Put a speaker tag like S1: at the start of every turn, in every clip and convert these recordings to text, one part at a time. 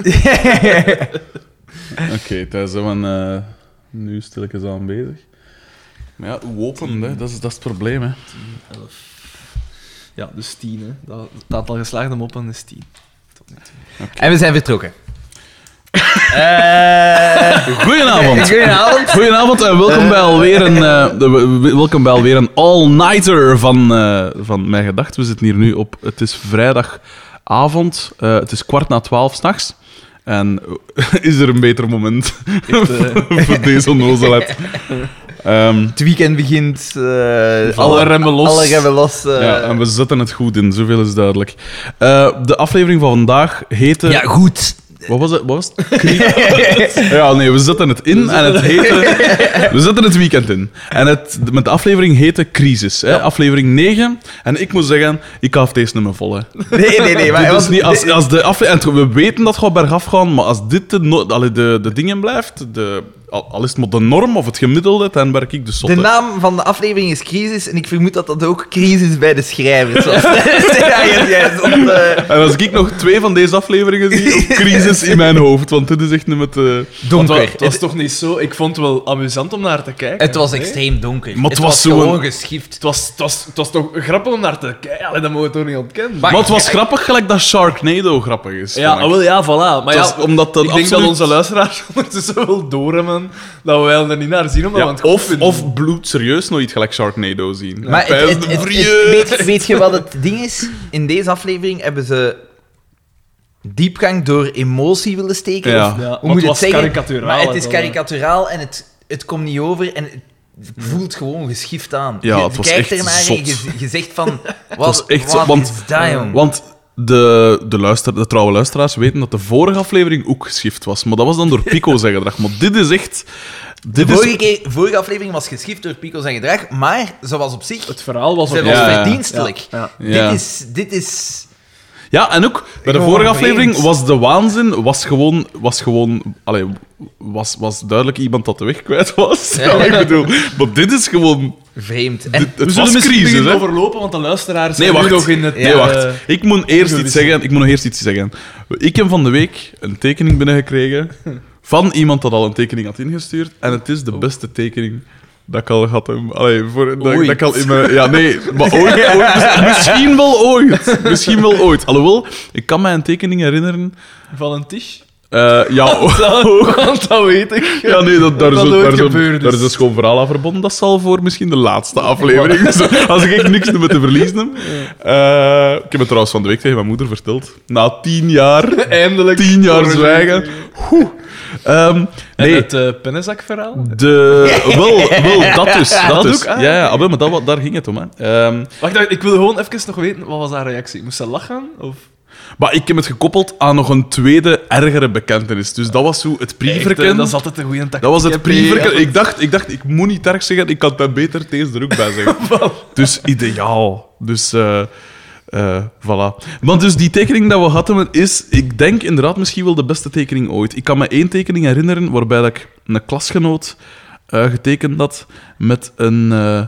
S1: Oké, daar zijn we eh, nu stilletjes aan bezig. Maar ja, hoe open, hè? Dat, is, dat is het probleem. Hè.
S2: 11. Ja, dus 10. Hè. Dat, het aantal geslaagde moppen is 10. Tot nu toe.
S3: En we zijn vertrokken.
S1: Goedenavond!
S3: Goedenavond.
S1: Goedenavond en welkom bij alweer een, eh, de- w- w- welkom bij alweer een all-nighter van, eh, van Mijn Gedacht. We zitten hier nu op... Het is vrijdagavond. eh, het is kwart na twaalf s'nachts. En is er een beter moment eh. voor deze onnozelheid? Ehm,
S3: Het weekend begint. eh,
S1: Alle remmen los.
S3: Alle remmen los. eh.
S1: ja, en we zetten het goed in, zoveel is duidelijk. Eh, de aflevering van vandaag heette...
S3: Ja, goed.
S1: Wat was het? Wat was het? Knie- ja, nee, we zetten het in en het heette... We zetten het weekend in. En het, met de aflevering heette Crisis. Hè? Aflevering 9. En ik moet zeggen, ik ga deze nummer vol. Hè.
S3: Nee, nee, nee. Maar,
S1: Dit
S3: want-
S1: is niet, als, als de aflevering... en We weten dat het gaat bergaf gaan, maar als dit de, no- allee, de, de dingen blijft, de, al al is het maar de norm of het gemiddelde, dan werk ik de
S3: de
S1: zotte.
S3: naam van de aflevering is Crisis en ik vermoed dat dat ook Crisis bij de schrijvers was. ja, ja, ja, zond, eh,
S1: En als ik nog twee van deze afleveringen zie, op crisis in mijn hoofd, want dit is echt eh, nummer te...
S2: Want wa-
S3: Donker.
S2: Het was toch niet zo? Ik vond het wel amusant om naar te kijken.
S3: Het was
S2: nee?
S3: extreem donker.
S1: Maar het was zo
S3: gewoon
S1: een-
S3: geschift.
S2: Het was, het, was, het was toch grappig om naar te kijken? Allee, dat mogen we toch niet ontkennen?
S1: Maar het was grappig gelijk dat Sharknado grappig is.
S2: ja,
S1: vond ik.
S2: ah, wel, ja, voilà. Maar
S1: Het
S2: ja,
S1: was omdat dat
S2: ik denk dat
S1: absoluut-
S2: onze luisteraars ondertussen wel doorhebben dat wij er niet naar zien omdat
S1: Ja,
S2: we het goed
S1: of,
S2: vinden.
S1: of bloed serieus nooit gelijk Sharknado zien.
S3: Maar het-
S1: Pijs
S3: het-
S1: de
S3: het- het-
S1: vrije.
S3: weet, weet je wat het ding is? In deze aflevering hebben ze diepgang door emotie willen steken.
S1: Ja.
S3: Of,
S2: Ja,
S3: hoe
S2: maar
S3: moet
S2: het
S3: het
S2: was
S3: zeggen?
S2: karikaturaal,
S3: Maar het
S2: hè,
S3: is
S2: dan,
S3: karikaturaal en het, het komt niet over en het voelt gewoon geschift aan.
S1: Ja,
S3: je,
S1: het
S3: je
S1: was
S3: kijkt
S1: echt
S3: ernaar en je,
S1: zot.
S3: je zegt van... Wat,
S1: was echt zo,
S3: wat
S1: want-
S3: is dat, jong?
S1: Want de, de, luister, de trouwe luisteraars weten dat de vorige aflevering ook geschift was. Maar dat was dan door Pico zijn gedrag. Maar dit is echt... Dit
S3: De vorige,
S1: is...
S3: keer, vorige aflevering was geschift door Pico zijn gedrag, maar ze was op zich...
S2: Het verhaal was
S3: Ze
S2: ook
S3: was
S1: Ja.
S3: verdienstelijk.
S2: Ja.
S1: Ja.
S3: Dit is... Dit is
S1: Ja, en ook bij de
S3: Gewoon
S1: vorige
S3: vreemd.
S1: aflevering was de waanzin was gewoon, was gewoon allee, was, was duidelijk iemand dat de weg kwijt was.
S3: Ja.
S1: ik bedoel, maar dit is gewoon.
S3: vreemd. En
S1: Dit- Het
S2: we zullen
S1: was
S2: misschien
S1: crisis,
S2: beginnen
S1: hè?
S2: overlopen, want de luisteraars
S1: Nee,
S2: zijn nu
S1: wacht.
S2: nog in het...
S1: Nee,
S2: eh,
S1: wacht. Ik moet, eerst
S2: Jullie
S1: iets
S2: zijn-
S1: zeggen, ik moet nog eerst iets zeggen. Ik heb van de week een tekening binnengekregen van iemand dat al een tekening had ingestuurd. En het is de
S2: Oh.
S1: beste tekening dat ik al had. Allee, voor, dat, dat ik al in mijn... Ja, nee, maar ooit, ooit- mis- Misschien wel ooit. Misschien wel ooit. Alhoewel, ik kan mij een tekening herinneren...
S2: Van een tisch.
S1: Eh, ja,
S2: Dat, want dat weet ik.
S1: ja, nee, dat, daar,
S2: Dat
S1: is,
S2: nooit
S1: daar, is een-
S2: gebeurd dus. is.
S1: daar is een schoon verhaal aan verbonden. Dat zal voor misschien de laatste aflevering. Dus als ik echt niks meer te verliezen heb. Eh, ik heb het trouwens van de week tegen mijn moeder verteld. Na tien jaar,
S2: Eindelijk.
S1: tien jaar
S2: Voor-
S1: zwijgen. Oeh. Ehm,
S2: En
S1: nee,
S2: het eh, pennenzakverhaal?
S1: de, wel, wel, dat dus. Dat,
S2: dat
S1: dus.
S2: ook? Ah,
S1: ja, ja, ah, wel, maar dat, wa- daar ging het om. Hè. Ehm,
S2: Wacht, wacht, ik wil gewoon even nog weten, wat was haar reactie? Moest ze lachen? Of...
S1: maar ik heb het gekoppeld aan nog een tweede, ergere bekentenis. Dus dat was zo het
S2: Echt, eh,
S1: prieverken.
S2: dat is altijd een goede tactiek.
S1: Dat was
S2: hè,
S1: het prieverken.
S2: P.
S1: Ik dacht, ik dacht, ik moet niet erg zeggen, ik kan daar beter deze er ook bij zeggen. dus ideaal. Dus, eh eh, voilà. Want dus die tekening dat we hadden is, ik denk inderdaad misschien wel de beste tekening ooit. Ik kan me één tekening herinneren waarbij dat ik een klasgenoot eh, getekend had met een eh,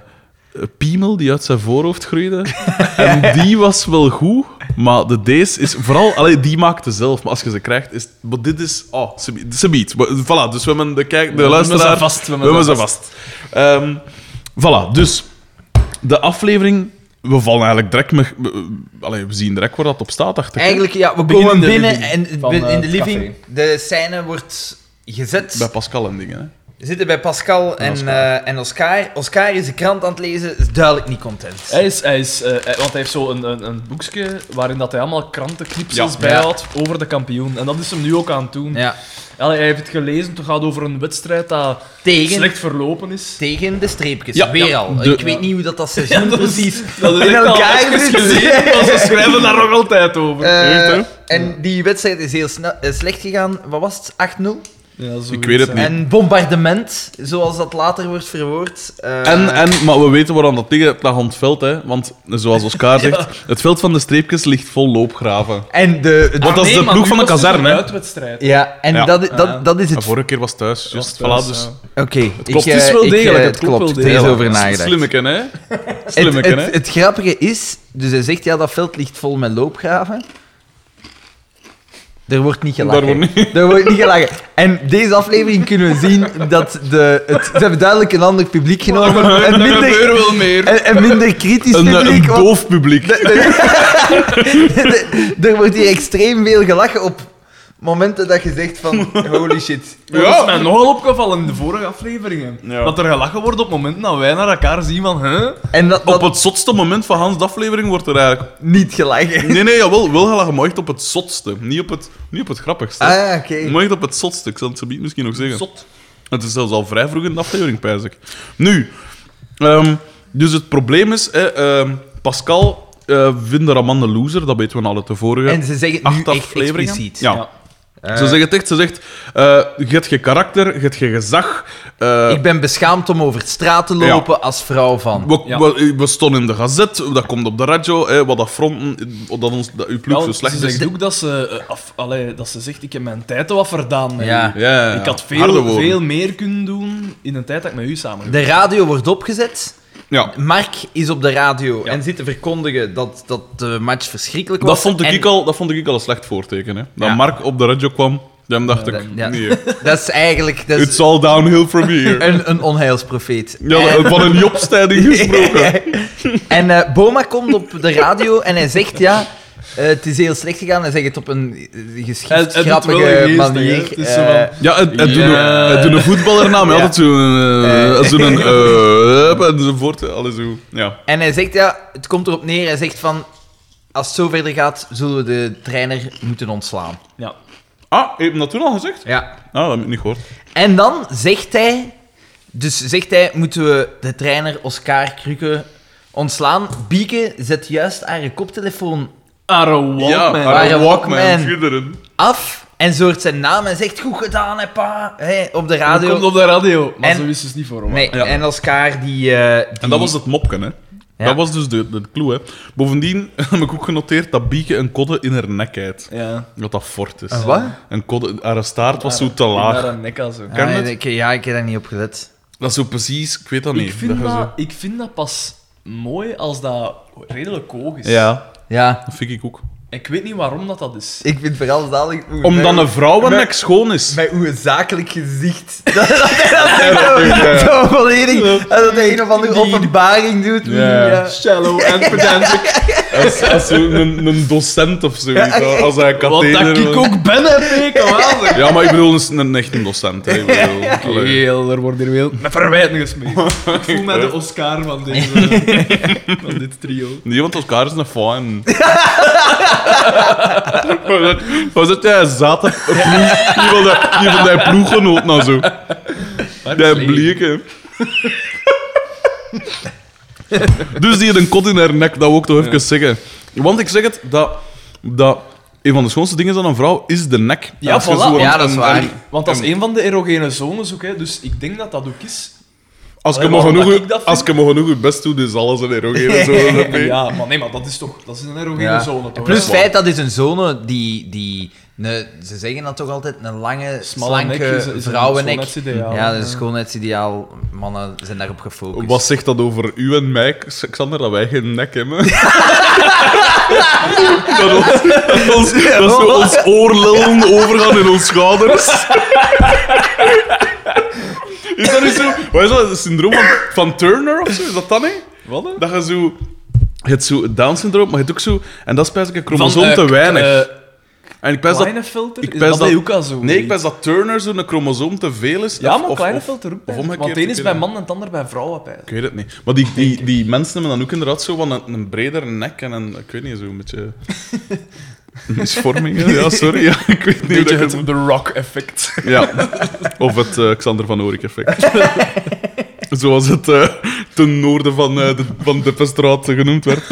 S1: piemel die uit zijn voorhoofd groeide. en die was wel goed, maar de deze is vooral... Allee, die maakte zelf, maar als je ze krijgt, is... Maar dit is... Oh, ze biedt- ze biedt. Maar, Voilà, dus we hebben de, kijk, de
S2: hebben
S1: luisteraar...
S2: ze vast, we hebben
S1: We hebben
S2: ze
S1: ze vast. Ehm, voilà, dus... De aflevering... We vallen eigenlijk direct... Met, we- allee, we zien direct waar dat op staat. Dacht ik.
S3: Eigenlijk, ja, we
S2: Begin
S3: komen
S2: in de
S3: binnen
S2: living
S3: en
S2: van,
S3: in de
S2: eh,
S3: living, de scène wordt gezet.
S1: Bij Pascal en dingen. Hè.
S3: We zitten bij Pascal en,
S1: Oscar.
S3: eh, en Oscar. Oscar is de krant aan het lezen, is duidelijk niet content.
S2: Hij is, hij is, eh, hij- want hij heeft zo een, een, een boekje waarin dat hij allemaal krantenknipsels
S1: Ja.
S2: bijhoudt over de kampioen. En dat is hem nu ook aan het doen.
S3: Ja.
S2: Allee, hij heeft het gelezen, het gaat over een wedstrijd dat
S3: Tegen,
S2: slecht verlopen is.
S3: tegen de streepjes,
S1: Ja,
S3: weer
S1: ja,
S3: al.
S1: de-
S3: Ik weet niet hoe dat, dat seizoen
S2: dat is-
S3: precies
S2: Dat is
S3: in
S2: echt al
S3: elkaar
S2: even
S3: zit.
S2: geleden, maar ze schrijven daar nog altijd over.
S3: Eh,
S1: Weet
S3: en die wedstrijd is heel snel, eh, slecht gegaan. Wat was het? 8-0?
S2: Ja, zoiets,
S1: ik weet het
S2: hè.
S1: niet.
S3: En bombardement, zoals dat later wordt verwoord. eh,
S1: En, en, maar we weten waarom dat tegen dat aan het veld, hè? Want zoals Oscar zegt, het veld van de streepjes ligt vol loopgraven.
S3: en de... Ah,
S1: Want dat is
S2: Nee,
S1: de
S2: maar
S1: ploeg
S2: nu
S1: van de
S2: was het
S1: kazerne,
S2: een
S1: hè?
S2: uitwedstrijd.
S3: Ja, en
S1: Ja.
S3: Dat,
S2: Ah.
S3: dat, dat is
S1: De
S3: het...
S1: vorige keer was het thuis, juist.
S2: Dat was
S1: Voilà, dus
S2: thuis,
S3: Oké,
S1: klopt.
S3: ik,
S2: Het is
S3: eh,
S2: wel
S3: ik, eh,
S2: degelijk,
S3: Het klopt, er is
S2: degelijk.
S3: over nagedacht.
S1: Slimmeken, hè?
S3: Het,
S1: Slimmeken, hè?
S3: het- het grappige is, dus hij zegt ja, dat veld ligt vol met loopgraven. Er wordt niet
S1: Daar
S3: gelachen.
S1: wordt niet...
S3: Er wordt niet gelachen. En deze aflevering kunnen we zien dat de, het, ze hebben duidelijk een ander publiek genomen. En minder,
S1: wel meer.
S3: en, en minder kritisch
S1: Een, eh, een
S3: publiek. want-
S1: doof publiek.
S3: er wordt hier extreem veel gelachen op momenten dat je zegt van holy shit.
S2: Dat is mij nogal opgevallen in de vorige afleveringen.
S1: Ja.
S2: Dat er gelachen wordt op momenten dat wij naar elkaar zien van... Huh?
S3: En dat, dat
S1: Op het zotste moment van Hans' de aflevering wordt er eigenlijk...
S3: niet gelachen.
S1: Nee, nee, jawel, wel gelachen, maar echt op het zotste. Niet op het, niet op het grappigste.
S3: Ah ja, oké.
S1: Maar echt op het zotste. Ik zal het zo bied misschien nog zeggen.
S2: Zot.
S1: Het is zelfs al vrij vroeg in de aflevering, pijs ik. Nu, ehm, dus het probleem is... eh, ehm, Pascal eh vindt de Raman een loser, dat weten we al uit de vorige
S3: En ze zeggen het nu
S2: e-
S1: acht
S3: echt
S1: afleveringen.
S3: expliciet.
S1: Ja. Ze zegt het echt, ze zegt... eh, je hebt je karakter, je hebt je gezag... eh,
S3: ik ben beschaamd om over straat te lopen als vrouw van.
S1: We,
S2: Ja.
S1: we, we stonden in de gazet, dat komt op de radio, hè, wat dat fronten, dat, ons, dat uw ploeg
S2: Ja,
S1: zo
S2: ze
S1: slecht is.
S2: zegt ook dat ze, eh, af, allee, dat ze zegt, ik heb mijn tijd wat verdaan. met
S3: Ja.
S2: u.
S1: Ja,
S2: Ik had
S1: harde
S2: veel,
S1: woorden.
S2: veel meer kunnen doen in de tijd dat ik met u samen
S3: De radio wordt opgezet.
S1: Ja.
S3: Mark is op de radio
S2: Ja.
S3: en zit te verkondigen dat, dat de match verschrikkelijk was.
S1: Dat, vond ik
S3: En
S1: ik al, dat vond ik ik al een slecht voorteken. Hè. Dat
S3: Ja.
S1: Mark op de radio kwam, dan dacht
S3: Ja,
S1: ik,
S3: dan- ja. Dus-
S1: nee,
S3: Dat is eigenlijk dat
S1: it's
S3: is
S1: all downhill from here.
S3: een, een onheilsprofeet.
S1: Ja, dat- van een jobstijding gesproken.
S3: en eh, Boma komt op de radio en hij zegt ja. eh, het is heel slecht gegaan. Hij zegt het op een eh,
S2: Hij-
S3: geschikt,
S2: hij doet wel
S3: grappige
S2: geestig,
S3: manier.
S2: hè. Het is zo van-
S3: eh,
S1: Ja, het, het, Doen,
S2: Ja.
S1: het doen een voetballer na, maar
S3: Ja.
S1: altijd zo'n... eh,
S3: Eh.
S1: zo'n... eh, enzovoort, alles zo. Ja.
S3: en hij zegt ja, het komt erop neer. Hij zegt van, als het zo verder gaat, zullen we de trainer moeten ontslaan.
S2: Ja.
S1: Ah, heb je dat toen al gezegd?
S3: Ja.
S1: Nou, dat heb ik niet gehoord.
S3: En dan zegt hij, dus zegt hij, moeten we de trainer Oscar Krukke ontslaan. Bieke zet juist haar koptelefoon
S2: Are Walkman.
S3: Are
S1: ja,
S3: a
S1: Walkman.
S3: Ah, Walkman.
S1: Schitterend.
S3: af en zoort zijn naam en zegt goed gedaan hè pa, hè, op de
S2: Dat
S3: radio.
S2: komt op de radio, maar
S3: En-
S2: ze wist dus niet voor
S3: Nee,
S1: Ja.
S3: en Oscar die, eh, die-
S1: En dat was het mopken, hè? Dat was dus de, de clue, hè? Bovendien heb ik ook genoteerd dat Bieke een kodde in haar nek heeft.
S2: Ja.
S1: Dat dat fort is.
S3: Een wat?
S1: Een kodde, haar staart was zo te
S2: Naar
S1: laag.
S2: een nek aan zo.
S1: Ken
S3: Ah,
S1: het?
S3: ik, ja, ik heb daar niet op gelet.
S1: Dat is zo precies, ik weet dat niet.
S2: ik, vind
S1: je
S2: dat, ik vind dat pas mooi als dat redelijk hoog is.
S1: zo- Ja,
S3: Ja,
S1: dat vind ik ook.
S2: Ik weet niet waarom dat, dat is.
S3: ik vind vooral zalig... hoe-
S1: Omdat
S3: met-
S1: een vrouwennek schoon is.
S3: Met hoe een zakelijk gezicht. Dat, dat, hij dat zo,
S1: ja.
S3: zo volledig... Dat hij een of andere
S2: Die-
S3: openbaring doet.
S1: Ja.
S3: Ja.
S2: Shallow and pedantic.
S1: Als, als zo een, een docent of zoiets. Als hij een
S2: Wat dat
S1: katheder...
S2: ik
S1: wil-
S2: ook ben, heb ik wel.
S1: Ja, maar ik bedoel een, een echte docent. Hè. Ik bedoel, allee.
S2: Heel, er wordt hier wel met verwijten gesmeed. Ik voel mij de Oscar van, deze, van dit trio.
S1: Nee, want elkaar is een fan. Was het jij zat een ploeg? Die van die- die van die ploeggenoot nou zo. Die blieke. Dus die had een kot in haar nek, dat wil ik toch even zeggen. Want ik zeg het, dat, dat een van de schoonste dingen aan een vrouw is de nek.
S2: Ja,
S1: Als je
S2: voilà.
S1: zo een-
S3: Ja, dat is
S1: een-
S3: waar.
S1: een-
S2: Want dat is een van de erogene zones ook, hè, dus ik denk dat dat ook
S1: Als
S2: is.
S1: je
S2: Allee,
S1: maar
S2: waarom
S1: genoeg
S2: dat
S1: je-
S2: ik dat vind?
S1: als je maar genoeg je best doet, is alles een erogene zone. hè.
S2: Ja, maar nee, maar dat is toch dat is een erogene
S3: Ja.
S2: zone. Toch,
S3: Plus
S2: hè?
S3: het feit dat is een zone die... die ne- ze zeggen dat toch altijd, een lange,
S2: Smalle nek
S3: slanke
S2: is- is een
S3: vrouwennek.
S2: schoonheidsideaal.
S3: Ja, dat is een schoonheidsideaal. Mannen zijn daarop gefocust.
S1: Wat zegt dat over u en mij, Xander, dat wij geen nek hebben? dat, ons, dat, ons, dat zo ons oorlellen overgaan in ons schouders. Is dat niet zo? Wat is dat? Het syndroom van, van Turner of zo? Is dat dan niet?
S2: Wat? hè?
S1: Dat je zo. Je hebt zo het Down-syndroom, maar je hebt ook zo. En dat is bijna een chromosoom
S2: eh,
S1: te weinig.
S2: eh,
S1: en ik pijs dat.
S2: kleine filter?
S1: ik
S2: is
S1: pijs
S2: dat,
S1: dat-
S2: bij ook al zo?
S1: Nee, ik pijs dat Turner zo'n chromosoom te veel is.
S2: Ja,
S1: of-
S2: maar
S1: of-
S2: kleine
S1: of-
S2: filter ook.
S1: of
S2: hè.
S1: omgekeerd,
S2: Want de een is
S1: ik
S2: bij
S1: weet het
S2: mannen en het ander bij vrouwen. bij.
S1: ik weet het niet. Maar die, die, die mensen hebben dan ook inderdaad zo van een, een bredere nek en een, ik weet niet, zo een beetje... Misvormingen, ja, sorry. Ja, ik weet niet hoe dat je het-
S2: The Rock-effect.
S1: Ja. Of het eh, Xander van Oorik-effect. Zoals het eh, ten noorden van, eh, de, van de Pestraat genoemd werd.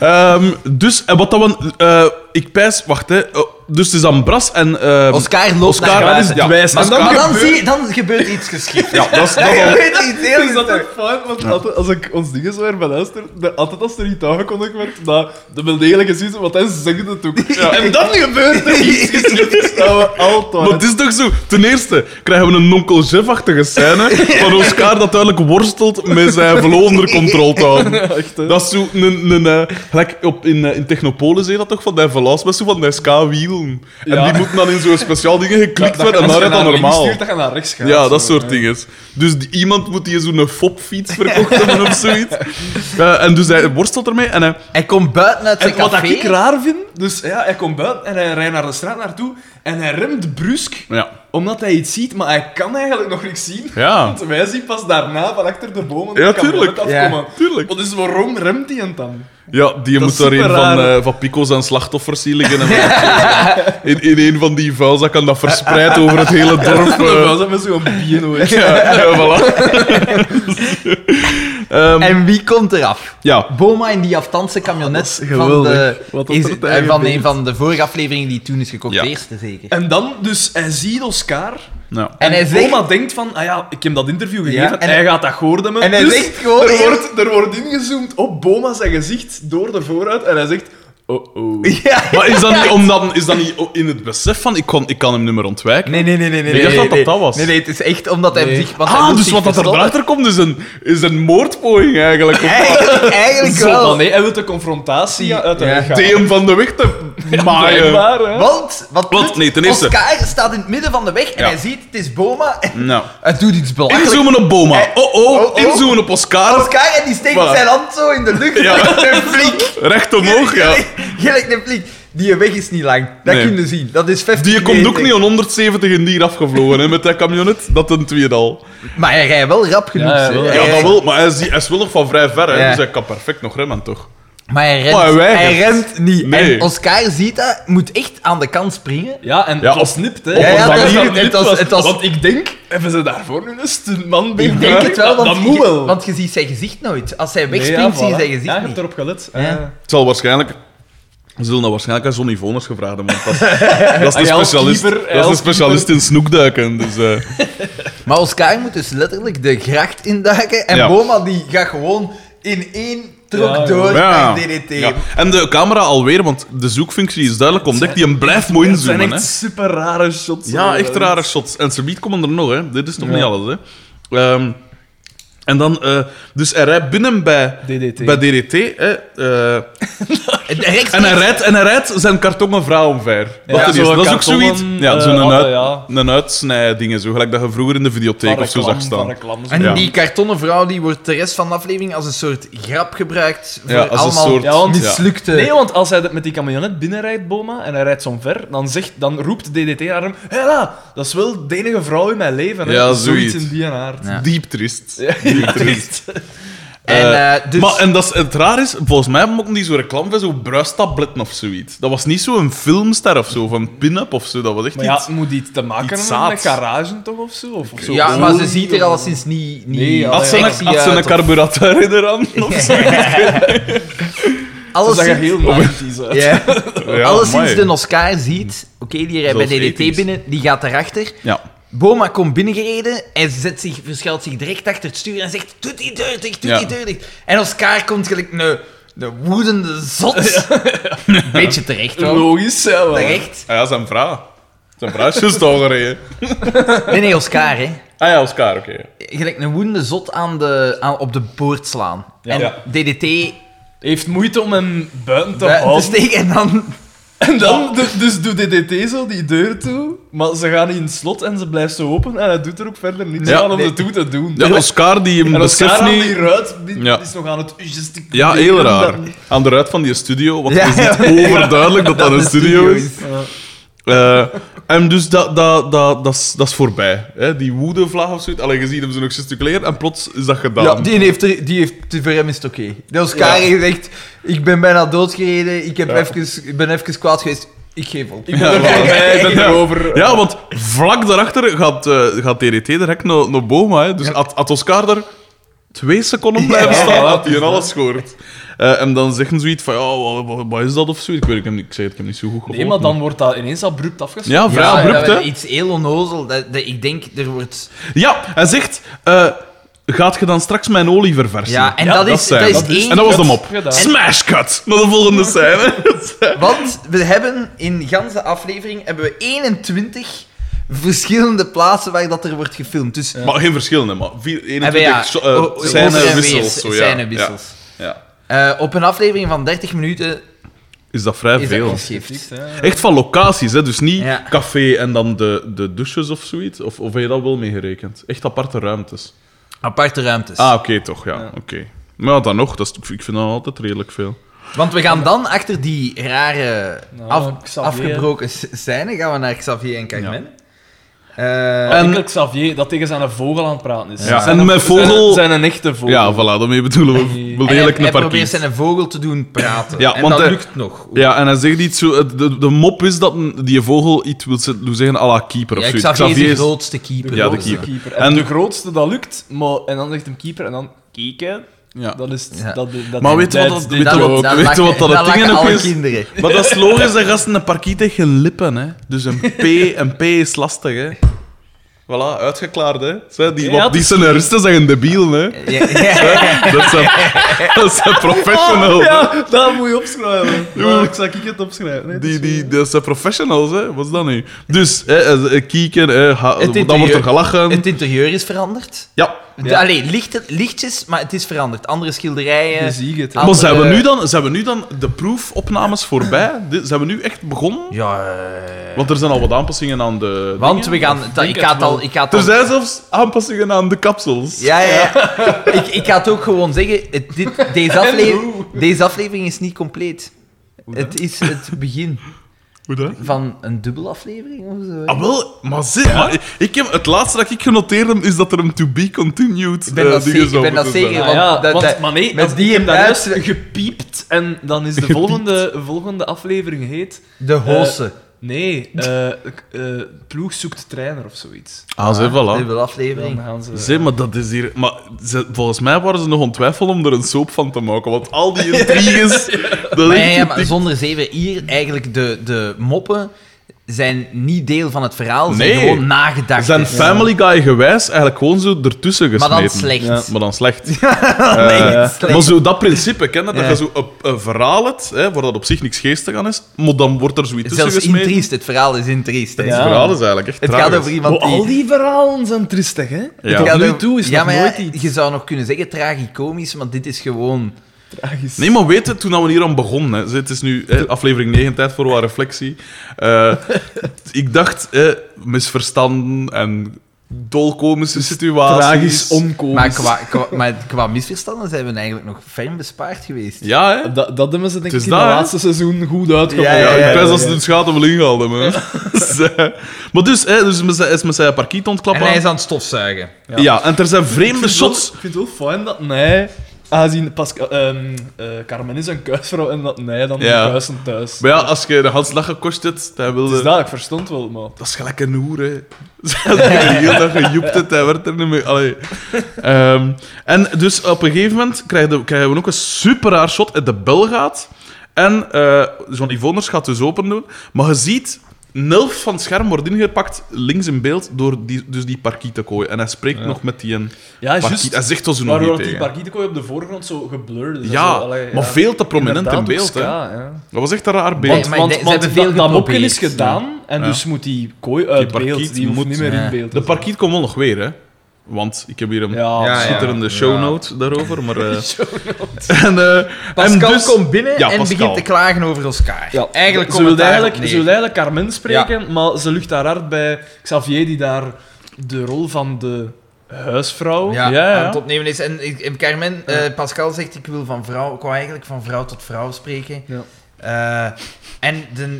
S1: Ehm, dus, en wat dat we... eh, ik pijs... Wacht, hè. Oh, dus het is Ambras en... ehm,
S3: Oscar loopt
S1: Oscar,
S3: naar
S1: dat
S3: buiten.
S1: is dwijs.
S3: Maar
S1: En
S3: dan,
S1: dan
S3: maar dan,
S1: gebeurt-
S3: zie, dan gebeurt iets geschikt.
S1: Ja, dat is... Dat
S3: Dan
S1: al-
S3: gebeurt iets heel
S2: Is dat
S3: geschikt.
S2: ook fout? Want altijd, als ik ons dingen zo erbij luister, de- altijd als er iets aangekondigd werd, dat de beldelige gezien, want hij zegt het ook. En dan gebeurt er iets geschiedenis dat we
S1: Maar
S2: altijd...
S1: het is toch zo. Ten eerste krijgen we een onkel Jeff-achtige scène van Oscar dat duidelijk worstelt met zijn vlo onder controle te houden.
S2: Echt, hè?
S1: Dat is zo een... een eh, gelijk op, in, eh, in Technopolis zie je dat toch, van die velaas met zo van die ska-wiel film. En
S2: Ja.
S1: die moeten dan in zo'n speciaal dingen geklikt worden en dan rijdt dat normaal.
S2: Stuurt, dat je naar rechts gaat.
S1: Ja,
S2: zo,
S1: dat soort
S2: hè.
S1: dingen. Dus die- iemand moet die zo'n fopfiets verkocht hebben of zoiets. Eh, en dus hij worstelt ermee en hij...
S3: Hij komt buiten uit zijn
S2: En wat dat
S3: café.
S2: ik raar vind, dus ja, hij komt buiten en hij rijdt naar de straat naartoe en hij remt brusk
S1: Ja.
S2: omdat hij iets ziet, maar hij kan eigenlijk nog niks zien.
S1: Ja.
S2: Want wij zien pas daarna van achter de bomen
S1: Ja,
S2: dat de kabinet
S1: tuurlijk.
S2: afkomen.
S3: Ja,
S1: tuurlijk.
S2: Want dus waarom remt hij het dan?
S1: Ja, die
S2: Dat
S1: moet
S2: is
S1: daar een van,
S2: superraar.
S1: eh, van Pico's en slachtoffers zien liggen. En in, in een van die vuilzakken dat verspreid over het hele dorp.
S2: Dan
S1: eh.
S2: was hij met zo'n bieno.
S1: ja, ja, voilà. Ehm,
S3: En wie komt eraf?
S1: ja.
S3: Boma in die aftandse
S2: is
S3: camionet van,
S2: geweldig.
S3: de,
S2: Wat
S3: is, eh,
S2: dat er tegen
S3: van een
S2: beeld.
S3: van de vorige afleveringen die toen is gekocht.
S1: Ja.
S3: De eerste zeker.
S2: En dan, dus hij ziet Oscar.
S1: Nou.
S3: En hij zegt-
S2: Oma denkt van, ah ja, ik heb dat interview gegeven,
S3: Ja, en-
S2: hij gaat dat hoorden.
S3: en hij
S2: dus
S3: zegt gewoon
S2: Er
S3: heel-
S2: wordt, er wordt ingezoomd op Boma zijn gezicht door de vooruit en hij zegt... Oh-oh.
S3: Ja.
S1: Oh, Maar is dat niet, omdat, is dat niet in het besef van ik kan, ik kan hem niet meer ontwijken?
S3: Nee, nee, nee, nee. nee
S1: Ik dacht
S3: nee,
S1: dat dat
S3: nee.
S1: dat was.
S3: Nee, nee, het is echt omdat hij
S2: Nee.
S3: zich. Want hij
S1: ah,
S3: moet
S1: dus
S3: zich
S1: wat dat er
S3: verstoppen.
S1: buiten komt is een, is een moordpoging eigenlijk. Om
S3: Eigenlijk, eigenlijk
S2: Zo
S3: wel.
S2: dan, nee, hij wil de confrontatie
S3: Ja.
S2: uit de weg gaan.
S1: hem van de weg te maaien.
S2: Blijkbaar, hè.
S3: Want, wat
S1: Want,
S3: doet-
S1: nee, ten eerste-
S3: Oscar staat in het midden van de weg en
S1: Ja.
S3: hij ziet het is Boma en
S1: Nou.
S3: hij doet iets belachelijks.
S1: Inzoomen op Boma.
S3: Eh,
S1: Oh oh,
S3: oh, oh.
S1: inzoomen op Oscar.
S3: Oscar en die steekt
S1: Voilà.
S3: zijn hand zo in de lucht.
S1: Ja.
S3: Gelijk een fliek.
S1: Recht omhoog, ja.
S3: Gelijk een fliek. Die weg is niet lang. Dat
S1: Nee.
S3: kun je zien. Dat is 50
S1: Die komt ook
S3: meter.
S1: niet aan 170 in dier afgevlogen hè, met dat camionet. Dat een tweedal.
S3: Maar hij rijdt wel rap genoeg.
S2: Ja, hij
S3: hè.
S2: wel.
S3: Hij
S1: Ja, dat
S3: rijdt-
S1: wel, maar hij is, die- hij is wel nog van vrij ver. Hè,
S3: Ja.
S1: Dus hij kan perfect nog remmen, toch?
S3: Maar hij rent,
S1: Maar hij weigert.
S3: hij rent niet.
S1: Nee.
S3: En Oscar ziet dat, moet echt aan de kant springen.
S2: Ja, en
S1: Ja,
S2: het
S1: op-
S2: was nipt, hè.
S1: op
S3: Ja,
S1: een
S2: Het
S3: ja,
S2: was-
S1: manier-
S2: het
S3: het was-
S2: was-
S3: het was-
S2: Want ik denk, hebben ze daarvoor nu een stuntman bij
S3: Ik denk het
S2: Dat,
S3: wel, want,
S2: dat moet
S3: je,
S2: wel.
S3: want je ziet zijn gezicht nooit. Als hij
S2: Nee,
S3: wegspringt, zie je
S2: voilà.
S3: zijn
S2: Ja,
S3: gezicht
S2: je hebt
S3: niet.
S2: erop gelet.
S3: Ja.
S2: Ah.
S1: Het zal waarschijnlijk... Ze zullen dat waarschijnlijk aan Johnny Voners gevraagd hebben. want Dat is, dat is
S2: Hij
S1: de
S2: als
S1: specialist,
S2: keeper,
S1: dat
S2: hij
S1: is de
S2: als
S1: specialist in snoekduiken. Dus, eh,
S3: Maar Oscar moet dus letterlijk de gracht induiken. En
S1: Ja.
S3: Boma die gaat gewoon in één trok
S2: Ja,
S3: door
S1: ja.
S3: naar DDT.
S1: Ja. En de camera alweer, want de zoekfunctie is duidelijk ontdekt. Die hem blijft mooi
S2: Het zijn
S1: inzoomen. hè.
S2: echt super rare shots.
S1: Ja,
S2: hoor.
S1: echt rare shots. En ze biedt komen er nog, hè. Dit is nog niet alles, hè. Ehm, en dan... eh, dus hij rijdt binnen bij
S2: DDT.
S1: Bij DDT hè, eh,
S3: En rechts-
S1: en, hij rijdt, en hij rijdt zijn kartongen vrouw omver. Dat, ten
S2: Ja,
S1: eerste.
S2: zo'n
S1: dat is ook
S2: kartonnen,
S1: zoiets. Ja,
S2: eh,
S1: zo'n
S2: hadden,
S1: uit,
S2: ja.
S1: een uitsnijdingen, zo. Gelijk dat je vroeger in de videotheek
S2: Van
S1: of zo
S2: reclame,
S1: zag
S2: van
S1: staan.
S2: reclame, zo.
S3: En
S1: Ja.
S3: die kartonnen vrouw die wordt de rest van de aflevering als een soort grap gebruikt. Voor
S1: Ja, als een
S3: allemaal
S1: soort-
S2: Ja, want-
S3: mislukte.
S2: Nee, want als hij met die camionet binnenrijdt, Boma, en hij rijdt zo'n ver, dan, zegt, dan roept DDT naar hem: Hela, dat is wel de enige vrouw in mijn leven. Hè.
S1: Ja, zoiets.
S2: in die aard.
S3: Ja.
S1: Diep triest.
S2: Die
S3: en,
S1: Eh,
S3: eh, dus,
S1: Maar, en dat is, het raar is, volgens mij mochten die zo'n reclame van zo'n bruistabletten of zoiets. Dat was niet zo'n filmster of zo, of een pin-up of zo. Dat was echt
S2: Maar ja,
S1: iets...
S2: moet iets te maken
S1: iets
S2: hebben met
S1: zaads.
S2: garage toch of zo? Of, of zo
S3: ja,
S2: gewoon-
S3: maar ze ziet er alleszins niet, niet
S2: Nee, ja,
S1: Had ze
S3: sexy
S1: een, had ze een
S3: uit, of-
S1: carburator in de hand of zo?
S2: Ze
S3: alleszins-
S2: zag er heel romantisch uit.
S3: Ja.
S1: Ja,
S3: Alleszins
S1: amai.
S3: de Oscar ziet, oké, die rijdt bij
S1: Zelfs
S3: DDT
S1: ethisch.
S3: binnen, die gaat erachter.
S1: Ja.
S3: Boma komt binnengereden, hij zet zich, verschuilt zich direct achter het stuur en zegt: Doe die deur dicht, doe
S1: Ja.
S3: die deur dicht. En Oscar komt gelijk een, een woedende zot. Beetje terecht wel.
S2: Logisch, ja. wel.
S3: Terecht.
S1: Ah ja, zijn vrouw. Zijn vrouw is juist al gereden.
S3: Nee, nee, Oscar, hè.
S1: Ah ja, Oscar, oké.
S3: Gelijk een woedende zot aan de, aan, op de boord slaan. en
S1: Ja.
S3: DDT
S2: Heeft moeite om hem buiten te
S3: buiten eh, te
S2: houden.
S3: steken en dan
S2: En dan, du- dus doet DDT zo die deur toe, maar ze gaan in het slot en ze blijft zo open en hij doet er ook verder niets
S1: Ja,
S2: aan om
S1: nee.
S2: ze toe te doen.
S1: Ja, Oscar die hem
S2: en als
S1: beseft
S2: Sarah die
S1: niet...
S2: ruit, die
S1: Ja.
S2: is nog aan het gesticuleren.
S1: Ja, heel raar.
S2: Dan-
S1: Aan de ruit van die studio, want
S3: Ja.
S1: het is niet overduidelijk dat dat een studio is.
S2: Ja.
S1: Eh, en dus dat, dat, dat, dat, is, dat is voorbij. Hè? Die woedevlaag of zoiets. Alleen gezien hem ze nog gesticuleerd en plots is dat gedaan.
S3: Ja, die heeft, er- die heeft voor hem is het oké. De Oscar
S2: Ja.
S3: heeft echt, ik ben bijna doodgereden, ik, heb even, ik ben even kwaad geweest, ik geef op.
S2: Ik ben er voorbij, ik ben
S1: Ja.
S2: erover.
S1: Ja, want vlak daarachter gaat, eh gaat DDT direct naar, naar Boma. Hè. Dus had, had Oscar er twee seconden blijven
S2: Ja,
S1: staan,
S2: ja,
S1: had hij in alles gehoord. Eh, en dan zeggen ze iets van, ja, wat, wat- wat is dat of zo? Ik weet het niet, ik zei het, ik heb niet zo goed gehoord.
S2: Nee, maar dan wordt dat ineens abrupt afgesloten.
S1: Ja, vrij abrupt,
S3: dat-
S1: hè.
S3: Iets heel onnozel, dat, dat, ik denk, er wordt...
S1: Ja, hij zegt, eh, gaat je dan straks mijn olie verversen?
S3: Ja, en
S2: Ja,
S3: dat,
S1: dat
S3: is,
S1: zijn
S3: dat is
S1: we.
S3: één...
S1: En dat was de
S2: kut
S1: mop.
S2: gedaan.
S1: Smash cut! Naar de volgende scène.
S3: Want we hebben in ganse aflevering hebben we 21 verschillende plaatsen waar dat er wordt gefilmd. Dus
S1: Maar geen verschil, nee, maar vier-
S3: hebben
S1: 21
S3: we Ah,
S1: so- eh,
S3: ja, oh, o- o- over en weer
S1: scènewissels. zo, ja.
S3: scènewissels.
S1: Ja, ja.
S3: Eh, op een aflevering van 30 minuten
S1: is dat vrij
S3: Is dat
S1: veel.
S3: ons gift?
S1: Echt van locaties, hè? dus niet
S3: Ja.
S1: café en dan de, de douches of zoiets. Of, of heb je dat wel meegerekend? Echt aparte ruimtes.
S3: Aparte ruimtes.
S1: Ah, oké, toch, ja. Oké. Maar ja, dan nog, dat is, ik vind dat altijd redelijk veel.
S3: Want we gaan dan achter die rare
S2: Nou,
S3: af-
S2: Xavier.
S3: afgebroken s- scène gaan we naar Xavier en Carmen. Eh,
S2: Enkel Xavier dat tegen zijn vogel aan het praten is.
S1: Ja,
S2: Zijn
S1: en mijn vogel-
S2: Zijn, zijn een echte vogel.
S1: Ja, voilà, daarmee bedoelen we
S2: Hey.
S1: wel
S3: en hij,
S1: redelijk
S3: Oh. hij
S1: een
S3: probeert
S1: parkiet.
S3: zijn vogel te doen praten.
S1: Ja,
S3: en
S1: want
S3: dat
S1: hij-
S3: lukt nog.
S1: Ja, en hij zegt iets zo... het- De, de mop is dat een- die vogel iets wil ze- wil zeggen à la keeper of
S3: Ja,
S1: zoiets.
S3: Xavier, is
S1: is-
S3: de grootste keeper.
S1: Ja, de
S3: Dus, eh,
S1: keeper.
S2: En,
S1: En-
S2: de grootste dat lukt, maar, en dan zegt hem keeper en dan kieken.
S1: Ja.
S2: Dat is het-
S3: Ja.
S2: dat, dat
S1: Maar weet je wat dat-
S2: die-
S1: weet je
S3: dat-
S1: wat-
S3: dat
S1: weet je
S3: lachen-
S1: wat dat het
S3: lachen
S1: ding ook
S3: alle
S1: is?
S3: kinderen.
S1: Maar dat is logisch, dat gasten een parkiet tegen lippen, hè. Dus een P, een P is lastig, hè. Voilà, uitgeklaard, hè. Zo, die,
S2: Ja,
S1: wat,
S2: dat
S1: die
S2: is
S1: scenaristen zijn debiel, hè.
S3: Ja, ja.
S1: Dat zijn, dat zijn professionals.
S2: Oh, Ja, dat moet je opschrijven. Ja, ik zal ik het opschrijven. Nee,
S1: Die, die, dat zijn professionals, hè. Wat is dat nu? Dus, hè, eh, eh, kieken, hè, ha-
S3: Het
S1: dan wordt
S3: interieur-
S1: er gelachen.
S3: Het interieur is veranderd.
S1: Ehm, Ja.
S2: Ja.
S3: Allee, licht, lichtjes, maar het is veranderd. Andere schilderijen.
S2: Je ziet het. hè.
S3: Ah.
S1: Maar zijn we,
S3: eh,
S1: nu dan, zijn we nu dan de proefopnames voorbij? Dit- Zijn we nu echt begonnen?
S3: Ja, eh,
S1: Want er zijn al wat aanpassingen aan de.
S3: want
S1: dingen.
S3: we gaan... dat-
S2: denk
S3: ik ga het
S2: het
S3: al...
S2: wel.
S3: Ik ga het
S1: Er
S3: al
S1: zijn zelfs aanpassingen aan de kapsels.
S3: ja, ja. ja. ik, ik ga het ook gewoon zeggen. het- dit, deze, aflevering, deze aflevering is niet compleet. Het is het begin
S1: Hoe dat?
S3: van een dubbele aflevering of zo.
S1: Ah, wel, maar zit. maar ik heb, het laatste dat ik genoteerd heb is dat er een to be continued
S3: Ik ben
S1: eh,
S3: dat
S1: dingen
S3: zeker-
S1: zou
S3: ik ben dat
S1: moeten
S3: zeker.
S1: zijn.
S2: Ah, ja,
S3: want dat-
S2: want,
S3: dat-
S2: maar nee,
S3: met
S2: als
S3: die
S2: die
S3: in
S2: hem
S3: huis-
S2: daaruit gepiept en dan is de volgende, volgende aflevering heet...
S3: De hosse.
S2: Nee, eh, k- eh, ploeg zoekt trainer of zoiets.
S1: Ah, zeg, voilà.
S3: dubbele
S2: Dan
S3: aflevering.
S2: gaan ze...
S1: Zeg, maar dat is hier... Maar ze- volgens mij waren ze nog ontwijfeld om er een soap van te maken, want al die intriges... Dat
S3: Maar
S1: is
S3: ja, ja, maar
S1: echt-
S3: zonder zeven hier, eigenlijk de, de moppen zijn niet deel van het verhaal.
S1: Nee.
S3: Zijn gewoon nagedacht. Dus-
S1: zijn Family Guy gewijs eigenlijk gewoon zo ertussen
S3: Maar
S1: gesmeten.
S3: dan slecht.
S2: Ja.
S1: Maar dan slecht.
S3: Nee,
S1: Eh,
S3: slecht.
S1: Maar zo dat principe, ken je, dat
S3: Ja.
S1: je zo een, een verhaal hebt, hè, waar dat op zich niks geestig aan is, maar dan wordt er zoiets tussen
S3: Zelfs
S1: Dus gesmeten.
S3: intriest. Het verhaal is intriest. hè.
S1: Het
S2: Ja.
S1: verhaal is eigenlijk echt
S3: Het
S1: tragisch.
S3: gaat over iemand
S2: Want
S3: die...
S2: Oh, al die verhalen zijn tristig, hè?
S1: Ja.
S2: Tot
S3: het gaat
S2: nu
S3: over-
S2: toe is
S3: ja,
S2: nog
S3: maar ja,
S2: nooit iets
S3: Je zou nog kunnen zeggen tragicomisch, maar dit is gewoon...
S2: tragisch.
S1: Nee, maar weet je, toen we hier aan begonnen, hè, het is nu hè, aflevering 9, tijd voor wat reflectie. Eh, ik dacht, hè, misverstanden en dolkomische situaties.
S2: tragisch onkomisch.
S3: Maar qua, qua- maar qua misverstanden zijn we eigenlijk nog ferm bespaard geweest.
S1: Ja, hè?
S2: Dat, dat hebben ze denk
S1: Het
S2: ik
S1: is
S2: in
S1: dat,
S2: het
S1: hè?
S2: laatste seizoen goed uitgevonden.
S1: Ja,
S3: Ja, ja,
S1: ik
S3: ja,
S1: ben als ze het schade wel ingehaald hebben. hè. Dus, eh, maar dus, hè, dus met zijn- is met zijn parkiet
S3: En
S1: ontklappen.
S3: hij is aan het stofzuigen.
S1: ja. en er zijn
S2: Ik
S1: vreemde
S2: vind het wel-
S1: shots.
S2: Ik vind het wel fijn dat hij... Aangezien Pascal, ehm, eh, Carmen is een kuisvrouw en dat hij dan
S1: Ja.
S2: de kuisen thuis.
S1: Maar ja, als je de Hans lachen kost het, hij
S2: Het is
S1: wilde...
S2: dat, ik verstond wel, maar...
S1: Dat is gelijk een hoer, hè. Ze had er de hele dag gejoept het, hij werd er niet meer... Allee. Ehm, en dus op een gegeven moment krijgen, de- krijgen we ook een super raar shot uit de bel gaat. En eh zo'n Yvonners gaat dus open doen. Maar je ziet, een elf van het scherm wordt ingepakt, links in beeld, door die, dus die parkiet te gooien. En hij spreekt nog met die een
S2: Ja,
S1: parkiet. Hij
S2: Ah, juist.
S1: zegt ons nog
S2: Waardoor
S1: niet
S2: die
S1: tegen.
S2: Bargietekooi op de voorgrond zo geblurred is. en
S1: Ja,
S2: zo, allee,
S1: maar
S2: ja.
S1: veel te prominent
S2: Inderdaad,
S1: in beeld.
S2: ook
S1: Hè.
S2: ska, ja.
S1: Dat was echt een raar
S3: Nee,
S1: beeld.
S3: maar ik
S2: want
S3: denk- ze
S2: want
S3: hebben veel
S2: dat- dat mopje
S3: geprobeerd.
S2: is gedaan en
S1: Ja.
S2: dus moet die kooi uit
S1: parkiet
S2: beeld. Die moet
S1: moet-
S2: niet meer
S3: Ja.
S2: in beeld.
S1: De parkiet komt wel nog weer, hè? Want ik heb hier een
S2: Ja,
S3: Ja, ja.
S1: schitterende
S3: Ja.
S1: shownote daarover. Maar, eh, en, eh,
S3: Pascal
S1: en dus-
S3: komt binnen
S1: Ja,
S3: en
S1: Pascal.
S3: begint te klagen over Oscar.
S2: Ja.
S3: Eigenlijk
S2: ze
S3: komt
S2: wilde
S3: het daarop
S2: eigenlijk, ze
S3: neer.
S2: wilde eigenlijk Carmen spreken, maar ze lucht daar hard bij Xavier, die daar de rol van de huisvrouw...
S3: ja,
S1: Ja, ja.
S3: aan het opnemen is. En, ik- en Carmen, eh, Pascal zegt, ik wil van vrouw, ik wou eigenlijk van vrouw tot vrouw spreken.
S2: Ja.
S3: Eh, en de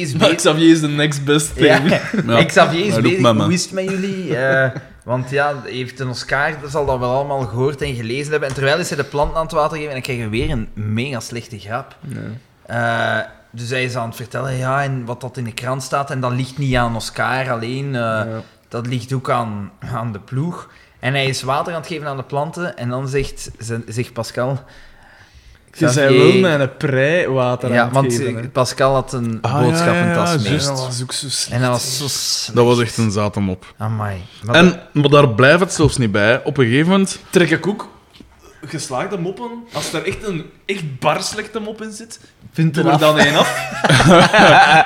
S3: is
S2: Maar
S3: bezig...
S2: Xavier is de next best thing.
S3: Ja.
S1: Ja.
S3: Xavier is
S1: Hij doet
S3: bezig,
S1: mama.
S3: hoe is het met jullie? Eh, want ja, heeft een Oscar, dat zal dat wel allemaal gehoord en gelezen hebben. En terwijl is hij de plant aan het water geven en dan krijg je weer een mega slechte grap. Eh, dus hij is aan het vertellen, ja, en wat dat in de krant staat. En dat ligt niet aan Oscar alleen, eh,
S2: Ja.
S3: dat ligt ook aan, aan de ploeg. En hij is water aan het geven aan de planten. En dan zegt, ze- zegt Pascal...
S2: Je zei
S3: Xavier-
S2: wel mijn prei water
S3: Ja,
S2: aan
S3: want
S2: het geven, hè.
S3: eh, Pascal had een
S1: Ah, ja,
S3: boodschappentas
S1: ja, ja,
S3: mee.
S1: juist.
S2: Ja, dat was ook zo slecht.
S3: En dat was zo slecht.
S1: dat was echt een zatemop.
S3: Amai. Maar
S1: En, maar daar blijft het zelfs niet bij. Op een gegeven moment...
S2: Trek ik ook geslaagde moppen. Als er echt een echt bar slechte mop in zit,
S3: Vindt
S2: doe er dan één af.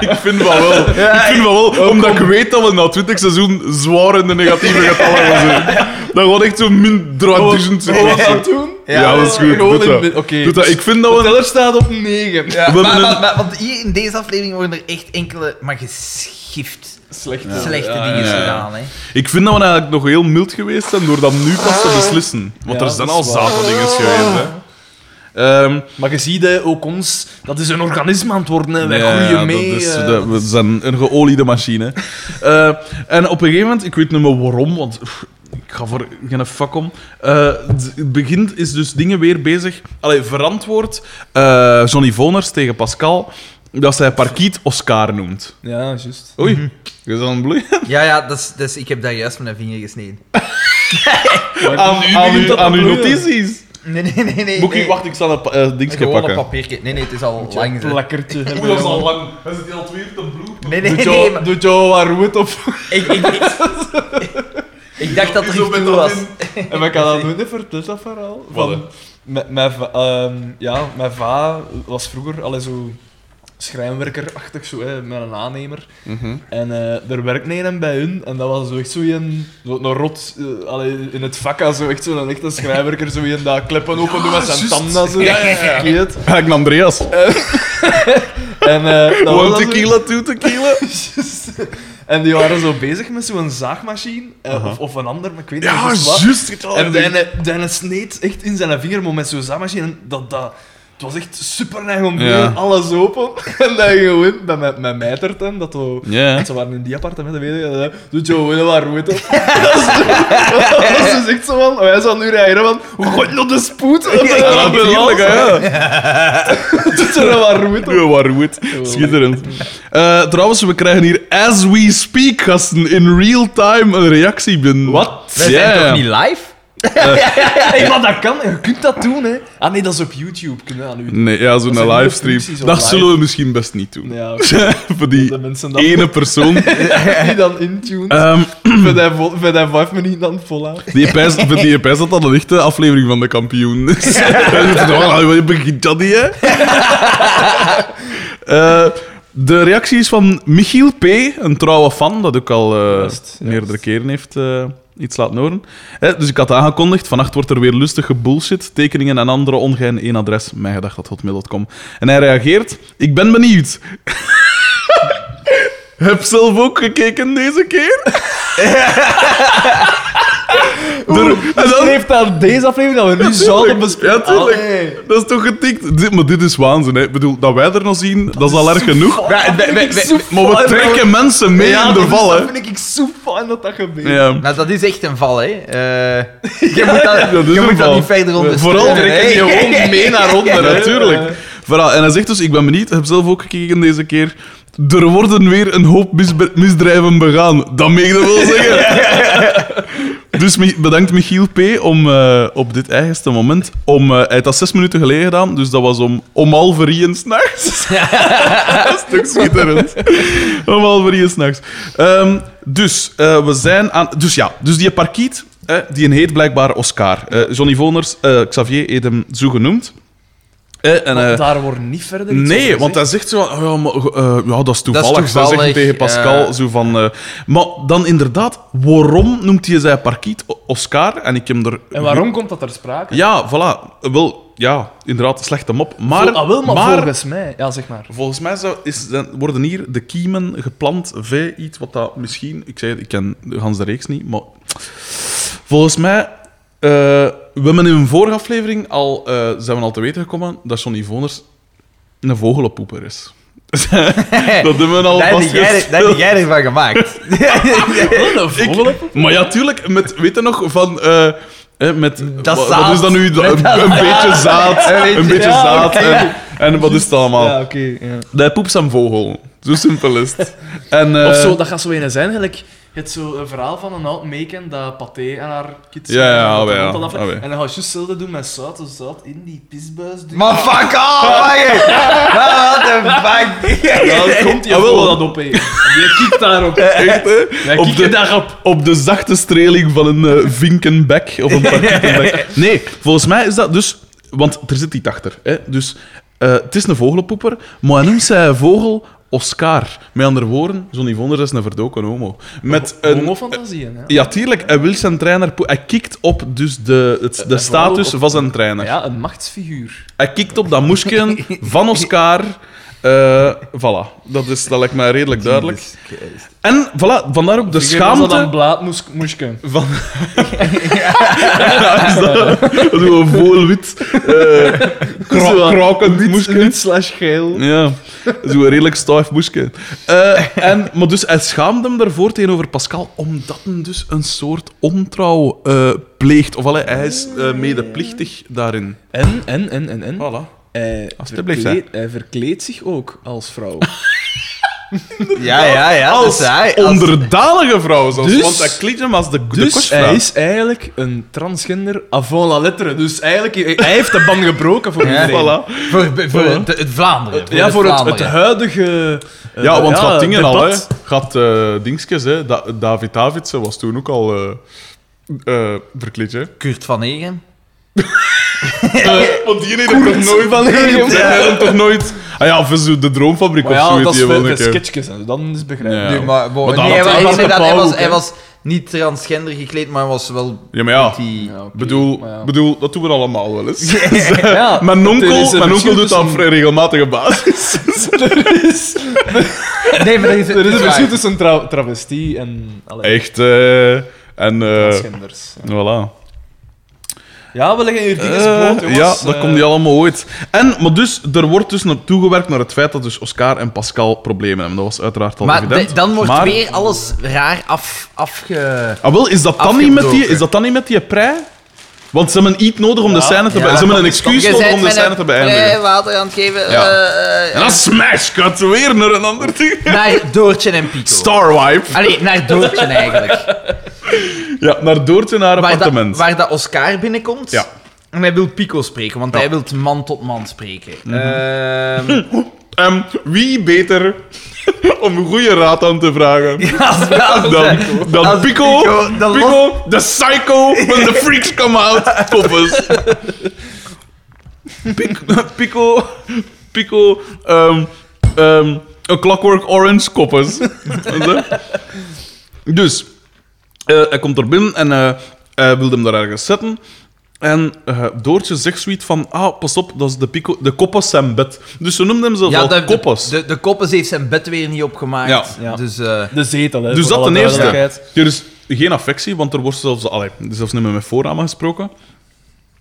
S1: Ik vind van wel. Ik vind van wel, omdat ik weet dat we na 20 seizoen zwaar in de negatieve getallen gaan zijn. Dat wordt echt zo min 3000
S2: Wat we dat doen?
S1: Ja, dat is goed.
S2: Gewoon
S1: Doe dat.
S2: in- Oké.
S1: Doe dat. Ik vind dat
S2: De
S1: we...
S2: teller staat op 9.
S3: Ja,
S1: We
S3: maar,
S1: hebben
S3: maar-
S1: een-
S3: maar- want hier in deze aflevering worden er echt enkele, maar geschift,
S2: Slechte,
S3: slechte
S2: Ja,
S3: dingen
S1: ja, ja.
S3: gedaan. Hè.
S1: Ik vind dat we eigenlijk nog heel mild geweest zijn door dat nu pas te beslissen. Want
S2: Ja,
S1: er zijn
S2: dat
S1: al
S2: is waar.
S1: zateldingen geweest. Hè. Ehm,
S2: Maar je ziet hè, ook ons, dat is een organisme aan het worden. Hè. Wij
S1: ja,
S2: groeien
S1: dat
S2: mee.
S1: is-
S2: eh.
S1: dat- we zijn een geoliede machine. Eh, en op een gegeven moment, ik weet niet meer waarom, want pff, ik ga voor geen fuck om. Eh, d- het begint is dus dingen weer bezig. Allee, verantwoord eh, Johnny Voners tegen Pascal dat zij Parkiet Oscar noemt.
S2: Ja, juist.
S1: Oei, je is aan het bloeien.
S3: Ja, ja, dat is, dat is- ik heb daar juist mijn vinger gesneden.
S1: Aan,
S2: nu
S1: aan,
S2: begint
S1: uw-
S2: dat te
S1: aan uw
S2: bloeien.
S1: notities.
S3: Nee, nee, nee. nee
S1: Boekie,
S3: nee.
S1: wacht, ik zal een pa- eh, dingetje
S3: Gewoon een
S1: pakken.
S3: papiertje. Nee, nee, het is al lang. zo.
S2: Plakkertje.
S1: Oei, dat is al lang. Hij zit hier al twee uur te bloeien.
S3: Nee, nee,
S2: Doet
S3: nee.
S2: jou-
S3: maar-
S2: Doet jou wat roet op.
S3: ik, ik, ik- ik dacht dat er
S1: Zo
S3: iets
S1: met dat
S3: toe was.
S1: in-
S2: En maar ik had dat nooit niet verteld, dat verhaal.
S1: Wat, hè?
S2: Van, mijn, mijn, va- ehm, ja, mijn va was vroeger al zo schrijnwerkerachtig, zo, hè, met een aannemer.
S1: Mhm.
S2: En eh, er werkte een bij hun, en dat was zo echt zo een, zo een rot eh, allee, in het vak, als zo echt zo'n echte schrijnwerker, zo een dat kleppen open doet met zijn
S1: juist.
S2: tanden. Zo,
S1: Ja, ja, ja.
S2: Ik weet.
S1: Gelijk naar Andreas.
S2: En, eh, dat
S1: One
S2: was dan zo-
S1: tequila, two tequila.
S2: Juist. En die waren zo bezig met zo'n zaagmachine, eh, of, of een ander, maar ik weet niet
S1: Ja,
S2: precies wat.
S1: juist. ik had al
S2: En
S1: gezien.
S2: Dijne, Dijne Oh, sneed echt in zijn vinger, maar met zo'n zaagmachine. en Dat, dat, het was echt super neig om te
S1: Ja.
S2: doen, alles open. En dan gewoon bij mijn, mijn mijtert hem, dat zo...
S1: Ja.
S2: want Ze waren in die appartementen, weet je, en dan doet je gewoon wat roet op. dat, is, dat is dus echt zo van, wij zouden nu reageren van, hoe gooi je nog de spoed? En dan
S1: Ja,
S2: dan
S1: natuurlijk, ja.
S2: doet ze er wat roet op.
S1: Ja, wat goed. Schitterend. Eh, trouwens, we krijgen hier as we speak, gasten, in real time een reactie binnen. Wat?
S3: Wij zijn toch niet live?
S2: Hey, maar dat kan, je kunt dat doen, hè. Ah nee, dat is op YouTube, kunnen we dat nu doen.
S1: Nee, ja, zo'n
S2: zijn nieuwe functies
S1: livestream.
S2: op
S1: Dat
S2: live.
S1: zullen we misschien best niet doen.
S2: Ja,
S1: Voor
S2: de
S1: die
S2: mensen dan,
S1: ene persoon.
S2: die dan intune.
S1: Ehm,
S2: Voor die vol- voor die vijf minuten dan volhouden.
S1: die pijs voor die pijs dat dat een echte aflevering van de kampioen is. Je begint dat niet, hè? Eh, de reactie is van Michiel P., een trouwe fan, dat ook al eh,
S2: Juist, ja.
S1: meerdere keren heeft eh, iets laten horen. Hè, dus ik had aangekondigd, vannacht wordt er weer lustige bullshit, tekeningen en andere ongein, één adres, mijngedacht.hotmail.com. En hij reageert, ik ben benieuwd. Heb zelf ook gekeken deze keer? Er- en
S2: Dus
S1: dan-
S2: dat heeft aan deze aflevering dat we nu zouden bespreken.
S1: ja, tuurlijk. Dat is toch getikt? Dit- maar dit is waanzin, hè. Ik bedoel, dat wij er nog zien, dat, is al erg genoeg.
S3: Wij- wij- wij- wij-
S1: Maar we trekken mensen mee in de val, hè.
S2: Dat vind ik zo fijn dat dat gebeurt.
S1: Ja.
S3: Nou, dat is echt een val, hè. Eh, je moet dat,
S1: dat is
S3: je
S1: een
S3: moet dat
S1: val.
S3: niet verder ondersteunen.
S1: Vooral
S3: hè.
S1: trekken die
S2: gewoon mee naar onder,
S1: Ja,
S2: hè.
S1: natuurlijk. Voilà. En hij zegt dus, ik ben benieuwd, heb zelf ook gekeken deze keer. Er worden weer een hoop misbe- misdrijven begaan. Dat mag je wel zeggen. Dus Mi- bedankt Michiel P. om eh, op dit eigenste moment... Om, eh, hij heeft dat zes minuten geleden gedaan, dus dat was om, om half drieën s'nachts. dat is toch schitterend. om half drieën s'nachts. Ehm dus, eh, we zijn aan... Dus ja, dus die parkiet, eh, die een heet blijkbaar Oscar. Eh, Johnny Voners, eh, Xavier heeft hem zo genoemd. Eh, en, eh,
S2: daar wordt niet verder iets
S1: Nee,
S2: over
S1: want hij zegt zo van, oh ja, maar, eh, ja, dat is toevallig. Dat
S3: toevallig,
S1: zegt hij tegen Pascal
S3: eh.
S1: zo van... eh, maar dan inderdaad, waarom noemt hij zijn parkiet O- Oscar? En ik heb hem er...
S2: gezegd. En waarom komt dat ter sprake?
S1: Ja, voilà. Wel, ja, inderdaad, slechte mop. Maar,
S2: Vol- ah, wel, maar, volgens mij. Ja, zeg maar.
S1: volgens mij zou- is, dan worden hier de kiemen geplant via iets wat dat misschien... Ik zei het, ik ken de ganse reeks niet, maar... Volgens mij... eh, we hebben in een vorige aflevering al, eh, zijn we al te weten gekomen dat Johnny Voners een vogelenpoeper is.
S3: Eh,
S1: Dat dus- hebben we al
S3: Daar heb
S1: vast
S3: jij, daar heb jij ervan gemaakt.
S1: Maar ja, tuurlijk, met, weet je nog, van... eh, hè, met,
S3: Dat
S1: wa- wat
S3: zaad.
S1: is dat nu? Dat- een,
S3: Met dat
S1: een beetje zaad.
S3: Een
S1: Een
S3: beetje-
S1: beetje
S2: ja,
S1: zaad.
S2: oké.
S1: En, en wat is het allemaal?
S2: Ja, oké. ja.
S1: Hij poept zijn vogel. Zo simpel is het. En,
S2: Of
S1: eh,
S2: zo, dat gaat zo in zijn. Gelijk, je hebt zo een verhaal van een oud meeken dat paté aan haar kids...
S1: Ja, ja,
S2: dat
S1: ah, ja,
S2: dat dan af-
S1: ah, ja.
S2: En dan ga je juist hetzelfde doen met zout, dus zout in die pisbuis doen.
S3: Maar fuck off, man. Wat een fuck.
S2: Ja, dan komt die
S1: Ah, wel. Eh,
S2: wel dat op, hè. Je kikt daarop.
S1: echt, hè?
S2: Wij
S1: Op de,
S2: kikken daarop.
S1: op de zachte streling van een eh, vinkenbek of een parkietenbek. Nee, volgens mij is dat dus... Want er zit iets achter. Hè? Dus eh, het is een vogelenpoeper, maar hij noemt zijn vogel Oscar. Met andere woorden, Johnny Vonders is een verdoken homo. Met een...
S2: Homofantasieën, hè?
S1: Ja, tuurlijk. Hij wil zijn trainer... po- Hij kikt op dus de, het, de
S2: En vooral
S1: status
S2: Eh, op-
S1: van zijn trainer.
S2: Ja, een machtsfiguur.
S1: Hij kikt op dat moesken van Oscar. Eh, voilà. Dat, is, dat lijkt mij redelijk duidelijk.
S3: Jesus Christ.
S1: En voilà, vandaar ook de
S2: Zeg, Was dat een
S1: schaamte...
S2: blaad moest, moest kunnen?
S1: Van... ja, is dat zo volwit. eh zo aan- moesken.
S2: slash geel.
S1: Ja, zo'n redelijk stijf moesje. Eh, en, maar dus hij schaamde hem daarvoor tegenover Pascal, omdat hij dus een soort ontrouw eh, pleegt. Of allee, hij is eh, medeplichtig daarin.
S2: En, en, en, en, en.
S1: Voilà.
S2: Hij,
S1: Oh, Alsjeblieft,
S2: verkleed- hij verkleedt zich ook als vrouw.
S3: Ja, ja, ja.
S1: als
S3: dus hij, als-
S1: onderdanige vrouw zelfs,
S2: Dus-
S1: want hij kleedt hem als de, de
S2: Dus
S1: kostvrouw.
S2: hij is eigenlijk een transgender avant la lettre. Dus eigenlijk, hij- hij heeft de ban gebroken voor
S3: Ja.
S2: iedereen.
S1: Voilà.
S3: Voor, voor het, het Vlaanderen. Voor
S2: Ja,
S3: het
S2: voor het, het
S3: Vlaanderen.
S2: huidige eh,
S1: Ja, want gaat dingen al, hè.
S2: debat.
S1: Gaat eh dingetjes, hè. Da- David Davidsen was toen ook al eh eh, verkleed, hè.
S3: Kurt van Egen.
S1: Eh, want die heeft toch nooit van Die heeft toch nooit... Ah ja, of is het de Droomfabriek
S2: Maar ja,
S1: of
S2: dat
S1: zoiets.
S2: is
S1: die wel
S2: veel
S1: een
S2: bij
S1: keer-
S2: sketchjes en zo, dan is het begrijpelijk.
S1: Ja.
S3: Nee, maar, bon,
S1: Maar dan
S3: nee,
S1: had
S3: hij,
S1: hij
S3: was,
S2: wel
S3: hij,
S2: een
S3: was,
S2: pauw
S3: hij
S2: ook,
S3: was niet transgender gekleed, maar was wel
S1: Ja, maar ja.
S3: met die...
S2: Ja, oké,
S1: Bedoel,
S2: maar ja.
S1: bedoel, dat doen we allemaal wel eens.
S2: Ja,
S1: Mijn
S2: er is
S1: onkel, mijn
S2: een
S1: onkel
S2: verschil
S1: doet dat op
S2: tussen-
S1: vrij regelmatige basis.
S2: er is,
S3: Nee, maar dat is,
S2: er is een verschil tussen tra travestie en allee,
S1: Echt, eh... En, eh...
S2: transgenders.
S1: Voilà.
S2: Ja, we leggen hier dingen
S1: Eh,
S2: bloot, jongens.
S1: ja, dat
S2: Eh,
S1: komt die allemaal ooit. En, maar dus, er wordt dus naartoe gewerkt naar het feit dat dus Oscar en Pascal problemen hebben. Dat was uiteraard al
S3: Maar
S1: evident.
S3: de- dan wordt
S1: Maar-
S3: weer alles raar af, afge...
S1: Ah, wel, is dat dan, niet met die,
S3: Afgebroken.
S1: is dat dan niet met die prei? Want ze hebben iets nodig om de
S2: Ja.
S1: scène te
S3: Ja,
S1: beëindigen. Ze hebben een excuus
S3: Je
S1: nodig
S3: bent
S1: om de
S3: met
S1: scène
S3: een
S1: te beëindigen.
S3: prei water aan het geven.
S1: Ja.
S3: eh,
S1: En dan smash cut weer naar een ander ding.
S3: naar Doortje en Pico.
S1: Starwipe.
S3: Allee, naar Doortje eigenlijk.
S1: Ja, naar Doortje naar
S3: Waar dat,
S1: appartement.
S3: waar dat Oscar binnenkomt.
S1: Ja.
S3: En hij wil Pico spreken, want hij wil man tot man spreken.
S1: Mhm.
S3: Ehm,
S1: Ehm, wie beter om een goede raad aan te vragen
S3: als, als,
S1: dan, dan
S3: als
S1: Pico?
S3: Pico, dan los-
S1: Pico, de psycho, when the freaks come out. Koppers. Pico, Pico, Pico ehm, ehm, A Clockwork Orange, koppers. Weet je? dus, eh, hij komt er binnen en eh, hij wilde hem daar ergens zetten. En eh, Doortje zegt zoiets van, ah, pas op, dat is de, Pico, de koppers zijn bed. Dus ze noemden hem zelf
S3: ja,
S1: al
S3: de,
S1: koppers.
S3: de, de, de koppes heeft zijn bed weer niet opgemaakt.
S1: Ja.
S2: Ja.
S3: Dus, eh,
S2: De zetel, hè.
S1: Dus
S2: voor
S1: dat
S2: alle
S1: ten eerste.
S2: duidelijkheid.
S1: Er is geen affectie, want er wordt zelfs, allee, er is zelfs niet meer met voornamen gesproken.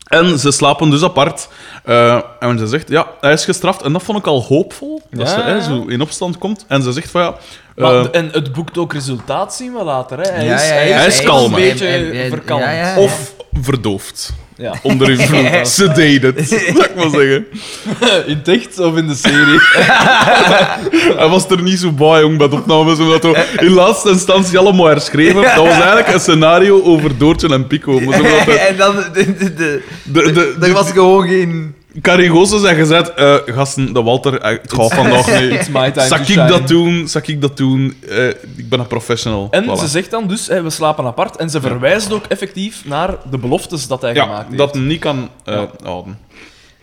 S1: En ze slapen dus apart. Eh, en ze zegt, ja, hij is gestraft. En dat vond ik al hoopvol, dat
S2: Ja,
S1: ze hè,
S2: ja.
S1: zo in opstand komt. En ze zegt van, ja...
S2: Maar,
S1: eh,
S2: de- en het boekt ook resultaat, zien we later. Hè. Hij,
S3: ja,
S2: is,
S3: ja,
S2: hij
S3: ja,
S1: Hij is
S2: een
S1: kalm, hè.
S2: beetje
S3: Hij- hij-
S2: verkalmd.
S3: ja, ja.
S1: of verdoofd.
S2: Ja.
S1: Onder invloed. Sedated, zou ik maar zeggen.
S2: In het echt of in de serie?
S1: Hij was er niet zo bij, jong, bij de opnames. Omdat we in laatste instantie allemaal herschreven. Dat was eigenlijk een scenario over Doortje en Pico. Maar omdat de,
S3: en dan... De, de, de,
S1: de, de,
S3: er was gewoon geen...
S1: Carrigozen zijn gezet, eh, gasten, de Walter, eh, het gaat vandaag niet.
S2: It's my time
S1: Zak
S2: to
S1: ik
S2: shine.
S1: dat doen? Zak ik dat doen? Eh, ik ben een professional.
S2: En
S1: Voilà.
S2: ze zegt dan dus, hè, we slapen apart. En ze verwijst ook effectief naar de beloftes dat hij
S1: ja,
S2: gemaakt heeft.
S1: dat niet kan eh, houden.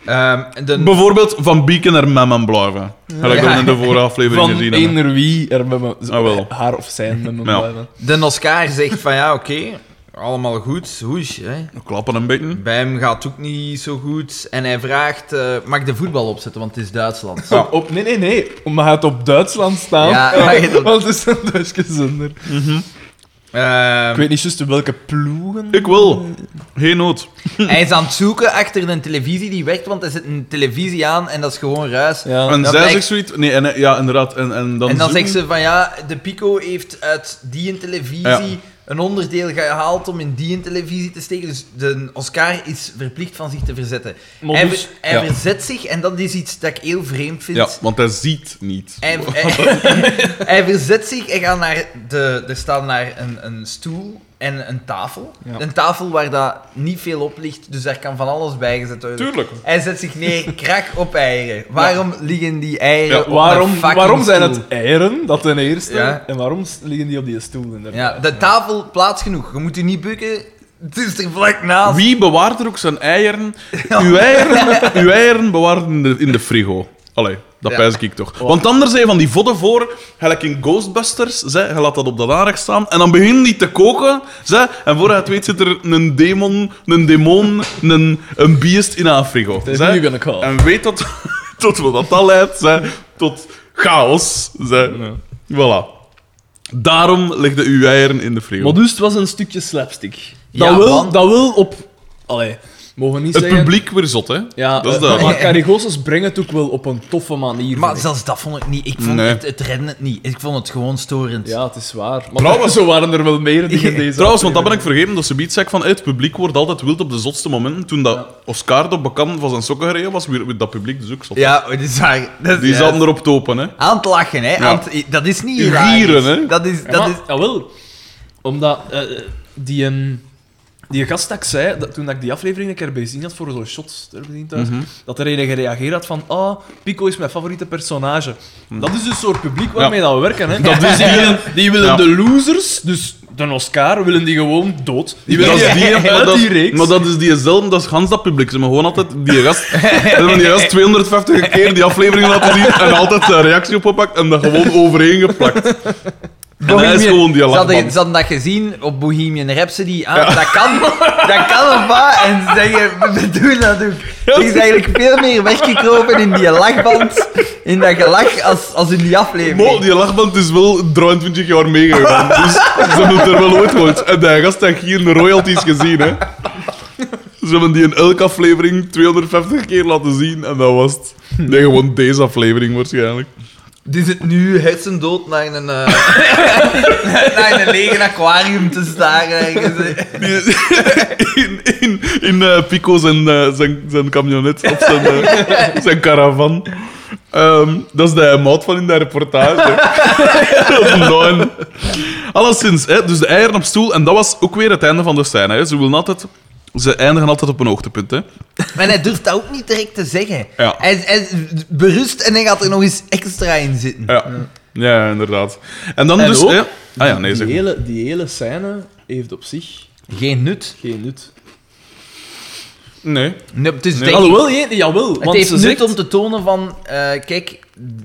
S3: Ehm, de,
S1: Bijvoorbeeld van Beacon naar Memmen blijven. Gelijk dat we in de vorige aflevering
S2: Van
S1: gezien hebben.
S2: eender wie er met me,
S1: Ah, wel.
S2: haar of zijn met me
S1: Ja.
S2: blijven.
S3: de Oscar zegt van ja, oké, allemaal goed, hoes. Hè.
S1: We klappen een beetje.
S3: Bij hem gaat het ook niet zo goed. En hij vraagt, eh, mag ik de voetbal opzetten, want het is Duitsland.
S2: Op, Nou, op- nee, nee, nee. Maar het op Duitsland staan.
S3: Ja, maar het op-
S2: Want het is een Duitse zender.
S3: Ehm,
S2: Ik weet niet juist welke ploegen.
S1: Ik wil. Geen nood.
S3: hij is aan het zoeken achter een televisie die werkt, want hij zet een televisie aan en dat is gewoon ruis.
S2: Ja.
S1: En
S3: dat
S1: zij
S3: blijkt-
S1: zegt zoiets... Nee, en, eh, ja, inderdaad. En, en dan,
S3: en dan
S1: zoeken-
S3: zegt ze van ja, de Pico heeft uit die een televisie
S1: Ja.
S3: een onderdeel gehaald om in die een televisie te steken. Dus de Oscar is verplicht van zich te verzetten.
S2: Maar
S3: hij
S2: dus-
S3: ver- hij
S1: Ja.
S3: verzet zich en dat is iets dat ik heel vreemd vind.
S1: Ja, want hij ziet niet.
S3: Hij, hij- hij verzet zich en gaat naar de... Er staat naar een, een stoel en een tafel.
S2: Ja.
S3: Een tafel waar dat niet veel op ligt, dus daar kan van alles bij gezet worden.
S1: Tuurlijk.
S3: Hij zet zich neer, krak op eieren. Waarom liggen die eieren
S1: Ja,
S3: op een
S2: Waarom,
S3: fucking
S2: waarom zijn
S3: stoel?
S2: het eieren? Dat ten eerste.
S3: Ja.
S2: En waarom s- liggen die op die stoel? Inderdaad?
S3: Ja, de tafel plaats genoeg. Je moet je niet bukken. Het is er vlak naast.
S1: Wie bewaart er ook zijn eieren? Uw eieren, uw eieren bewaart in de, in de frigo. Allee, dat
S3: Ja.
S1: pijs ik toch. Want anders zijn van die vodden voor, gelijk in Ghostbusters, zeg, je laat dat op dat aanrecht staan, en dan begint die te koken, zeg, en voor je het weet zit er een demon, een demon, een, een beest in Afrika.
S2: They're
S1: zeg.
S2: who you're gonna call.
S1: En weet dat, tot wat dat dan leidt, zeg, tot chaos. Zeg. Voilà. Daarom legde uw eieren in de frigo.
S2: Maar dus het was een stukje slapstick.
S3: Ja,
S2: dat, wil,
S3: want-
S2: dat wil op... Allee, mogen we niet
S1: het
S2: zeggen...
S1: publiek weer zot, hè?
S2: Ja,
S1: dat is
S2: eh,
S1: dat.
S2: maar Carrigosos brengen het ook wel op een toffe manier.
S3: Maar
S2: vind ik.
S3: zelfs dat vond ik niet. Ik vond
S1: Nee.
S3: het, het redden het niet. Ik vond het gewoon storend.
S2: Ja, het is waar. Maar
S1: Trouwens-
S2: zo waren er wel meer dingen deze
S1: Trouwens, want dat ben ik vergeten, dat ze biedt zei ik van hey, het publiek wordt altijd wild op de zotste momenten. Toen dat Oscar de bekant van zijn sokken gereden was, weer werd dat publiek dus ook zot.
S3: Ja, dat is waar. Dat
S1: Die
S3: is
S1: zaten erop te open, hè?
S3: Aan het lachen, hè.
S1: Ja.
S3: Aan het- dat is niet
S1: Gieren,
S3: hilarisch.
S1: hè.
S3: Dat is...
S2: Ja,
S3: Dat
S2: maar,
S3: is...
S2: Jawel. Omdat eh, eh, die, ehm, die gast dat ik zei, dat, toen ik die aflevering een keer bezien had voor zo'n shots ter bedien thuis,
S1: Mhm.
S2: dat er een gereageerd had van ah, Pico is mijn favoriete personage.
S1: Mhm.
S2: Dat is dus het soort publiek waarmee dat we werken. Hè. Dat dus die willen, die willen
S1: Ja.
S2: de losers, dus de Oscar, willen die gewoon dood. Die willen
S1: Dat is die, maar,
S2: uit
S1: dat,
S2: die reeks.
S1: maar dat is diezelfde, dat is gans dat publiek. Ze hebben gewoon altijd die gast, ze hebben die gast 250 keer die aflevering laten zien en altijd zijn reactie opgepakt en dat gewoon overheen geplakt. En hij is
S3: Bohemian-
S1: gewoon die
S3: Ze hadden,
S1: lachband.
S3: ze hadden dat gezien op Bohemian Rhapsody. Ah, dat kan, dat kan of wat. En ze zeggen, we doen dat ook. Er is eigenlijk veel meer weggekropen in die lachband, in dat gelach, als, als in die aflevering.
S1: Mo, die lachband is wel 23 jaar meegegaan, dus ze hebben het er wel ooit gehoord. En die gast heeft hier de royalties gezien, hè. Ze hebben die in elke aflevering 250 keer laten zien en dat was het. Nee, gewoon deze aflevering waarschijnlijk.
S3: Die zit Dus nu hersendood naar een, eh, naar een lege aquarium te staren. ergens, hè.
S1: Die- in in, in eh, Pico zijn, eh, zijn, zijn camionet of zijn, eh, zijn caravan. Ehm, dat is de maat van in de reportage. dat is een Alleszins, hè, dus de eieren op stoel. En dat was ook weer het einde van de scène. Hè. Ze, willen altijd, ze eindigen altijd op een hoogtepunt. Hè.
S3: Maar hij durft dat ook niet direct te zeggen.
S1: Ja.
S3: Hij, hij berust en hij gaat er nog eens extra in zitten.
S1: Ja. ja, inderdaad. En dan
S2: En
S1: dus...
S2: ook,
S1: hè- ah ja, nee,
S2: die,
S1: zeg.
S2: hele, die hele scène heeft op zich
S3: Geen nut.
S2: geen nut.
S1: Nee.
S3: Nee, het is
S1: Nee.
S3: denk ik-
S2: Alhoewel, je- jawel.
S3: Het
S2: Want
S3: heeft
S2: ze
S3: nut
S2: zegt...
S3: om te tonen van, eh, kijk,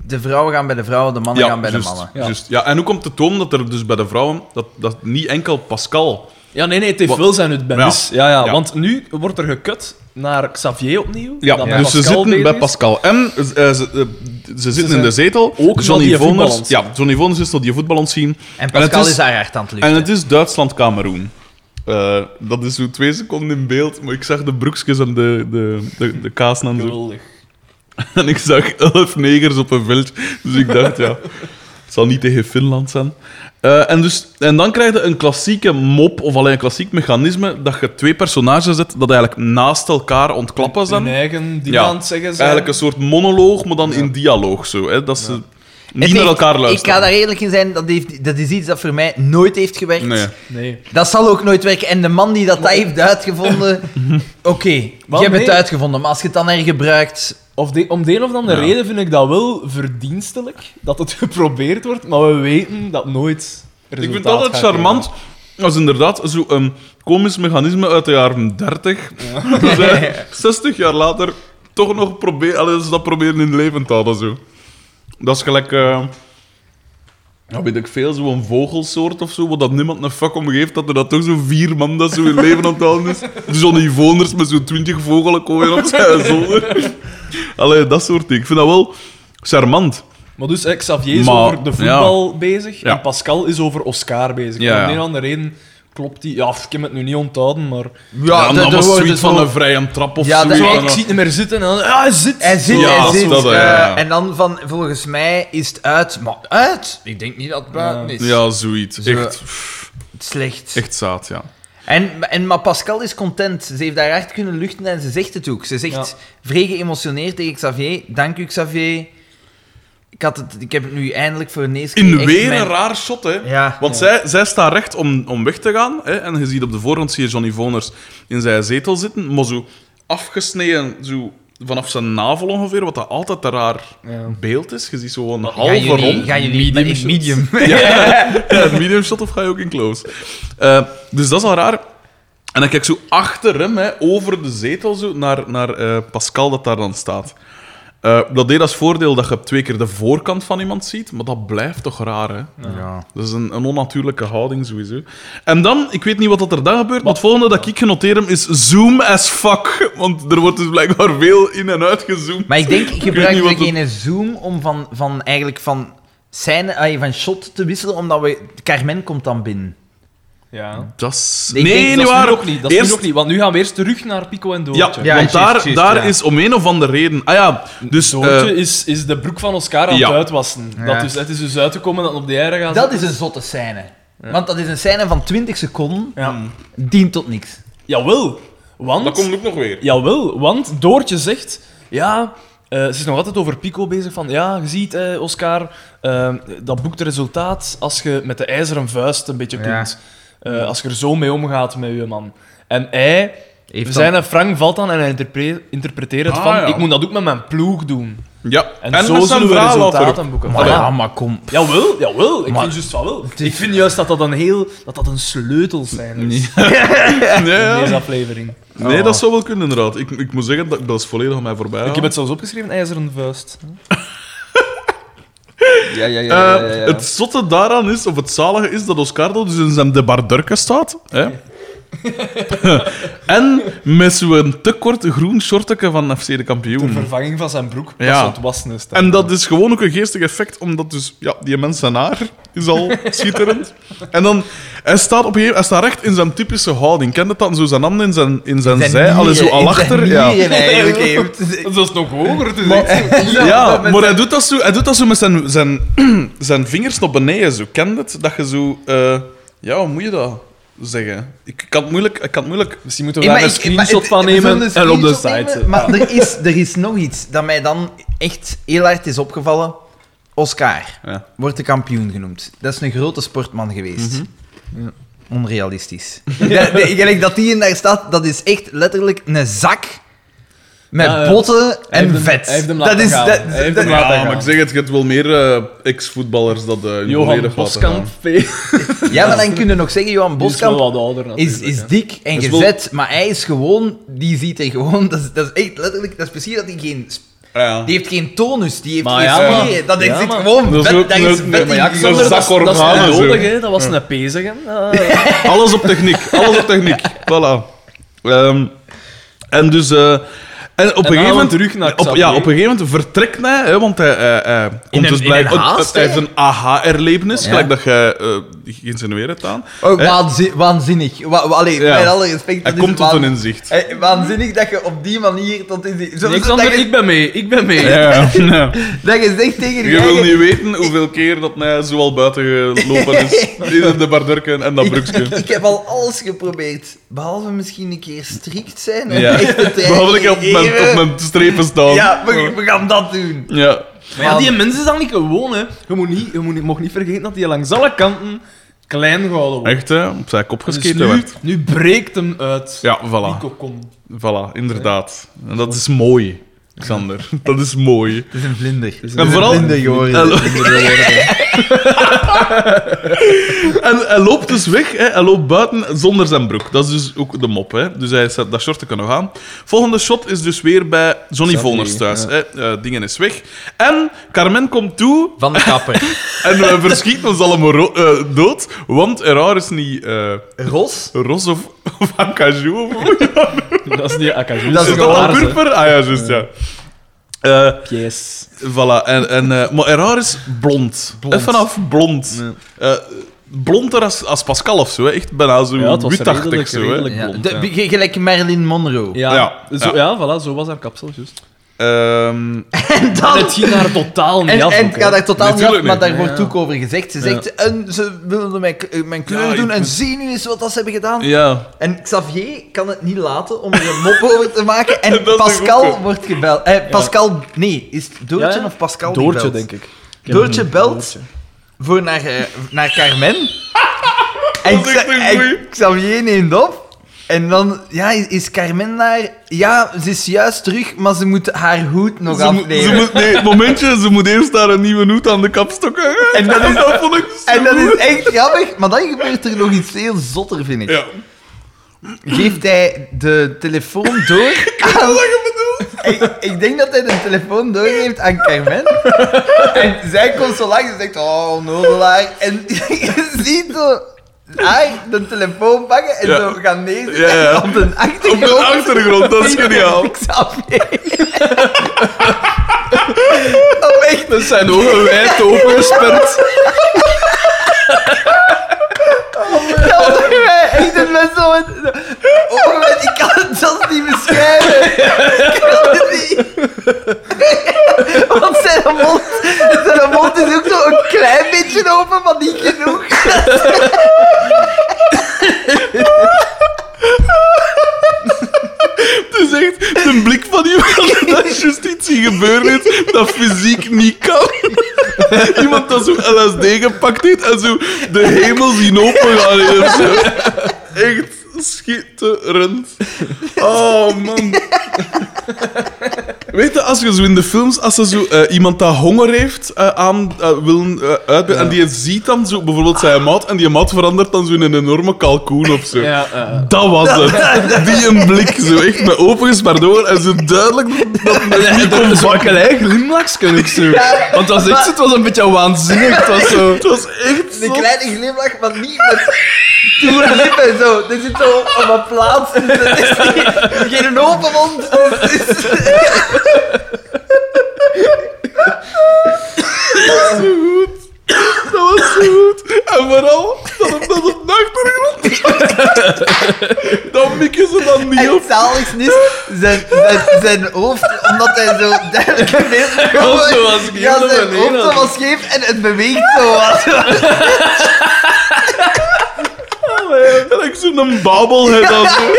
S3: de vrouwen gaan bij de vrouwen, de mannen gaan bij
S1: juist,
S3: de mannen.
S1: Ja. juist. Ja, en ook om te tonen dat er dus bij de vrouwen... Dat, dat niet enkel Pascal...
S2: Ja, nee, nee, het heeft
S1: Wat-
S2: wel zijn nut bij
S1: Ja.
S2: mis. Ja, ja,
S1: Ja.
S2: want nu wordt er gekut naar Xavier opnieuw.
S1: Ja,
S2: dat
S1: dus
S2: bij
S1: ze
S2: Pascal
S1: zitten
S2: bezig
S1: bij
S2: is.
S1: Pascal M. eh, ze, eh, ze, eh, ze zitten
S2: zijn
S1: in de zetel.
S2: ook naar
S1: Voners.
S2: die voetballans.
S1: Ja, Johnny Voners is tot die voetballons zien.
S3: En Pascal
S1: het
S3: is,
S1: is-
S3: daar hard aan het luchten.
S1: En het is Duitsland-Cameroen. Eh, dat is zo twee seconden in beeld, maar ik zag de broekjes en de, de, de, de kaas en zo.
S2: Geweldig.
S1: En ik zag elf negers op een veld. Dus ik dacht, ja, het zal niet tegen Finland zijn. Eh, en, dus, en dan krijg je een klassieke mop, of alleen een klassiek mechanisme, dat je twee personages zet dat eigenlijk naast elkaar ontklappen zijn.
S2: Hun eigen die aan het zeggen zijn.
S1: Eigenlijk een soort monoloog, maar dan in dialoog zo. Hè? Dat ze
S3: Het
S1: niet naar
S3: heeft-
S1: elkaar
S3: Ik ga
S1: luisteren.
S3: daar eerlijk in zijn, dat, heeft, dat is iets dat voor mij nooit heeft gewerkt.
S1: Nee.
S2: Nee.
S3: Dat zal ook nooit werken. En de man die dat, dat heeft uitgevonden... Oké, je
S2: Wel,
S3: hebt het
S2: nee.
S3: uitgevonden, maar als je het dan hergebruikt...
S2: Of de- om de een of andere
S1: Ja.
S2: reden vind ik dat wel verdienstelijk, dat het geprobeerd wordt, maar we weten dat nooit resultaat
S1: Ik vind het altijd
S2: gaat
S1: charmant. Als inderdaad zo'n komisch mechanisme uit de jaren 30. dat zij 60 jaar later toch nog proberen, allee, dat ze dat proberen in leven te houden. Zo. Dat is gelijk. eh, ja, weet ik veel, zo'n vogelsoort of zo, wat dat niemand een fuck om geeft, dat er dat toch zo'n vier man dat zo in leven aan het houden is. Johnny Voners met zo'n twintig vogelen kooien op zijn zolder. Allee, dat soort dingen. Ik vind dat wel charmant.
S2: gebeuren. Maar dus, eh, Xavier is
S1: Maar-
S2: over de voetbal bezig
S1: Ja.
S2: en Pascal is over Oscar bezig.
S1: Ja,
S2: om
S1: ja.
S2: de een of andere reden klopt die... Ja, ik heb het nu niet onthouden, maar...
S1: Ja,
S3: de-
S1: dat
S3: de-
S1: was
S3: de-
S1: zoiets
S3: de-
S1: van een vrije trap of
S3: dus Ja,
S1: zo.
S3: dat-
S2: Zo,
S1: En
S2: ik
S1: dan-
S2: zie het niet meer zitten en dan... Ah, hij zit!
S3: Hij zit,
S1: Ja,
S3: hij
S1: dat is
S3: zit.
S1: dat, ja, ja.
S3: eh, en dan van, volgens mij is het uit. Maar uit? Ik denk niet dat het buiten is.
S1: Ja, zoiets.
S3: Zo-
S1: Echt,
S3: Slecht.
S1: echt zaad, ja.
S3: En, en, maar Pascal is content. Ze heeft daar hard kunnen luchten en ze zegt het ook. Ze zegt
S2: Ja.
S3: vrij geëmotioneerd tegen Xavier. Dank u, Xavier. Ik, had het, ik heb het nu eindelijk voor een eerste
S1: In
S3: echt
S1: weer
S3: mijn-
S1: een raar shot, hè.
S3: Ja.
S1: Want zij, zij staat recht om, om weg te gaan. Hè? En je ziet op de voorgrond zie je Johnny Voners in zijn zetel zitten. Maar zo afgesneden, zo vanaf zijn navel ongeveer, wat dat altijd een raar beeld is. Je ziet zo een
S3: Gaan
S1: halve
S3: jullie,
S1: rond.
S3: gaan jullie
S2: medium
S3: medium,
S2: shots.
S3: medium.
S1: Ja, een medium shot of ga je ook in close? Eh, dus dat is al raar. En dan kijk ik zo achter hem, hè, over de zetel, zo, naar, naar eh, Pascal dat daar dan staat. Eh, dat deed als voordeel dat je twee keer de voorkant van iemand ziet, maar dat blijft toch raar, hè?
S3: Ja.
S1: Dat is een, een onnatuurlijke houding sowieso. En dan, ik weet niet wat dat er dan gebeurt, maar het volgende dat ik genoteerd heb is zoom as fuck. Want er wordt dus blijkbaar veel in en uit gezoomd.
S3: Maar ik denk, ik
S1: weet
S3: gebruik
S1: niet wat
S3: ook een zoom om van, van eigenlijk van scène, ah, van shot te wisselen, omdat we... Carmen komt dan binnen.
S2: Ja.
S1: Dat is...
S3: Ik
S1: nee,
S2: Nee,
S1: niet
S2: dat is
S1: waar.
S2: nu ook niet. Dat is
S1: Eerst-
S2: nu ook niet, want nu gaan we eerst terug naar Pico en
S1: Ja,
S2: Doortje.
S3: Ja,
S1: want
S3: juist,
S1: daar,
S3: juist,
S1: daar
S3: ja.
S1: is om een of andere reden... Ah ja, dus...
S2: Doortje
S1: eh,
S2: is, is de broek van Oscar aan
S1: ja.
S2: het uitwassen.
S3: Ja.
S2: Dat is, het is dus uitgekomen dat op de jaren gaan
S3: Dat
S2: zitten.
S3: is een zotte scène. Want dat is een scène van 20 seconden,
S2: Ja.
S3: dient tot niks.
S2: Jawel, want...
S1: Hmm. dat komt ook nog weer.
S2: Jawel, want Doortje zegt... Ja, eh, ze is nog altijd over Pico bezig. Van, ja, je ziet, eh, Oscar, eh, dat boekt resultaat als je met de ijzeren vuist een beetje
S3: Ja.
S2: kunt. Eh, als je er zo mee omgaat met je man. En hij...
S3: Heeft
S2: zijn Frank valt dan en hij interpre- interpreteert het
S1: Ah,
S2: van...
S1: ja.
S2: Ik moet dat ook met mijn ploeg doen.
S1: Ja,
S2: En, zo
S1: met zijn
S2: zullen we
S1: verhaal
S2: resultaten
S1: later.
S2: boeken.
S3: Maar
S1: Allee.
S3: ja, maar kom.
S2: Jawel, jawel. Ik
S3: Maar-
S2: vind juist van wel. Ik vind juist dat dat een heel... Dat dat een sleutel zijn is
S1: Nee,
S2: in
S1: ja.
S2: deze aflevering.
S1: nee, dat zou wel kunnen, inderdaad. Ik, ik moet zeggen, dat, dat is volledig aan mij voorbij.
S2: Oh. Ik
S1: gegaan.
S2: heb het zelfs opgeschreven, IJzeren Vuist.
S4: Ja, ja, ja.
S1: Eh,
S4: ja, ja, ja.
S1: Het zotte daaraan is, of het zalige is, dat Oscardo dus in zijn debardurken staat. Hè? en met zo'n te kort groen shortje van FC de
S2: De
S1: kampioen.
S2: vervanging van zijn broek.
S1: Ja.
S2: Dat ze aan het wassen is.
S1: En dat eh, is gewoon ook een geestig effect, omdat dus, ja, die mens zijn haar is al schitterend. En dan, hij staat op een gegeven hij staat recht in zijn typische houding. Kent dat dan? Zo zijn handen in zijn, in zijn, zij, al zo al achter. Ja.
S3: eigenlijk heeft.
S2: Dat is nog hoger. Het is
S1: Ja, maar hij doet dat zo, hij doet dat zo met zijn, zijn, zijn vingers naar beneden. Zo. Ken het? Dat je zo... eh, ja, hoe moet je dat zeggen? Ik kan het moeilijk... Ik kan het moeilijk
S2: Misschien moeten we daar een screenshot van nemen en op de site.
S3: Maar er is, er is nog iets dat mij dan echt heel hard is opgevallen. Oscar
S1: ja.
S3: wordt de kampioen genoemd. Dat is een grote sportman geweest. Onrealistisch. Dat- de- Gelijk dat die in daar staat, dat is echt letterlijk een zak met
S2: Ja, ja.
S3: botten
S2: Hij heeft
S3: en
S2: hem-
S3: vet.
S2: hij heeft hem
S3: dat
S2: laten
S3: is
S2: gaan.
S3: dat-
S2: Hij heeft
S3: dat-
S2: hem laten
S1: Ja,
S2: gaan.
S1: maar ik zeg het, je hebt wel meer eh, ex-voetballers dat eh hun
S2: Johan
S1: volledig laten
S2: Boskamp,
S1: gaan.
S2: V. Die is
S3: Ja, maar dan kun je nog zeggen, Johan
S2: wel
S3: Boskamp
S2: wat ouder natuurlijk.
S3: is,
S2: hè.
S3: is dik en
S1: Dat is Dus wel-
S3: gezet, maar hij is gewoon, die ziet er gewoon, dat is, dat is echt letterlijk, dat is precies dat hij geen, sp-
S1: Ja.
S3: die heeft geen tonus, die heeft
S2: Maar
S3: geen
S2: ja,
S3: spier,
S2: maar-
S3: dat is
S2: ja,
S3: zit
S2: maar-
S3: gewoon,
S1: Dat is
S3: vet,
S1: ook
S3: dat
S1: een-
S3: is
S1: een-
S3: vet
S1: een-
S3: in
S1: ja,
S3: die-
S1: ik zou
S2: Sander, dat, is- dat is
S1: Zakorganen,
S2: niet
S1: zo.
S2: nodig, hè. Dat was een pezigen. Eh,
S1: Alles op techniek. Alles op techniek. Voilà. Ehm, en dus... eh, en op een
S2: dan
S1: gegeven moment...
S2: we terug naar
S1: op,
S2: Xavier.
S1: ja, op een gegeven moment vertrekt hij, hè, want hij, hij, hij komt
S3: een-
S1: dus
S3: in
S1: blij-
S3: een haast,
S1: hij heeft een aha-erlevenis,
S3: Ja.
S1: gelijk dat je eh geïnsinueerd hebt aan.
S3: Oh,
S1: Hè?
S3: waanzi- waanzinnig. Wa wa- allee,
S1: Ja.
S3: met alle respect,
S1: Hij
S3: dat
S1: komt
S3: is
S1: tot een
S3: waan-
S1: inzicht.
S3: Eh, waanzinnig dat je op die manier tot in die... Zo,
S2: nee,
S3: zo-
S2: Xander,
S3: dat, je,
S2: ik ben mee. Ik ben mee.
S1: Ja, ja.
S3: dat je zegt tegen
S1: Je wil
S3: eigen-
S1: niet weten hoeveel keer dat hij zo al buiten gelopen is. In de bardurken en dat
S3: ik,
S1: broekje.
S3: ik heb al alles geprobeerd, behalve misschien een keer strikt zijn. en
S1: Ja.
S3: echt de training
S1: Behalve dat ik op mijn,
S3: geven.
S1: op mijn strepen staan.
S3: Ja, we, we gaan dat doen.
S1: Ja.
S2: Maar ja, die mens is dan niet gewoon, hè. Je moet niet, je moet niet, mocht niet vergeten dat hij langs alle kanten klein gehouden wordt.
S1: Echt, hè? Op zijn kop
S2: Dus
S1: gescheten
S2: nu,
S1: werd.
S2: nu breekt hem uit.
S1: Ja, voilà.
S2: Pico kon.
S1: Voilà, inderdaad. En dat is mooi, Xander. Dat is mooi.
S3: Het is een vlinder. Het is
S1: En vooral-
S3: vlinder geworden.
S1: En- En hij loopt dus weg, hè. hij loopt buiten zonder zijn broek. Dat is dus ook de mop. Hè. Dus hij zet dat shortje kunnen gaan. Volgende shot is dus weer bij Johnny
S4: Xavier,
S1: Voners thuis. Hè. Eh, dingen is weg. En Carmen komt toe
S3: Van de kapper.
S1: en we verschieten ons allemaal ro- eh, dood, want er haar is niet eh
S3: Ros?
S1: ros of, of acajou of hoe is
S2: Dat is niet Akajou.
S3: Dat
S1: dat dan purper? Ah ja, juist, ja. Eh,
S2: Yes.
S1: Voilà, en, en, eh, maar Errar is blond.
S2: Blond.
S1: Even af blond. Eh, blonder als, als Pascal of zo, hè. echt bijna zo
S2: Ja, het was
S1: witachtig
S2: redelijk-
S1: zo. Hè.
S2: redelijk.
S3: Ja.
S2: Blond,
S3: De-
S2: ja.
S3: ge- Gelijk Marilyn Monroe.
S2: Ja,
S1: Ja,
S2: Zo,
S1: ja.
S2: ja. voilà, zo was haar kapsel, juist.
S1: Ehm,
S3: En
S2: En
S3: dan...
S2: het ging daar totaal niet
S3: Ah, En,
S2: af.
S3: en
S2: ook,
S3: het gaat
S2: hè.
S3: daar totaal niet af,
S1: Natuurlijk
S3: maar daar
S1: niet.
S3: wordt
S2: Ja.
S3: ook over gezegd. Ze zegt, en ze wilden mijn, k- eh, mijn kleur
S1: Ja, ik
S3: doen en
S1: ben-
S3: zie nu eens wat dat ze hebben gedaan.
S1: ja.
S3: En Xavier kan het niet laten om er een mop over te maken. En,
S1: En dat is de
S3: Pascal
S1: goeie.
S3: wordt gebeld. Eh, Pascal, nee, is het Doortje
S2: Ja, ja.
S3: of Pascal die
S2: Doortje,
S3: belt?
S2: denk ik.
S3: Doortje belt
S2: Doortje.
S3: voor naar, eh, naar Carmen. en,
S1: Dat is echt
S3: Xa-
S1: een
S3: en
S1: goeie.
S3: Xavier neemt op. En dan, ja, is- is Carmen daar? Ja, ze is juist terug, maar ze moet haar hoed nog
S1: Ze moet,
S3: afnemen.
S1: ze moet, nee, momentje, ze moet eerst daar een nieuwe hoed aan de kap stokken.
S3: En dat is-
S1: dat vond ik zo
S3: En dat is
S1: goed.
S3: echt grappig, maar dan gebeurt er nog iets heel zotter, vind ik.
S1: Ja.
S3: Geeft hij de telefoon door aan, ik, ik denk dat hij de telefoon doorgeeft aan Carmen. En zij komt zo langs en zegt, oh, nodelaar. En je ziet zo haar de telefoon pakken en
S1: Ja.
S3: zo gaan neerzetten
S1: Ja, ja.
S3: op de
S1: Op de
S3: achtergrond.
S1: achtergrond, dat is geniaal.
S3: Ik snap Oh, echt.
S1: Dat zijn ogen wijd opengesperd.
S3: Dat was bij mij Oh, echt het best wel een- Oh, man, ik kan het zelfs niet beschrijven. Ik kan het niet. Want zijn mond, zijn mond is ook zo een klein beetje open, maar niet genoeg.
S1: Het is echt de blik van iemand dat is juist iets hier gebeurd is dat fysiek niet kan. Iemand dat zo LSD gepakt heeft en zo de hemel zien opengaan heeft of zo. Echt schitterend. Oh, man. Weet je, als je zo in de films, als er zo eh, iemand dat honger heeft eh, aan eh, wil eh, uitbe- en die ziet dan zo bijvoorbeeld zijn maat en die maat verandert dan zo in een enorme kalkoen of zo.
S2: Ja, eh,
S1: Dat was het. Die een blik, zo echt met open door en zo duidelijk dat het niet kon
S4: Een
S1: vakken.
S4: eigen glimlachs kan ik zo. Want dat was echt, zo- het was een beetje waanzinnig. Het was zo...
S1: Het was echt zo...
S3: Een kleine glimlach, maar niet met toere lippen zo. Er zit zo op een plaats. Dus het is niet, geen open mond. Dus het is...
S1: Dat was zo goed. En vooral dat het dat op de achtergrond was. Dan mikken ze dan niet
S3: En
S1: op.
S3: het zaligste is zijn, zijn, zijn hoofd, omdat hij zo duidelijk in beeld
S2: Hoofd zo was scheef
S3: Ja,
S2: naar
S3: zijn
S2: beneden.
S3: hoofd zo was scheef en het beweegt zo wat.
S1: En ik zo'n babbelhead aan zo.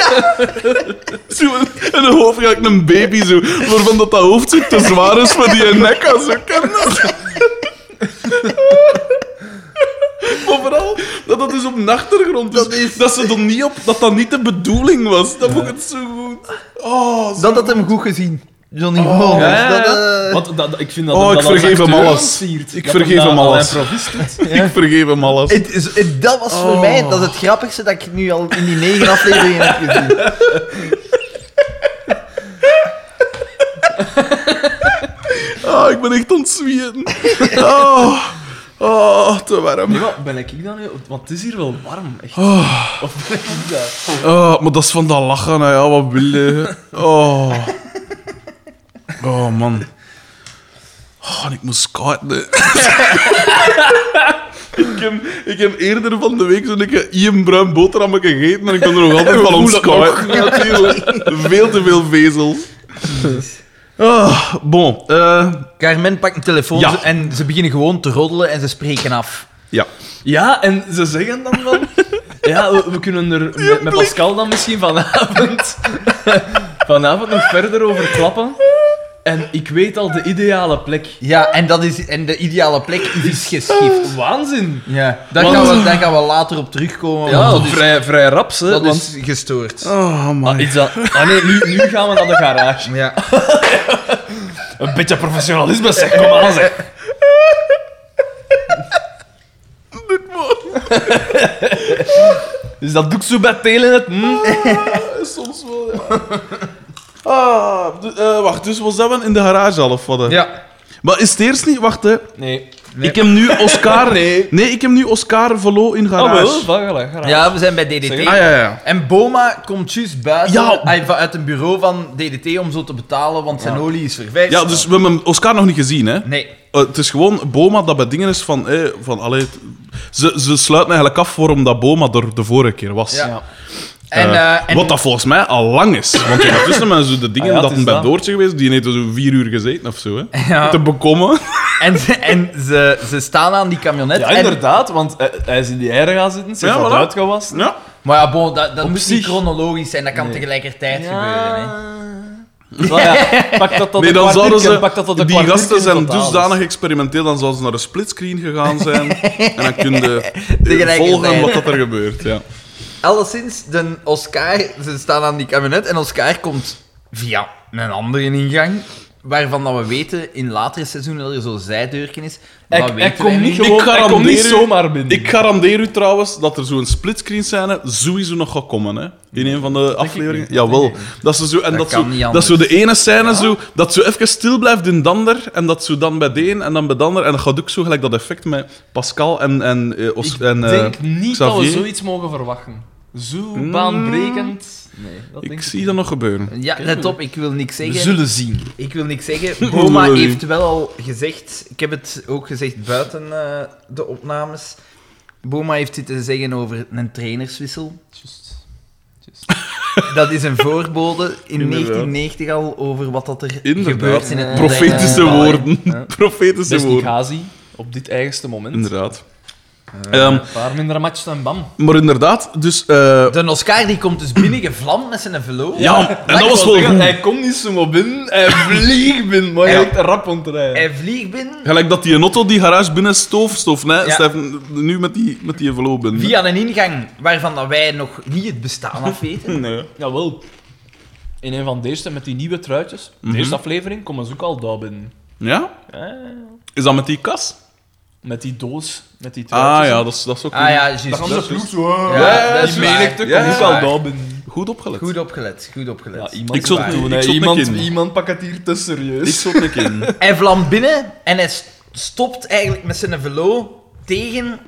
S1: Zo, En een hoofd, ja, ik een baby zo. Waarvan dat, dat hoofd zo te zwaar is voor die nek als zo kan dat. Maar vooral dat dat dus op de achtergrond is. Dat,
S3: Dat is-
S1: ze er niet op, dat dat niet de bedoeling was. Dat vond ik het zo goed. Oh, zo-
S3: Dat had hem goed gezien. Johnny Holmes.
S2: ja, ja,
S3: Dat,
S2: ja.
S3: eh,
S2: Want dat- ik vind dat
S1: Oh,
S2: hem
S1: ik
S2: dat als
S1: vergeef hem
S2: acteur
S1: alles.
S2: siert.
S1: Ik
S2: Dat
S1: vergeef
S2: hem
S1: hem
S2: dat
S1: alles.
S2: alleen provis doet.
S1: ik vergeet hem alles.
S3: het is- het- dat was voor
S1: Oh.
S3: mij dat is het grappigste dat ik nu al in die negen afleveringen heb gezien.
S1: Ah, ik ben echt aan het zweten. Oh, oh, te warm.
S2: Nee, maar ben ik dan nu? Want het is hier wel warm, echt.
S1: Oh,
S2: Of ben ik dat?
S1: Ah, maar dat is van dat lachen, hè. ja, wat wil je? Oh. Oh, man. Oh, en ik moest kaarten. hè. ik, heb, ik heb eerder van de week zo'n keer Ian Bruin boterhammetje gegeten en ik ben er nog altijd van ontskaart. Natuurlijk. Veel te veel vezels. Ah, bon. eh,
S3: Carmen pakt een telefoon
S1: Ja.
S3: en ze beginnen gewoon te roddelen en ze spreken af.
S1: ja.
S2: Ja, en ze zeggen dan wel... Ja, we, we kunnen er met, met Pascal dan misschien vanavond, vanavond nog verder over klappen. En ik weet al de ideale plek.
S3: Ja, en, dat is, en de ideale plek is iets geschift.
S2: Waanzin!
S3: Ja, daar,
S2: Want-
S3: gaan we, daar gaan we later op terugkomen.
S2: Ja,
S3: want dat is,
S2: vrij, vrij raps, hè.
S3: dat
S2: want-
S3: is gestoord.
S1: Oh,
S2: Ah,
S1: man.
S2: is dat... ah nee, nu, nu gaan we naar de garage.
S3: Ja.
S2: Een beetje professionalisme, zeg. Kom aan, zeg. Dus dat doe ik zo bij Telenet. Hm?
S1: Ah, Soms wel, ja. Ah, du- eh, wacht, dus was dat wel in de garage al of wat? hè?
S3: ja.
S1: Maar is het eerst niet... Wacht, hè.
S2: Nee.
S1: Ik heb nu Oscar. Ah, nee. ik heb nu Oscar Velo in
S2: Oh,
S1: garage.
S2: wel, voilà, garage.
S3: Ja, we zijn bij DDT.
S2: Zeg-
S1: Ah ja, ja.
S3: En Boma komt juist buiten
S1: Ja.
S3: hij- va- uit een bureau van DDT om zo te betalen, want zijn olie is vervijfd.
S1: Ja, dus we hebben hem Oscar nog niet gezien, hè?
S3: Nee.
S1: Eh, het is gewoon Boma dat bij dingen is van. eh, van allee, het- ze, ze sluiten eigenlijk af waarom dat Boma er de vorige keer was.
S3: Ja.
S2: Ja.
S3: En,
S1: Eh,
S3: eh, en
S1: Wat dat volgens mij al lang is. Want ondertussen zijn zo de dingen
S2: Ah
S1: dat
S2: ja, het
S1: hem
S2: is
S1: bij
S2: dat.
S1: Doortje geweest, die heeft er zo vier uur gezeten of zo. Hè,
S3: Ja.
S1: Te bekommen.
S3: En, ze, en ze, ze staan aan die camionet.
S2: Ja,
S3: en-
S2: inderdaad, want eh, hij is in die eieren gaan zitten, ze heeft
S1: Ja,
S2: wat
S1: voilà.
S2: uitgewassen.
S1: Ja.
S3: maar ja, bon, dat, dat moet niet
S2: zich.
S3: chronologisch zijn, dat kan tegelijkertijd gebeuren. Hè.
S2: Zo, ja, Pak dat tot
S1: Nee,
S2: een
S1: dan zouden
S2: kwartiertje,
S1: ze.
S2: pak dat tot een
S1: die
S2: kwartiertje
S1: gasten
S2: in
S1: zijn
S2: totaal is.
S1: dusdanig experimenteel, dan zouden ze naar een splitscreen gegaan zijn. en dan kun je eh,
S3: Tegelijkertijd.
S1: volgen wat dat er gebeurt. Ja.
S3: Alleszins, de Oscar, ze staan aan die camionet en Oscar komt via een andere ingang waarvan dat we weten in latere seizoenen dat er zo'n zijdeurken is. Maar dat
S2: Ik, ik
S3: weten
S2: kom
S3: wij
S2: niet
S1: Ik
S2: gewoon, ik
S1: garandeer
S2: kom niet
S1: u-
S2: zomaar binnen.
S1: Ik garandeer u trouwens dat er zo'n splitscreen scène sowieso nog gaat komen. Hè? In een van de afleveringen.
S2: niet.
S1: Jawel. Dat ze zo, en
S3: Dat
S1: dat,
S3: kan niet
S1: zo, dat
S3: anders.
S1: zo de ene scène zo, dat zo even stil blijft in dander. En dat zo dan bij de een en dan bij de ander. En dat gaat ook zo gelijk dat effect met Pascal en. en, eh, Os-
S2: Ik
S1: en eh,
S2: denk niet dat we
S1: Xavier?
S2: zoiets mogen verwachten. Zo
S1: Mm.
S2: baanbrekend. Nee, dat denk
S1: ik
S2: ik
S1: zie dat nog gebeuren.
S3: Ja, let op, ik wil niks
S2: niet.
S3: zeggen.
S2: zien.
S3: Ik wil niks zeggen. Boma
S1: Oei.
S3: heeft wel al gezegd, ik heb het ook gezegd buiten eh, de opnames. Boma heeft dit te zeggen over een trainerswissel.
S2: Just. Just.
S3: Dat is een voorbode in
S1: Inderdaad.
S3: 1990 al over wat dat er
S1: Inderdaad.
S3: gebeurt in het
S2: Eh,
S1: Profetische
S3: moderne voetbal, hè.
S1: woorden.
S2: Ja.
S1: Profetische
S2: Best niet
S1: woorden.
S2: Ghazi, op dit eigenste moment.
S1: Inderdaad.
S2: Eh,
S1: Ehm,
S2: een paar mindere matches dan bam.
S1: maar inderdaad, dus. eh,
S3: De Oscar die komt dus binnen gevlamd met zijn velo.
S1: ja, en dat
S2: Ik
S1: was
S2: wou
S1: wel
S2: zeggen,
S1: goed.
S2: Hij komt niet zomaar binnen, hij vliegt binnen, maar hij
S3: Ja.
S2: lijkt rap om te rijden.
S3: Hij vliegt binnen
S1: Gelijk dat die auto die garage binnen stoof, stoof, nee,
S3: Ja.
S1: Stijn, nu met die, met die envelop binnen.
S3: via een ingang waarvan dat wij nog niet het bestaan afweten.
S1: Nee.
S2: Jawel. In een van de eerste, met die nieuwe truitjes,
S1: Mhm.
S2: de eerste aflevering, komen ze ook al daar binnen.
S1: Ja?
S2: Eh,
S1: Is dat met die kas?
S2: met die doos, met die truitjes.
S1: Ah ja, dat is, dat is ook
S3: Ah ja, juist.
S2: Dan gaan ze
S1: dat
S2: ploeg
S1: is-
S2: zo.
S3: Ja,
S2: Ja,
S3: dat is
S2: die
S3: waar.
S2: menigte
S1: Ja,
S2: komt
S1: dat
S2: ook
S1: is
S2: al
S3: waar.
S2: daar binnen.
S1: goed opgelet.
S3: Goed opgelet, goed opgelet.
S2: Ja, iemand
S1: Ik zou-
S2: is waar.
S1: ik
S2: hè.
S1: zou het
S2: iemand,
S1: een keer-
S2: iemand pakt het hier te
S1: Ik
S2: serieus.
S1: zat niet in.
S3: Hij vlamt binnen en hij s- stopt eigenlijk met zijn velo tegen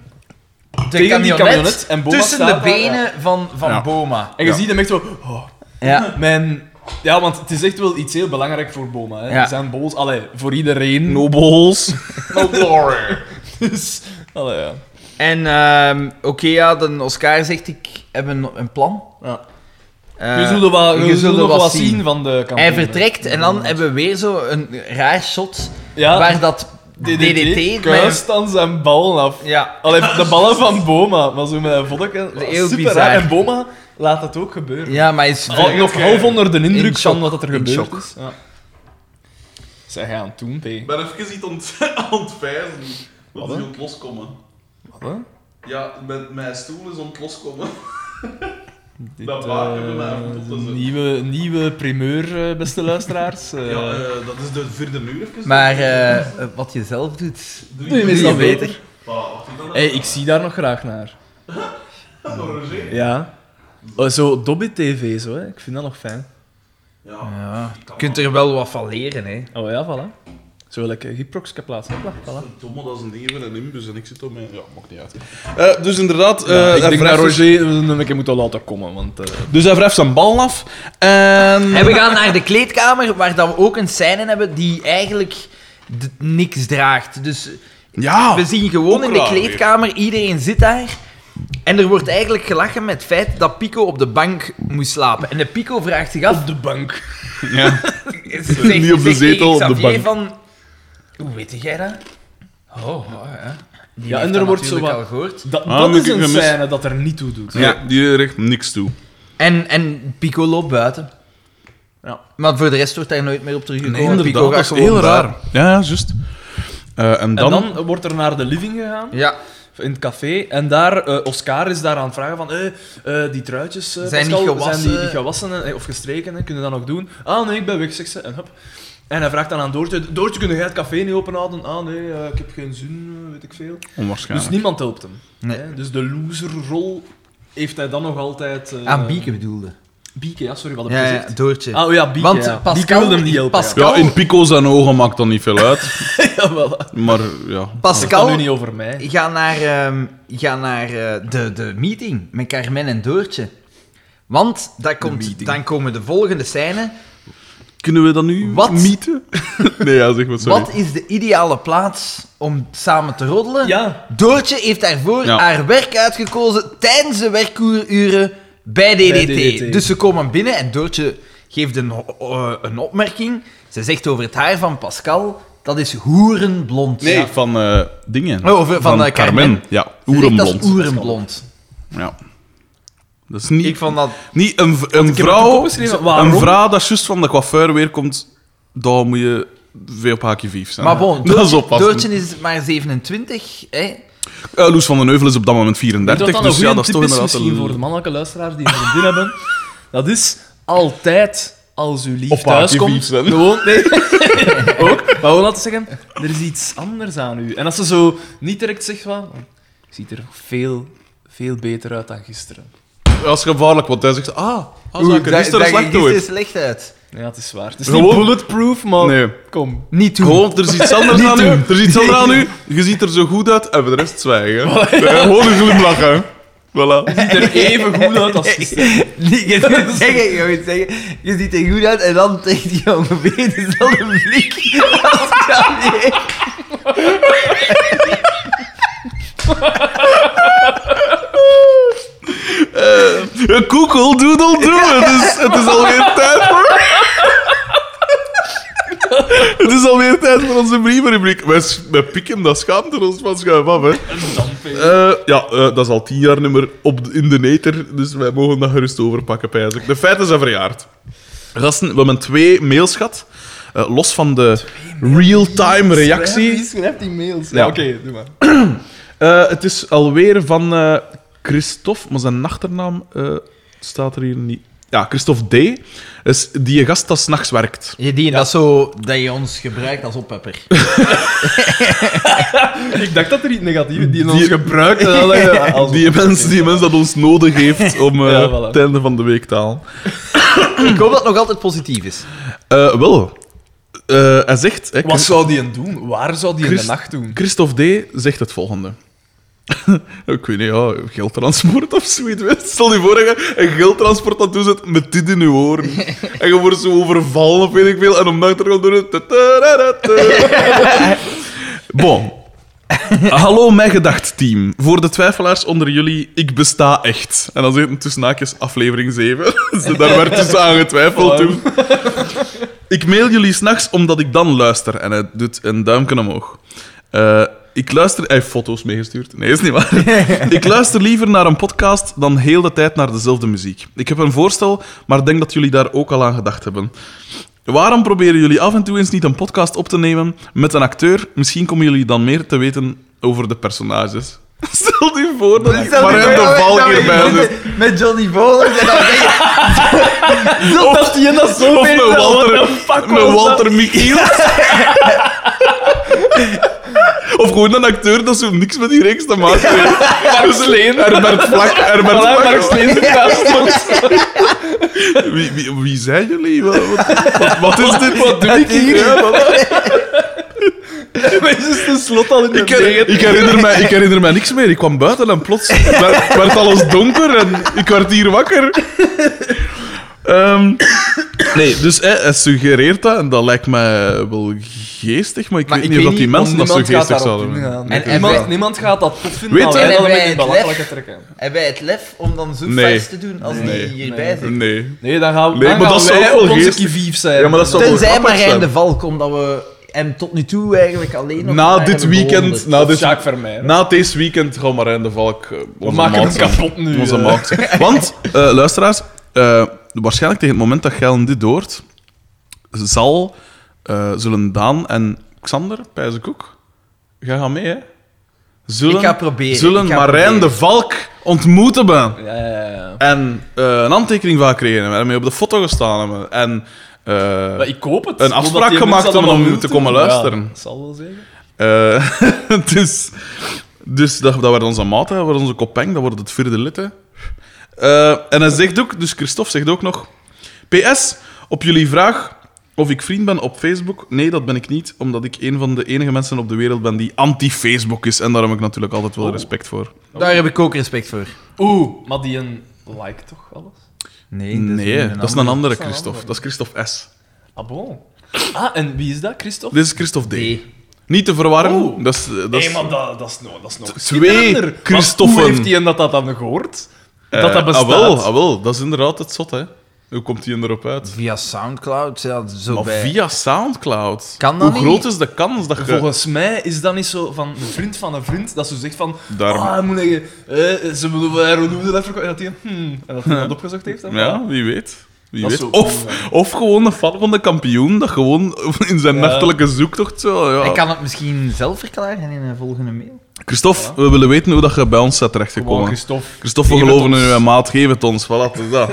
S3: de
S2: Tegen die camionet en Boma
S3: tussen de
S2: staat daar.
S3: benen van, van
S1: Ja.
S3: Boma.
S2: En je
S1: Ja.
S2: ziet hem echt zo... oh,
S3: Ja.
S2: mijn... Ja, want het is echt wel iets heel belangrijk voor Boma. Hè.
S3: Ja.
S2: Zijn bols, allee, voor iedereen.
S1: Nobles.
S2: no glory. dus, allee, ja.
S3: En ehm, oké, ja, de Oscar zegt ik heb een, een plan.
S2: ja.
S3: Eh,
S2: je zult er wel-
S3: je
S2: je
S3: zult
S2: zult
S3: er
S2: nog
S3: wat
S2: wat zien
S3: zien.
S2: van de kampioen.
S3: hij vertrekt en dan hebben we weer zo een raar shot
S2: Ja,
S3: waar dat DDT,
S2: DDT
S3: met-
S2: kuist dan zijn ballen af.
S3: ja,
S2: Allee, de ballen van Boma, maar zo met een vodka. was
S3: Heel
S2: super
S3: bizar.
S2: raar. En Boma laat het ook gebeuren.
S3: ja, maar hij is
S2: Al- nog half onder de indruk
S3: In
S2: van
S3: shock,
S2: wat er
S3: in
S2: gebeurd
S3: shock.
S2: is. Ja. Zij gaan toen, P.
S1: Ik ben even iets ont ontwijzen.
S2: Wat,
S1: Wat
S2: hè?
S1: is ont loskomen? Ja, met mijn stoel is ont loskomen.
S2: Dit,
S1: Dat maken we
S2: eh,
S1: maar goed op te zetten.
S2: nieuwe, nieuwe primeur, eh, beste luisteraars. eh.
S1: Ja, eh, dat is de vierde nu even.
S3: Maar eh, eh, wat je zelf doet,
S1: Doe
S2: je
S3: doe
S2: meestal
S3: je
S2: wel.
S3: beter.
S1: Bah, wacht, ik ben
S2: hey, ik zie daar nog graag naar.
S1: dat door Roger.
S2: Ja. Oh, zo Dobbit TV, zo, hè. ik vind dat nog fijn.
S1: Ja.
S3: Ja, je kunt er wel wat van leren, hè.
S2: Oh ja, voilà. Zo wil ik uh, Giprox kan plaatsen. Hopla, voilà.
S1: Domme, dat is een ding van een imbus en ik zit op mijn... Ja, maakt niet uit. Eh, dus inderdaad... eh
S2: Ja, ik
S1: hij
S2: denk dat
S1: wrijft dus-
S2: Roger een keer moet laten komen, want... eh,
S1: Dus hij wrijft zijn bal af en...
S3: En we gaan naar de kleedkamer, waar dan we ook een scène hebben die eigenlijk d- niks draagt. Dus
S1: Ja!
S3: we zien gewoon
S1: Ah, ook
S3: in de
S1: raar weer.
S3: kleedkamer, iedereen zit daar. En er wordt eigenlijk gelachen met het feit dat Pico op de bank moest slapen. En de Pico vraagt zich af...
S2: Op de bank.
S1: Ja.
S3: ze zegt-
S1: Niet op de
S3: zegt tegen
S1: zetel, op de
S3: Xavier
S1: bank.
S3: van... Hoe weet jij dat? Oh, ja. Die
S2: Ja,
S3: heeft
S2: en
S3: dat
S2: er wordt zo
S3: natuurlijk
S2: wat-
S3: al gehoord.
S2: Dat,
S1: Ah,
S2: dat
S1: moet
S2: is
S1: ik
S2: een
S1: gemist.
S2: scène dat er niet toe doet.
S1: ja, die richt niks toe.
S3: En, en Pico loopt buiten.
S2: Ja.
S3: Maar voor de rest wordt daar nooit meer op teruggekomen. Pico gaat
S1: dat is
S3: gewoon
S1: heel
S3: buiten.
S1: raar. Ja, ja, juist. Eh, en
S2: En
S1: dan...
S2: dan wordt er naar de living gegaan,
S3: Ja,
S2: in het café. En daar, eh, Oscar is daar aan het vragen van, eh, eh, die truitjes, eh,
S3: Zijn
S2: Pascal,
S3: niet gewassen?
S2: zijn die niet gewassen eh, of gestreken, hè? kunnen dat nog doen? Ah nee, ik ben weg, zegt ze. En, hop. en hij vraagt dan aan Doortje, Doortje, kun jij het café niet openhouden? Ah nee, eh, ik heb geen zin, eh, weet ik veel. Dus
S1: Onwaarschijnlijk.
S2: niemand helpt hem.
S3: Nee.
S2: hè. Dus de loserrol heeft hij dan nog altijd... eh,
S3: aan Ah, Bieke bedoelde.
S2: Bieke, ja, sorry, wat heb ik
S3: Ja, ja,
S2: gezegd?
S3: Doortje.
S2: Ah oh ja, Bieke,
S3: Want
S2: ja.
S3: Pascal-
S2: Bieke wilde hem niet helpen.
S3: Pascal-
S1: Ja, in Pico zijn ogen maakt dat niet veel uit.
S2: Ja, voilà.
S1: maar ja...
S2: Het gaat nu
S3: Pascal,
S2: niet over mij.
S3: ga naar, ehm, ga naar eh, de, de meeting met Carmen en Doortje. Want dat komt,
S1: meeting.
S3: dan komen de volgende scène.
S1: Kunnen we dat nu
S3: Wat?
S1: mieten? nee, ja, zeg maar sorry.
S3: Wat is de ideale plaats om samen te roddelen?
S2: Ja,
S3: Doortje heeft daarvoor
S1: Ja.
S3: haar werk uitgekozen tijdens de werkuren bij DDT.
S2: Bij DDT.
S3: Dus ze komen binnen en Doortje geeft een, eh, een opmerking. Ze zegt over het haar van Pascal, dat is hoerenblond.
S1: Nee,
S3: Ja.
S1: van eh, dingen.
S3: Oh, van, eh, Carmen.
S1: Ja,
S3: Ze zegt, Dat is
S1: oerenblond.
S3: oerenblond.
S1: Ja. Dat is niet...
S3: Ik vond dat...
S1: Niet een, v- een
S2: het ook
S1: vrouw.
S2: opgeschreven, waarom?
S1: Een vrouw dat juist van de coiffeur weer komt, daar moet je veel op haakje vief zijn.
S3: Maar bon,
S1: dat is
S3: Doortje,
S1: oppassen.
S3: Doortje is maar 27, hè.
S1: Eh, Loes van den Heuvel is op dat moment
S2: dat dat
S1: 34,
S2: een
S1: dus ja,
S2: goeie
S1: dat is
S2: tip
S1: toch
S2: is
S1: inderdaad
S2: misschien
S1: een...
S2: voor de mannelijke luisteraars die een vriendin hebben. Dat is altijd als uw lief
S1: Of
S2: thuis
S1: haat je
S2: komt,
S1: lief zijn.
S2: gewoon, nee, ook, maar gewoon laten zeggen, er is iets anders aan u. En als ze zo niet direct zegt, "Oh, wat, ziet er veel, veel beter uit dan gisteren.
S1: Dat is gevaarlijk, want hij zegt... Ah, als ik er
S3: dat-
S1: gisteren
S3: dat-
S1: slecht
S3: dat-
S1: door.
S3: is slecht uit.
S2: Ja, het is waar. Het is
S1: Gewoon-
S2: niet bulletproof, maar
S1: Nee.
S2: kom.
S3: Niet
S1: Gewoon, er is iets anders
S3: Niet
S1: aan u.
S3: doen.
S1: Er is iets anders aan u. Je ziet er zo goed uit. En voor de rest zwijgen. Eh, Gewoon een glimlach, hè. Voilà.
S2: Ziet er even goed uit als gisteren.
S3: Nee, je moet zeggen, je moet zeggen, je ziet er goed uit en dan tegen die ongeveer dezelfde blik als Kanye.
S1: Een koekel, doedel, doe. Het is, het is alweer tijd voor... Het is alweer tijd voor onze brievenrubriek. Wij, s- wij pikken dat schaamt er ons van schuif af, hè. Eh, ja, eh, dat is al tien jaar nummer op de- in de neter, dus wij mogen dat gerust overpakken, pijs ik. De feiten zijn verjaard. Gasten, we hebben twee mails gehad. eh, los van de real-time reactie.
S2: schrijft die mails?
S1: Ja.
S2: Ja, oké, doe maar.
S1: Eh, het is alweer van eh, Christophe, maar zijn achternaam eh, staat er hier niet. Ja, Christophe D. Is die gast dat s'nachts werkt.
S3: Je die, dat zo dat je ons gebruikt als oppepper.
S2: Ik dacht dat er iets negatiefs die in
S1: Die-
S2: ons gebruikt. en dan dacht ik, als-
S1: Die mens, die mens dat ons nodig heeft om eh
S2: Ja, voilà.
S1: het einde van de week te halen.
S3: Ik hoop dat het nog altijd positief is.
S1: Eh, wel, Eh, hij zegt... hè,
S2: Wat zou die een doen? Waar zou die in de
S1: Christ-
S2: nacht doen?
S1: Christophe D. zegt het volgende. Ik weet niet, ja, geldtransport of zoiets. weet je. Stel je voor dat je een geldtransport aan het doen zit met dit in je oren. En je wordt zo overvallen of weet ik veel. En om de achtergrond doen het... ta-ta-ra-ra-ta. Bon. Hallo, mijn gedachtteam. Voor de twijfelaars onder jullie, ik besta echt. En dan zit het tussen haakjes aflevering 7. Dus daar werd dus aan getwijfeld toen. Ik mail jullie s'nachts omdat ik dan luister. En hij doet een duimpje omhoog. Eh, ik luister... Hij heeft foto's meegestuurd. Nee, is niet waar. ik luister liever naar een podcast dan heel de tijd naar dezelfde muziek. Ik heb een voorstel, maar denk dat jullie daar ook al aan gedacht hebben. Waarom proberen jullie af en toe eens niet een podcast op te nemen met een acteur? Misschien komen jullie dan meer te weten over de personages. Stel je voor dat ik
S3: Stel
S1: maar
S3: je
S1: hem
S3: voor dat
S1: de
S3: we- dat we
S1: valk bij
S3: beginnen
S1: zit.
S3: Met Johnny Bowler en dan denk je...
S1: Of,
S2: die en dat zo
S1: of
S2: weet,
S1: met
S2: wat
S1: Walter,
S2: de fuck
S1: met
S2: was
S1: Walter Michiels. of gewoon een acteur dat zo niks met die reeks te maken heeft. Dus Herbert Vlak. Herbert
S2: dat? Voilà,
S1: Vlak.
S2: Mark Sleen zit naast ons.
S1: Wie, wie, wie zijn jullie? Wat, wat- wat, wat is dit? Wat doe ik hier?
S2: Maar ze is de slot al in de
S1: ik, her- ik herinner mij, ik herinner mij niks meer. Ik kwam buiten en plots werd, werd alles donker en ik werd hier wakker. Ehm, nee, dus hij, hij suggereert dat en dat lijkt mij wel geestig, maar ik
S3: Maar
S1: weet
S3: ik
S1: niet of
S3: weet
S1: dat die
S3: niet,
S1: mensen dat zo
S2: niemand gaat
S1: geestig
S2: daarop
S1: zouden vinden.
S2: ingaan.
S3: En- en
S2: niemand,
S3: wij-
S2: niemand gaat dat tof vinden.
S1: Weet
S2: maar
S1: je-
S2: wij
S3: en
S2: hadden
S3: wij
S2: met een
S3: het
S2: belachelijke
S3: lef-
S2: trekken.
S3: Hebben wij het lef om dan zo'n
S1: Nee.
S3: feest te doen als
S1: Nee.
S3: die hierbij zit?
S1: Nee.
S2: Nee, dan gaan,
S1: Nee,
S2: dan
S1: maar
S2: gaan
S1: dat zou
S2: wij
S1: ook wel
S2: op onze
S1: geestig-
S2: kivief zijn.
S1: Ja, maar dat zou wel
S3: Tenzij
S1: grappig
S3: Marijn
S1: zijn.
S3: de Valk, omdat we hem tot nu toe eigenlijk alleen nog
S1: Na
S3: maar
S1: dit
S3: hebben
S1: weekend,
S3: bewonderd.
S1: na dit,
S2: Sjaak vermijden.
S1: na deze weekend gaan Marijn de Valk eh,
S2: We
S1: onze
S2: maken
S1: maat
S2: hem
S1: zijn.
S2: kapot nu.
S1: Onze
S2: eh.
S1: maat zijn. Want, eh, luisteraars, eh, waarschijnlijk tegen het moment dat Geln dit hoort, zal, eh, zullen Daan en Xander, pijs ik ook, jij gaat mee, hè? Zullen,
S3: Ik ga proberen,
S1: Zullen
S3: ik ga
S1: Marijn
S3: proberen.
S1: de Valk ontmoeten ben.
S2: Ja, ja, ja.
S1: En eh, een handtekening van creëren hebben. En mee op de foto gestaan hebben. En, eh,
S2: Maar ik hoop het.
S1: Een
S2: omdat
S1: afspraak
S2: die
S1: gemaakt
S2: mensen dat
S1: om
S2: allemaal
S1: te
S2: wilden.
S1: komen luisteren.
S2: Ja, dat zal wel zeggen.
S1: Eh, dus dus dat, dat werd onze maat, hè, dat werd onze kopeng, dat wordt het vierde lid. Hè. Eh, en hij zegt ook, dus Christophe zegt ook nog: PS, op jullie vraag of ik vriend ben op Facebook. Nee, dat ben ik niet, omdat ik een van de enige mensen op de wereld ben die anti-Facebook is. En daar heb ik natuurlijk altijd wel respect voor.
S3: Daar heb ik ook respect voor.
S2: Oeh, maar die een like toch alles?
S3: Nee,
S1: Nee, dat is een andere
S2: Dat is een
S1: Christophe.
S2: andere.
S1: Dat is Christophe S.
S2: Ah, bon. Ah, en wie is dat, Christophe?
S1: Dit is Christophe D.
S3: Nee.
S1: Niet te verwarren.
S2: Oh.
S1: Dat is, eh, dat is,
S2: Nee, maar dat, dat is nog... Dat is nog
S1: Dus- Twee
S2: kinderder. Want
S1: Christoffen.
S2: Hoe heeft die en dat dat dan gehoord?
S1: eh,
S2: dat dat bestaat.
S1: Ah wel, ah wel, dat is inderdaad het zot, hè. Hoe komt hij erop uit?
S3: Via Soundcloud, ja, zo
S1: Maar
S3: bij...
S1: via Soundcloud?
S3: Kan dat
S1: Hoe groot
S3: niet?
S1: is de kans dat je...
S2: Volgens mij is dat niet zo van een vriend van een vriend dat ze zegt van.
S1: Daarom.
S2: Ah, moet ik, eh, ze moeten wel hoe doen we dat verkopen. En dat hij hmm, en dat, hij dat opgezocht heeft. en voilà.
S1: Ja, wie weet. Wie
S2: Dat
S1: weet.
S2: zou cool
S1: Of, of gewoon een fan van de kampioen dat gewoon in zijn
S2: Ja.
S1: nachtelijke zoektocht zo... Ja.
S3: Ik kan het misschien zelf verklaren in een volgende mail.
S1: Christophe, we willen weten hoe dat je bij ons bent
S2: Gewoon
S1: terechtgekomen.
S2: Christophe.
S1: Christophe, we
S2: Geef het
S1: geloven in
S2: ons.
S1: je maat, geef het ons. Voilà, het is dat.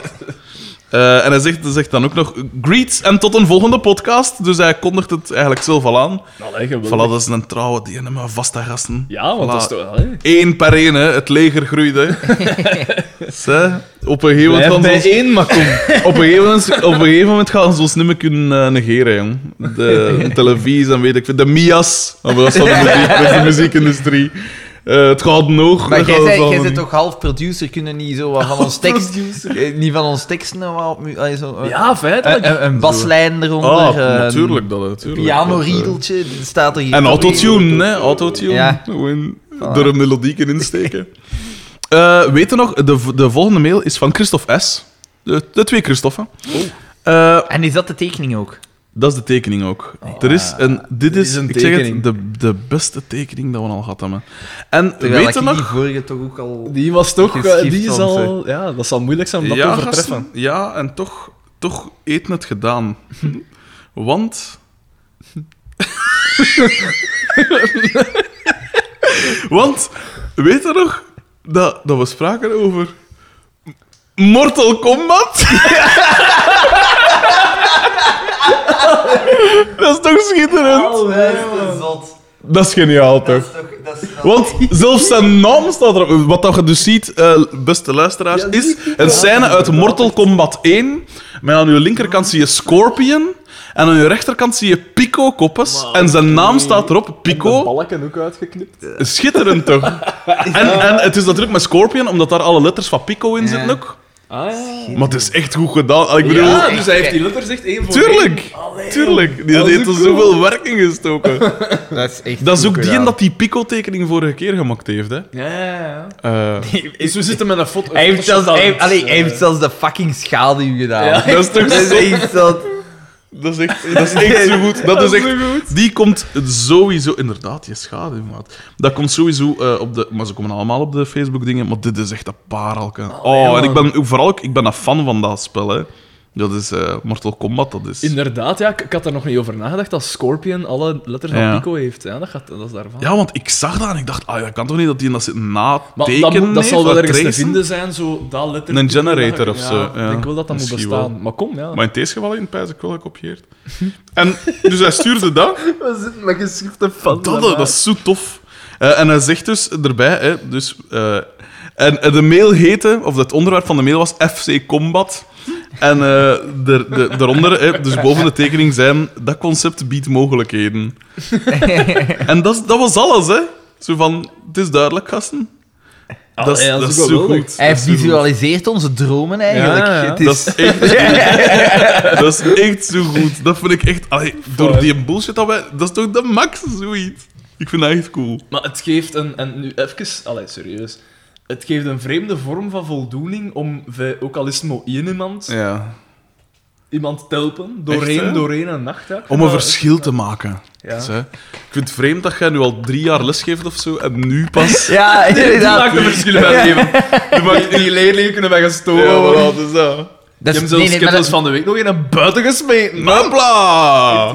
S1: Eh, en hij zegt, zegt dan ook nog greets en tot een volgende podcast. Dus hij kondigt het eigenlijk zelf al aan.
S2: Allee, geweldig.
S1: Voilà, dat is een trouwe die maar vaste gasten.
S2: Ja, want
S1: Voilà.
S2: dat is toch... Allee.
S1: Eén per één, hè. het leger groeide. Ze, op een gegeven moment gaan
S2: Blijf
S1: ze
S2: bij
S1: ons-
S2: één, maar kom.
S1: op een gegeven moment, op een gegeven moment gaan ze ons niet meer kunnen eh, negeren, jong. De, de televisie en weet ik veel. De Mias. Maar dat is van de, muziek, dat is de muziekindustrie. Eh, het gaat nog.
S3: Maar
S1: dat
S3: jij
S1: gaat
S3: zei-
S1: ons
S3: jij
S1: allemaal
S3: bent
S1: niet.
S3: toch half producer, kunnen niet zo wat van ons tekst... eh, Niet van ons teksten, nou, wat op mu- allee, zo, eh,
S2: Ja, feitelijk.
S3: een, een- een baslijn eronder.
S1: Ah,
S3: eh,
S1: natuurlijk. Dat, natuurlijk. Dat, eh.
S3: Pianoriedeltje, dat staat er hier.
S1: En
S3: ook in.
S1: autotune, hè? Autotune.
S3: Ja.
S1: Gewoon door een melodiek in insteken. Eh weet je nog, de, de volgende mail is van Christophe S. De, de twee Christoffen. Eh,
S3: En is dat de tekening ook?
S1: dat is de tekening ook. er is een, dit is,
S2: is een
S1: ik zeg het,
S2: tekening.
S1: de, de beste tekening dat we al gehad hebben. En
S3: Terwijl
S1: weet je
S3: ik
S1: nog...
S3: die vorige toch ook al...
S2: Die was toch...
S3: Geschift
S2: eh, Die is
S3: soms,
S2: al... Ja, dat zal moeilijk zijn om dat te overtreffen.
S1: gasten, ja, en toch, toch heeft het gedaan. Want. Want, weet je nog dat, dat we spraken over. Mortal Kombat? dat is toch schitterend? Oh, Dat is geniaal, toch? Want zelfs zijn naam staat erop. Wat dat je dus ziet, eh, beste luisteraars, is een scène uit Mortal Kombat 1. Met aan je linkerkant zie je Scorpion. En aan je rechterkant zie je Pico Koppes. En zijn naam staat erop,
S2: De
S1: Pico.
S2: balken ook uitgeknipt.
S1: Schitterend toch? En, en het is natuurlijk met Scorpion, omdat daar alle letters van Pico in zitten
S3: Ja.
S1: ook.
S2: Ah, ja.
S1: Maar het is echt goed gedaan. Al, Ik bedoel,
S2: Ja, dus hij heeft die letters echt één voor
S1: tuurlijk! Tuurlijk! Die
S2: Dat is
S1: heeft er
S2: cool.
S1: zoveel werk in gestoken.
S3: Dat is echt
S1: Dat is
S3: goed
S1: ook die
S3: gedaan.
S1: dat die Pico-tekening vorige keer gemaakt heeft, hè?
S2: één. Ja, ja, ja.
S1: Eh,
S2: Dus we zitten met een foto.
S3: Hij heeft, zelfs,
S2: een
S3: hij, heeft- allee, hij heeft zelfs de fucking schaduw gedaan.
S2: Ja.
S1: dat is toch
S3: Dat is
S1: zo
S3: echt dat...
S1: Dat is echt, dat is echt zo goed. Dat is echt, die komt sowieso... Inderdaad, je schade, maat. Dat komt sowieso eh, op de... Maar ze komen allemaal op de Facebook-dingen, maar dit is echt een parelke. Oh, en ik ben ook- vooral ook... Ik ben een fan van dat spel, hè. Dat is eh, Mortal Kombat, dat is...
S2: Inderdaad, ja. Ik, ik had er nog niet over nagedacht dat Scorpion alle letters van
S1: Ja.
S2: Pico heeft. Ja, dat, gaat, dat is daarvan.
S1: Ja, want ik zag dat en ik dacht, ah, dat kan toch niet dat die dat zit na
S2: Maar dat,
S1: tekenen
S2: moet- dat
S1: heeft,
S2: zal wel
S1: wat
S2: ergens te
S1: tracen?
S2: vinden zijn, zo dat letter.
S1: Een generator of
S2: Ja,
S1: zo, ja.
S2: Ik denk wel dat dat moet
S1: Misschien wel.
S2: bestaan. Maar kom, ja.
S1: Maar in deze geval in het pijs ik wel gekopieerd. En dus hij stuurde dat.
S4: We zitten met geschriften van.
S1: Dat, dat is zo tof. Eh, en hij zegt dus erbij, hè, dus, eh, en, en de mail heette, of het onderwerp van de mail was FC Combat. En eh, de, de, daaronder, hè, dus boven de tekening, zijn dat concept biedt mogelijkheden. en dat, is- dat was alles, hè? Zo van, het is duidelijk, gasten. Dat is,
S2: Allee, dat
S1: dat
S2: is
S1: is
S2: ook wel
S1: zo
S2: leuk.
S1: goed.
S3: Hij
S1: Dat is zo goed.
S3: visualiseert onze dromen eigenlijk.
S2: Ja, ja.
S3: Het
S1: Dat is
S3: is...
S1: echt goed. Dat is echt zo goed. Dat vind ik echt... allee, door die bullshit dat wij... Dat is toch de max, zoiets. Ik vind dat echt cool.
S2: Maar het geeft een... En nu even... Allee, serieus. Het geeft een vreemde vorm van voldoening om, vi- ook al is het maar één iemand,
S1: Ja.
S2: iemand te helpen, doorheen,
S1: Echt, hè?
S2: doorheen een nacht. ja. Ik vind
S1: Om een
S2: dat-
S1: verschil te maken.
S2: Ja.
S1: Dus, hè, ik vind het vreemd dat jij nu al drie jaar lesgeeft of zo en nu pas.
S3: Ja,
S2: Die maakt
S3: inderdaad.
S2: een verschil in mijn leven. Die, die leerlingen kunnen mij gestolen
S1: Ja,
S2: worden.
S1: voilà, dus dat.
S3: Dat
S2: Je hebt
S3: is-
S2: zelfs
S3: nee, nee, maar
S2: Skittles
S3: dat-
S2: van de week nog in een buiten gesmeten.
S1: Hopla!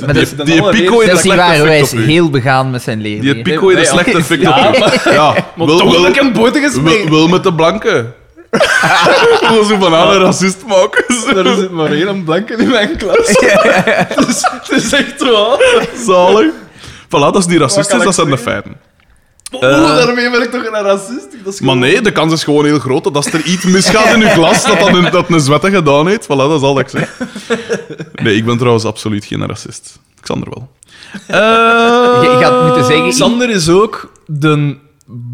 S3: maar dat is-
S1: Die,
S2: dan
S1: die
S2: alle
S1: pico in
S3: Dat
S1: de
S3: is niet
S1: slechte
S3: waar, hoor. hij
S1: effect
S3: is
S1: op u.
S3: heel begaan met zijn
S1: Die
S3: leerlingen.
S1: pico in de
S2: Nee, ja.
S1: slechte effect op
S2: Ja,
S1: u. Ja,
S2: Maar
S1: wel-
S2: toch
S1: wel-
S2: heb ik een buiten
S1: wel-
S2: gesmeten.
S1: wel met de blanke. Wil ze van haar een racist maken?
S2: Er
S1: Zo.
S2: zit maar één blanke in mijn klas. dus, het is echt
S1: Eh.
S2: waar.
S1: Zalig. Voilà, dat is niet
S2: Wat kan
S1: racistisch,
S2: ik
S1: dat zijn de
S2: zeggen?
S1: feiten.
S2: Oeh, Oh, daarmee ben ik toch een racist? Dat is
S1: Maar nee, de kans is gewoon heel groot dat als er iets misgaat in uw klas, dat dan een, dat een zwette gedaan heeft. Voilà, dat is al dat ik zeg. Nee, ik ben trouwens absoluut geen racist. Xander wel. Eh,
S3: Je, je had moeten zeggen...
S2: Ah, Sander is ook de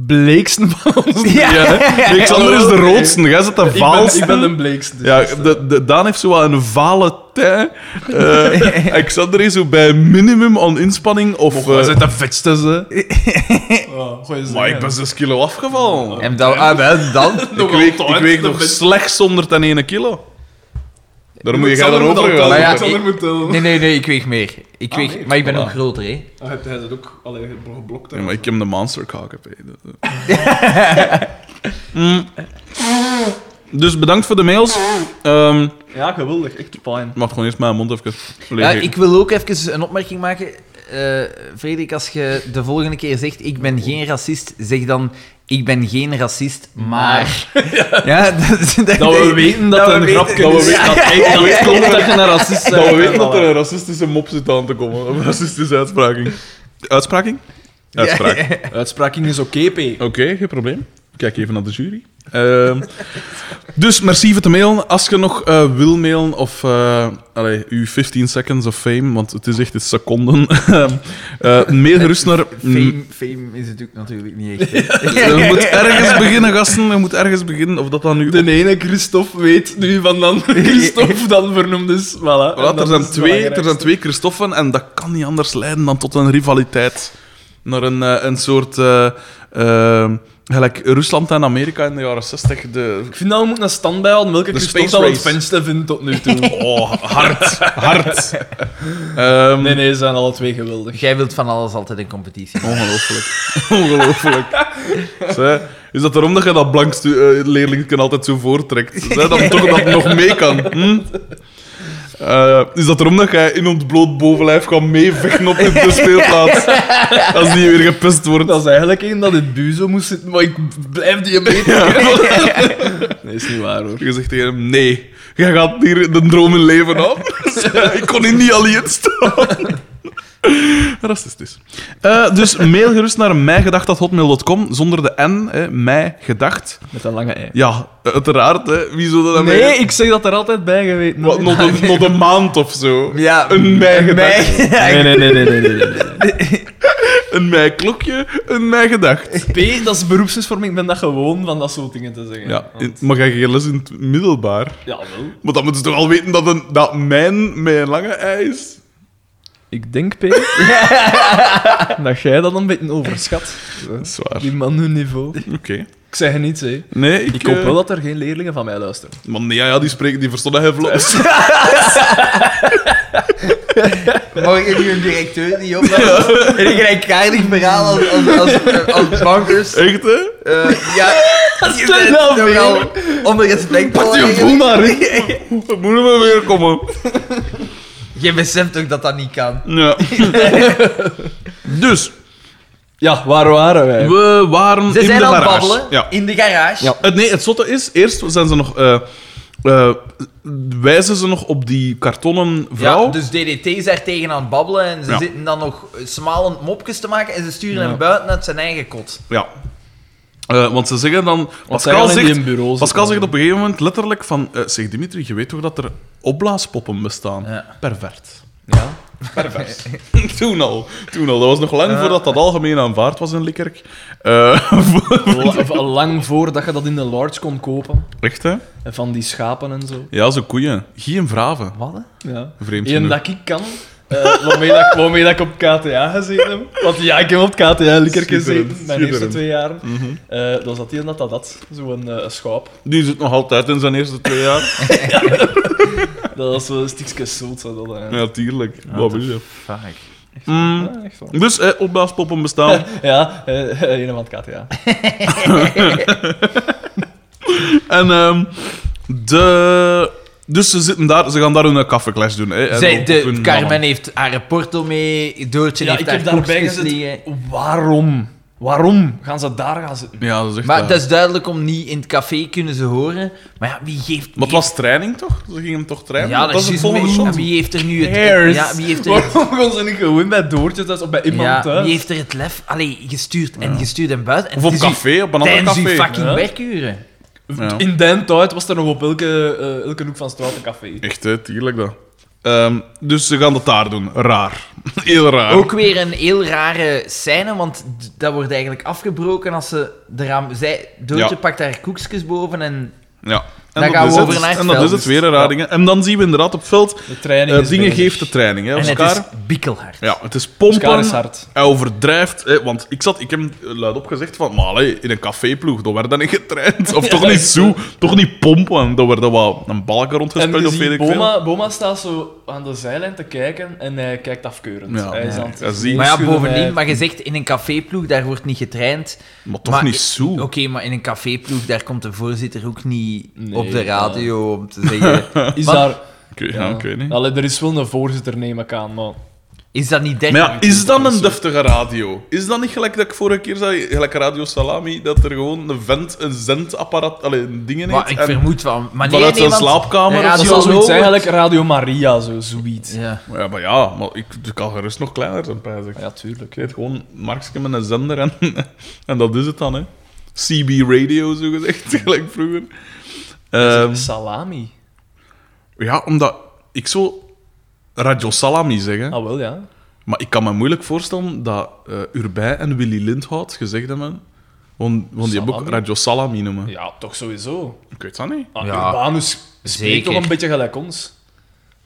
S2: bleekste van ons.
S3: Ja.
S1: Nee, Xander is de roodste. Jij zit de
S2: Ik ben,
S1: vaalste.
S2: ik ben de bleekste. dus
S1: Ja,
S2: dat is-
S1: de, de, Daan heeft zo wel een vale tij. Eh, en Xander is zo bij minimum aan inspanning. Of,
S2: Hij
S1: eh,
S2: zit de vetste, ze.
S4: Oh,
S2: Ja, goeie zin,
S1: maar ik
S2: hè.
S1: ben 6 kilo afgevallen.
S3: En dan... Ah, wel, dan...
S1: Ik
S2: wel
S1: weeg,
S2: toch,
S1: ik
S2: hè?
S1: weeg
S2: De
S1: nog
S2: best-
S1: slechts 101 kilo. Daar moet je gaan
S2: Xander moet
S1: over
S2: al
S1: gaan.
S2: tellen,
S3: Maar ja,
S2: Xander moet tellen.
S3: Nee, nee, nee, ik weeg meer. Ik weeg...
S2: Ah, nee,
S3: maar ik ben
S1: voilà.
S3: ook groter, hè.
S2: Ah, Hij hij zit ook alleen geblokt.
S1: Ja, maar ik heb de monster kaken. hè. Dat- dat- Mm. Dus bedankt voor de mails. Ehm,
S2: Ja, geweldig. Echt fijn.
S1: ik mag gewoon eerst mijn mond even
S3: Ja,
S1: legen.
S3: ik wil ook even een opmerking maken. Eh Frederik, als je de volgende keer zegt: Ik ben geen racist, zeg dan: ik ben geen racist, maar... Ja, dat, is-
S2: Dat we weten dat het
S3: dat we
S2: een
S3: weten
S2: grapje
S1: dat we
S2: is.
S1: weten-
S2: Dat echt- dat het klopt dat je een racist bent.
S1: Dat we weten dat er een racistische mop zit aan te komen. Een racistische uitspraking. Uitspraking? Uitspraak.
S2: Uitspraking is oké, P.
S1: Oké, geen probleem. Kijk even naar de jury. Ehm, dus merci voor te mailen. Als je nog eh, wil mailen of eh allee, uw 15 seconds of fame, want het is echt in seconden, eh, mail gerust naar.
S3: Fame, fame is het ook natuurlijk niet echt.
S1: Je moet ergens beginnen, gasten. Je moet ergens beginnen. Of dat dan nu.
S4: De ene Christophe weet nu van de andere Christophe dan vernoemd is. Voilà. En
S1: Voilà,
S4: dat
S1: er, zijn
S4: is het
S1: twee, er zijn
S4: belangrijkste.
S1: twee Christoffen en dat kan niet anders leiden dan tot een rivaliteit. Naar een, eh, een soort. eh, eh, gelijk Rusland en Amerika in de jaren 60. De,
S2: Ik vind dat we moeten een stand bijhouden welke
S1: De
S2: Christophe
S1: space
S2: dat we het
S1: race.
S2: venster vindt tot nu toe.
S1: Oh, hard, hard. Ehm,
S2: Nee, nee, ze zijn alle twee geweldig.
S3: Jij wilt van alles altijd een competitie.
S1: Ongelooflijk. Ongelooflijk. Zeg, is dat daarom dat je dat blank stu- eh, leerlingetje altijd zo voortrekt? Zeg, dat toch dat nog mee kan. Hm? Eh, is dat erom dat jij in ontbloot bovenlijf gaat meevechten op de de speelplaats? Als die weer gepest wordt.
S2: Dat is eigenlijk één dat in het buzo moest zitten, maar ik blijf die een beetje. Nee, is niet waar hoor.
S1: Je zegt tegen hem, nee, jij gaat hier de droom in leven aan. ik kon hier niet alleen staan. Racistisch. Eh, dus mail gerust naar mijgedacht.hotmail.com zonder de N, hè, mijgedacht.
S2: Met een lange ei.
S1: Ja, uiteraard. Hè. Wie zou dat dan
S2: Nee,
S1: weten?
S2: ik zeg dat er altijd bij geweten.
S1: Wat, nog, een, nog een maand of zo.
S3: Ja,
S1: Een mijgedacht.
S2: Nee, nee, nee, nee, nee, nee, nee.
S1: Een mijklokje, een mijgedacht.
S2: nee. P, dat is beroepsmisvorming, ik ben dat gewoon van dat soort dingen te zeggen.
S1: Ja, in- maar jij geen les in het middelbaar?
S2: Ja, wel.
S1: Want dan moeten ze toch al weten dat, een, dat mijn, mijn lange ei is?
S2: Ik denk, P, dat jij dat een beetje overschat.
S1: Dat is waar.
S2: Die man hun niveau.
S1: Oké.
S2: Ik zeg het niet, hè.
S1: Nee, ik...
S2: Ik hoop
S1: eh,
S2: wel dat er geen leerlingen van mij luisteren.
S1: Maar nee, ja, ja, die, spreken, die verstonden heel vlot.
S3: Morgen nu een directeur die op en een gelijkaardig verhaal als, als, als, als bankers.
S1: Echt, hè?
S3: Eh, ja, die
S2: Stel
S3: zijn
S2: nou weer.
S3: nogal onder respect.
S1: maar, Moet maar weer komen.
S3: Je beseft ook dat dat niet kan.
S1: Ja. dus,
S2: Ja, waar waren wij?
S1: we waren
S3: Ze
S1: in
S3: zijn
S1: de
S3: aan het
S1: garage.
S3: babbelen
S1: Ja.
S3: in de garage.
S1: Ja. Het, nee, het zotte is, eerst zijn ze nog... eh, eh, wijzen ze nog op die kartonnen vrouw?
S3: Ja, dus DDT is daar tegen aan het babbelen en ze
S1: Ja.
S3: zitten dan nog smalend mopjes te maken en ze sturen hem buiten uit zijn eigen kot.
S1: Ja. Eh, want ze zeggen dan...
S2: zij
S1: Pascal
S2: gaan in
S1: zegt,
S2: die bureau zitten.
S1: Pascal zegt op een gegeven moment letterlijk van... eh, zeg, Dimitri, je weet toch dat er opblaaspoppen bestaan?
S3: Ja.
S1: Pervert.
S3: Ja.
S1: Pervers. toen al. Toen al. Dat was nog lang voordat dat algemeen aanvaard was in Likkerk. Eh,
S2: La- of al lang voordat je dat in de large kon kopen.
S1: echt, hè?
S2: En van die schapen en zo.
S1: Ja, zo koeien. Geen vraven.
S3: Wat? hè?
S2: Ja.
S1: Vreemd
S2: Eén
S1: genoeg.
S2: dat ik kan, eh, waarmee, dat, ik- waarmee dat ik op KTA gezeten heb. Want ja, ik heb op KTA lekker
S1: Schitterend,
S2: gezeten, mijn eerste
S1: schitterend. Mhm.
S2: twee jaar. Eh, dan zat hij dat dat had, zo'n eh schaap.
S1: Die zit nog altijd in zijn eerste twee jaar.
S2: Dat was wel een stukje zoet. zo Dat, eh.
S1: ja, tuurlijk. Wat wil je?
S3: Fuck.
S1: Mm,
S2: Ja, echt wel.
S1: dus eh, opblaaspoppen bestaan.
S2: Ja, eh, eh, een van het KTA.
S1: en ehm, de... Dus ze, zitten daar, ze gaan daar hun kaffeeclash doen. Hè, en
S3: Zij,
S1: op
S3: de,
S1: hun
S3: Carmen
S1: mannen.
S3: heeft haar porto mee, Doortje
S2: Ja,
S3: heeft
S2: ik
S3: haar
S2: heb daarbij
S3: koekjes liggen.
S2: gezet. Waarom? Waarom gaan ze daar gaan zitten?
S1: Ja, dat is echt eh,
S3: Maar
S1: waar.
S3: dat is duidelijk om niet in het café kunnen ze horen. Maar ja, wie geeft...
S1: Maar het was training, toch? Ze gingen hem toch trainen?
S3: ja, dat is
S1: het
S3: juist
S1: volgende
S3: mee.
S1: shot.
S3: En Wie heeft er nu het...
S2: Hairs.
S3: Ja, wie heeft er...
S2: Waarom gaan ze niet gewoon bij Doortje thuis of bij iemand
S3: ja,
S2: thuis?
S3: wie heeft er het lef? Allee, gestuurd en gestuurd en buiten. En
S1: Of op
S3: het is uw-
S1: café, op een ander
S3: Tijdens uw
S1: café.
S3: fucking
S2: Ja.
S3: werkuren.
S1: Ja.
S2: In den tijd was er nog op elke, eh, elke hoek van straat een café.
S1: Echt, hè, tuurlijk dat. Ehm, dus ze gaan dat daar doen. Raar. Heel raar.
S3: Ook weer een heel rare scène, want d- dat wordt eigenlijk afgebroken als ze de raam... Zij, Doortje
S1: Ja.
S3: pakt haar koekjes boven en...
S1: Ja. En
S3: Dan gaan
S1: is
S3: we
S1: het.
S3: over naar het
S1: En dat
S3: veld.
S1: is het weer een raar ding, hè. En dan zien we inderdaad op het veld...
S2: De training
S1: eh,
S2: is
S1: dingen
S2: bezig.
S1: geeft de training, hè,
S3: en het
S1: Oscar.
S3: is bikkelhard.
S1: Ja, het is pompen.
S2: Oscar is hard.
S1: Hij overdrijft. Hè, want ik, zat, ik heb hem luidop gezegd van... Maar allee, in een caféploeg, dat werd dan niet getraind. Of toch niet zo. Toch niet pompen. Dat werd wel een balken
S2: En
S1: rondgespeeld
S2: je
S1: of weet
S2: ziet,
S1: ik veel.
S2: Boma, Boma staat zo aan de zijlijn te kijken en hij kijkt afkeurend.
S1: Ja,
S2: hij is
S1: ja.
S2: aan het
S1: Ja, zie.
S3: Maar ja,
S2: schudden, hij-
S3: bovendien, maar je zegt in een caféploeg, daar wordt niet getraind.
S1: Maar eh, toch
S3: Maar-
S1: niet zo.
S3: Oké, maar in een caféploeg, daar komt de voorzitter ook niet
S2: Nee,
S3: op
S2: ja.
S3: de radio om te zeggen...
S2: Is
S3: Want
S2: daar...
S1: Oké, ja, ik weet niet.
S2: Allee, er is wel een voorzitter, neem ik aan, maar...
S3: Ik Is dat niet 30
S1: Maar ja,
S3: minuten?
S1: is dat een deftige radio? Is dat niet gelijk dat ik vorige keer zei, gelijk Radio Salami, dat er gewoon een vent een zendapparaat, allee, een dingen
S3: Maar
S1: heeft
S3: ik
S1: en
S3: vermoed wel. Maar nee,
S1: vanuit
S3: nee,
S1: zijn
S3: want-
S1: slaapkamer
S3: Ja,
S1: of
S2: dat
S1: zo?
S2: zou zoiets
S3: zo-
S2: zijn, eigenlijk Radio Maria, zo, zoiets. Ja,
S3: Ja.
S1: Ja, maar ja, maar ik, ik kan gerust nog kleiner zijn, pijs ik.
S2: tuurlijk.
S1: Ik weet gewoon Markske met een zender en, en dat is het dan, hè. CB Radio, zo gezegd, gelijk vroeger. Ehm,
S2: Salami.
S1: ja, omdat ik zo Radio Salami zeg, hè.
S2: Ah, wel, ja.
S1: Maar ik kan me moeilijk voorstellen dat eh Urbij en Willy Lindhout gezegd hebben... Want, want die hebben ook
S2: Salami?
S1: Radio Salami noemen.
S2: Ja, toch sowieso.
S1: Ik weet dat niet.
S2: Ah,
S3: Ja,
S2: Urbanus spreekt
S3: zeker.
S2: toch een beetje gelijk ons.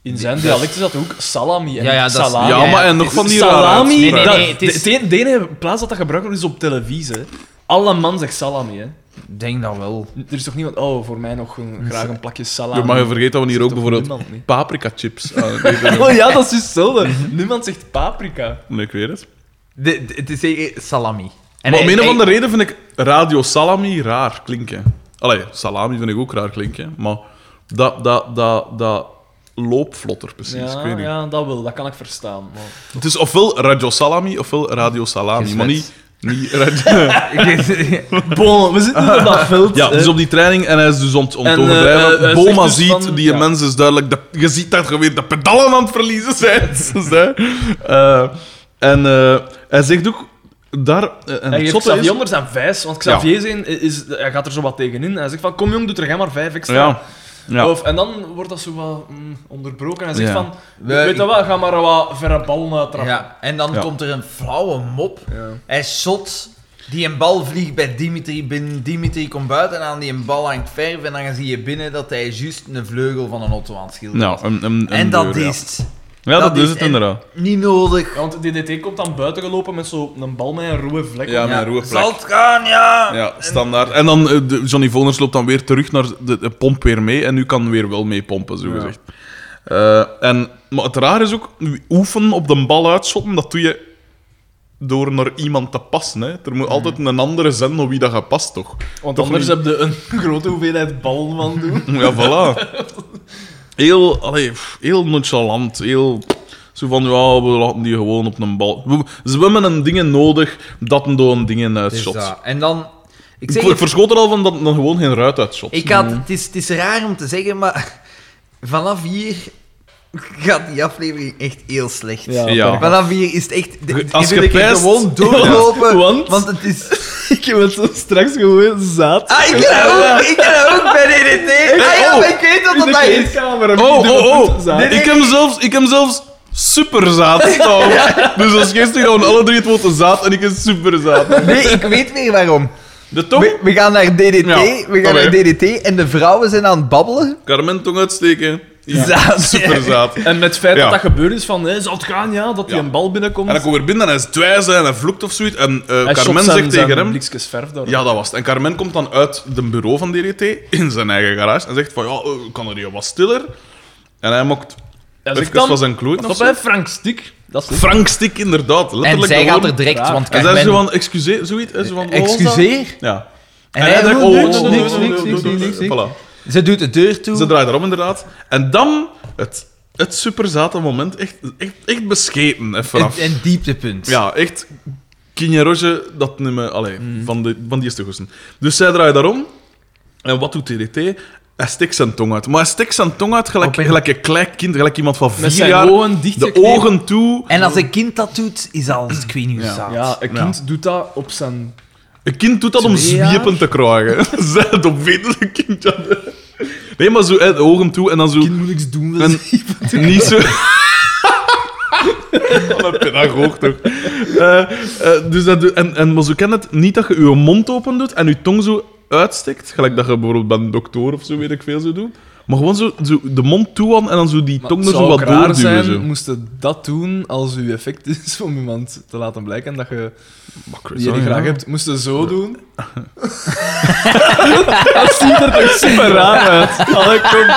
S2: In zijn dialect is dat ook salami en
S3: Ja, ja, dat is-
S2: salami.
S1: ja,
S3: Ah, ja,
S1: maar en
S3: het
S1: nog van die rare
S2: salami,
S3: Nee, nee,
S2: dat-
S1: uitspraken.
S3: nee, het is-
S2: de, de- de enige plaats dat dat gebruikt wordt is op televisie. hè. Alle man zegt salami. Hè.
S3: Ik denk dat wel.
S2: Er is toch niemand, oh, voor mij nog een, graag een plakje salami.
S1: Ja, maar je vergeet dat Dus, we hier ook
S2: toch
S1: bijvoorbeeld
S2: niemand, nee?
S1: paprika chips ah, aan eten.
S2: Oh ja, dat is dus hetzelfde.
S1: Mhm.
S2: Niemand zegt paprika.
S1: Nee, ik weet het.
S3: De- de- het is eh, salami. En
S1: maar om
S3: hij-
S1: een of
S3: hij-
S1: andere reden vind ik Radio Salami raar klinken. Allee, salami vind ik ook raar klinken, maar dat, dat, dat, dat loopt vlotter precies. ik
S2: Ja,
S1: weet niet.
S2: ja, dat wil, dat kan ik verstaan. Maar...
S1: Het is ofwel Radio Salami ofwel Radio Salami, maar niet,
S3: Gesmet.
S1: niet radio...
S2: Bon, we zitten op dat veld.
S1: Ja, dus op die training en hij is dus ont
S2: En,
S1: ontoverdrijven.
S2: eh, eh,
S1: Boma
S2: zegt dus
S1: ziet,
S2: van-
S1: die
S2: ja.
S1: mens is duidelijk... De, je ziet dat je weer de pedalen aan het verliezen zijn. Dus, hè. Eh, en eh, hij zegt ook... Daar, eh, en
S2: Hij
S1: het
S2: geeft
S1: zotte
S2: Xavier
S1: is...
S2: anders dan vijf, want Xavier zijn, is, hij gaat er zo wat tegenin. Hij zegt van, kom jong, doe er jij maar vijf extra.
S1: Ja, ja.
S2: Of, en dan wordt dat zo wat mm, onderbroken. Hij zegt
S1: Ja.
S2: van,
S3: We-
S2: weet je wat, ga maar wat verre ballen uittrappen.
S3: Ja, en dan
S1: Ja.
S3: komt er een flauwe mop.
S2: Ja.
S3: Hij shot die een bal vliegt bij Dimitri binnen. Dimitri komt buiten en aan die een bal hangt verf. En dan zie je binnen dat hij juist een vleugel van een auto aan het schilderen
S1: Nou,
S3: is.
S1: een, een, een
S3: En dat
S1: deur, ja.
S3: is het.
S1: Ja, dat,
S3: dat
S1: is
S3: is
S1: het
S3: en-
S1: inderdaad.
S3: niet nodig.
S2: Ja, want DDT komt dan buiten gelopen met zo'n bal met een rode vlek.
S1: Ja,
S2: op.
S1: met een rode vlek.
S3: Zal het gaan, ja!
S1: Ja, standaard. En dan eh, de- Johnny Voners loopt dan weer terug naar de, de pomp weer mee en nu kan weer wel mee pompen, zo gezegd. Eh, en, maar het raar is ook, oefenen op de bal uitschotten, dat doe je door naar iemand te passen. Hè. Er
S3: Hmm.
S1: moet altijd een andere zijn op wie dat gaat past, toch?
S2: Want
S1: Toch
S2: anders
S1: niet?
S2: heb je een grote hoeveelheid ballen van doen.
S1: Ja, voilà. Heel, allee, pff, heel nonchalant, heel... Zo van, ja, we laten die gewoon op een bal... We- Ze hebben een dingen nodig dat een door een dingen
S3: Het is
S1: uitshot.
S3: dat. En dan...
S1: Ik,
S3: Ik
S1: Mm.
S3: zeg
S1: ik
S3: het,
S1: verschoot er al van dat dan gewoon geen ruit uitshot.
S3: ik had, het, is, het is raar om te zeggen, maar vanaf hier gaat die aflevering echt heel slecht.
S1: Ja.
S3: Vanaf hier is het echt... de-
S1: Als
S3: wil
S1: je
S3: ik hier
S1: pijst-
S3: gewoon doorlopen,
S2: Ja, want-
S3: het is...
S2: Ik heb het zo straks gewoon zaad.
S3: Ah, ik ken dat ook, ik ken dat ook bij DDT. Ah ja,
S1: oh.
S3: maar ik weet wat
S2: In de
S3: dat is.
S2: kleedkamer. heb ik
S1: Oh,
S2: dubbel
S1: oh,
S2: punt
S1: oh.
S2: zaad.
S3: Nee, nee.
S1: Ik heb hem zelfs, ik heb hem zelfs superzaad staan. Dus als gisteren gewoon alle drie het woord zaad en ik een superzaad.
S3: Nee, ik weet weer waarom.
S1: De tong?
S3: We, we gaan naar DDT,
S1: Ja,
S3: we
S1: oké.
S3: gaan naar DDT en de vrouwen zijn aan het babbelen.
S1: Carmen, tong uitsteken.
S3: Zaad.
S1: Superzaad. En
S2: En met het feit
S1: Ja.
S2: dat dat gebeurd is van, hè, zal het gaan, ja, dat die
S1: Ja.
S2: een bal binnenkomt.
S1: dan komt weer binnen en hij is dwijzen en hij vloekt of zoiets. En eh,
S2: Hij shot
S1: Carmen
S2: zijn-
S1: zegt
S2: zijn
S1: tegen hem...
S2: blikjes verf daar.
S1: Ja, dat was het. En Carmen komt dan uit het bureau van DDT in zijn eigen garage en zegt van, ja, eh, kan er hier wat stiller? En hij mokt
S2: Hij zegt
S1: even
S2: dus dan,
S1: van zijn kloot
S2: stop
S1: of zo.
S2: hè, Frank Stik. Dat is het.
S1: Frank Stik, inderdaad. Letterlijk
S3: En zij
S1: de
S3: gaat
S1: woorden.
S3: er direct,
S2: Ja.
S3: want
S1: En zij is
S3: Carmen...
S1: zo van, excuseer, zoiets. hè, zo van, wat was dat?
S3: Excuseer?
S1: Ja.
S3: En hij doet Eh, niks,
S1: oh,
S3: niks,
S1: oh, oh,
S3: niks, niks,
S1: oh, oh,
S3: niks,
S1: oh,
S3: niks.
S1: voilà.
S3: Ze doet de deur toe.
S1: Ze draait erom, inderdaad. En dan het, het superzate moment, echt, echt, echt bescheten. Even
S3: Een,
S1: af.
S3: een dieptepunt.
S1: Ja, echt. Kinja Roger, dat nummer, allee,
S2: Mhm.
S1: van, de, van die is te goesten. Dus zij draait daarom. En wat doet TDT? Hij steekt zijn tong uit. Maar hij steekt zijn tong uit gelijk,
S3: Op een-
S1: gelijk een klein kind, gelijk iemand van vier
S2: Met zijn
S1: jaar.
S2: ogen dicht
S1: de
S2: geknepen.
S1: ogen toe.
S3: En als een kind dat doet, is al het queen
S1: Ja.
S3: zaad.
S2: Ja, een
S1: Ja.
S2: kind doet dat op zijn...
S1: Een kind doet dat om
S2: Twee jaar?
S1: zwiepen te krijgen. Zij het opwetende kind. ja. Nee, maar zo, hè, de ogen toe en dan zo...
S2: moet niks doen.
S3: dus-
S1: En niet zo. Wat een pedagoog toch? Eh, eh, dus dat, doe- en, en, maar zo ken het niet dat je je mond open doet en je tong zo uitstikt. Gelijk dat je bijvoorbeeld bij een dokter of zo, weet ik veel, zo doet. Maar gewoon zo, zo de mond toe aan en dan zo die tong er zo wat doorduwen.
S2: zijn,
S1: zo.
S2: moest je dat doen als uw effect is om iemand te laten blijken en dat je
S1: Maar
S2: die je
S1: ja.
S2: niet graag hebt, moest je zo doen. dat ziet er toch super raar uit. Allee, kom.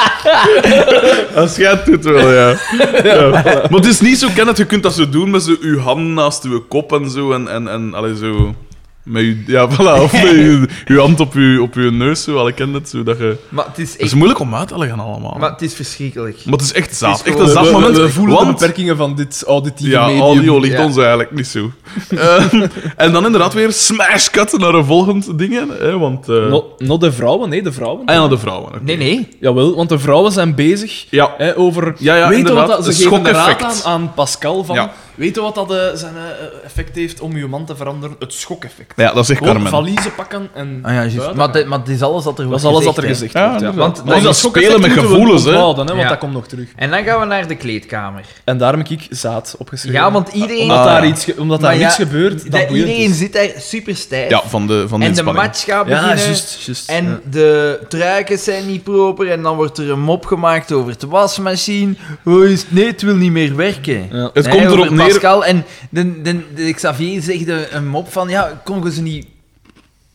S1: Als jij het doet wel, ja. ja. Maar het is niet zo ken het, je kunt dat zo doen met zo je hand naast je kop en zo. En, en, en allee, zo. Met je, ja, voilà. Of met je, je hand op je, op je neus, zo. Al, ik ken het, zo dat je...
S3: Maar het is
S1: Het is
S3: echt...
S1: moeilijk om uit te leggen allemaal.
S3: Maar
S1: Maar,
S3: het is verschrikkelijk.
S1: het is echt zaaf.
S3: Het is
S1: Echt
S3: gewoon-
S1: een zaaf
S2: we,
S1: moment.
S2: we- we voelen de
S1: want-
S2: beperkingen van dit auditieve
S1: ja,
S2: medium.
S1: audio ligt
S3: ja.
S1: ons eigenlijk niet zo. Eh, en dan inderdaad weer smash cut naar een volgend ding. Hè, want... eh
S2: Not, not de vrouwen, nee, de vrouwen.
S1: En aan de vrouwen. oké.
S3: Nee, nee.
S2: Jawel, want de vrouwen zijn bezig
S1: Ja.
S2: hè, over...
S1: Ja, ja,
S2: weet je wat
S1: inderdaad,
S2: dat, ze
S1: een
S2: geven een raad aan,
S1: schokeffect.
S2: aan Pascal van...
S1: Ja.
S2: Weet je wat dat eh, zijn eh, effect heeft om uw man te veranderen? Het schokeffect.
S1: Ja, dat zegt
S2: Gewoon
S1: Carmen.
S2: valiezen pakken en...
S3: Ah ja, juist.
S2: buiten
S3: Maar,
S2: gaan.
S3: dit- maar het is alles dat er
S2: dat
S3: wordt
S2: is alles wat er
S3: hè.
S2: gezegd
S1: Ja,
S2: wordt. Ja.
S1: inderdaad.
S2: Want
S1: Maar
S2: dat
S1: dat
S2: schokeffect
S1: spelen met
S2: moeten we
S1: gevoelens, hè.
S2: onthouden, hè, want
S3: Ja.
S2: dat komt nog terug.
S3: En dan gaan we naar de kleedkamer.
S2: En daarom heb ik zaad opgeschreven.
S3: Ja, want iedereen...
S2: Omdat
S1: Ah.
S2: daar iets, ge- omdat daar
S3: Maar ja,
S2: iets gebeurt, dat
S3: dat
S2: boeiend
S3: iedereen
S2: is.
S3: zit daar super stijf.
S1: Ja, van de, van de
S3: en de
S1: inspanning.
S3: match gaat
S2: Ja,
S3: beginnen.
S2: juist, juist.
S3: En de truikens zijn niet proper. En dan wordt er een mop gemaakt over de wasmachine. Hoe is het? Nee, het wil niet meer werken.
S2: Ja.
S1: Het
S3: Nee,
S1: komt
S3: over
S1: erop neer-
S3: Pascal en de, de, de Xavier zegt een- een mop van... Ja, konden ze niet...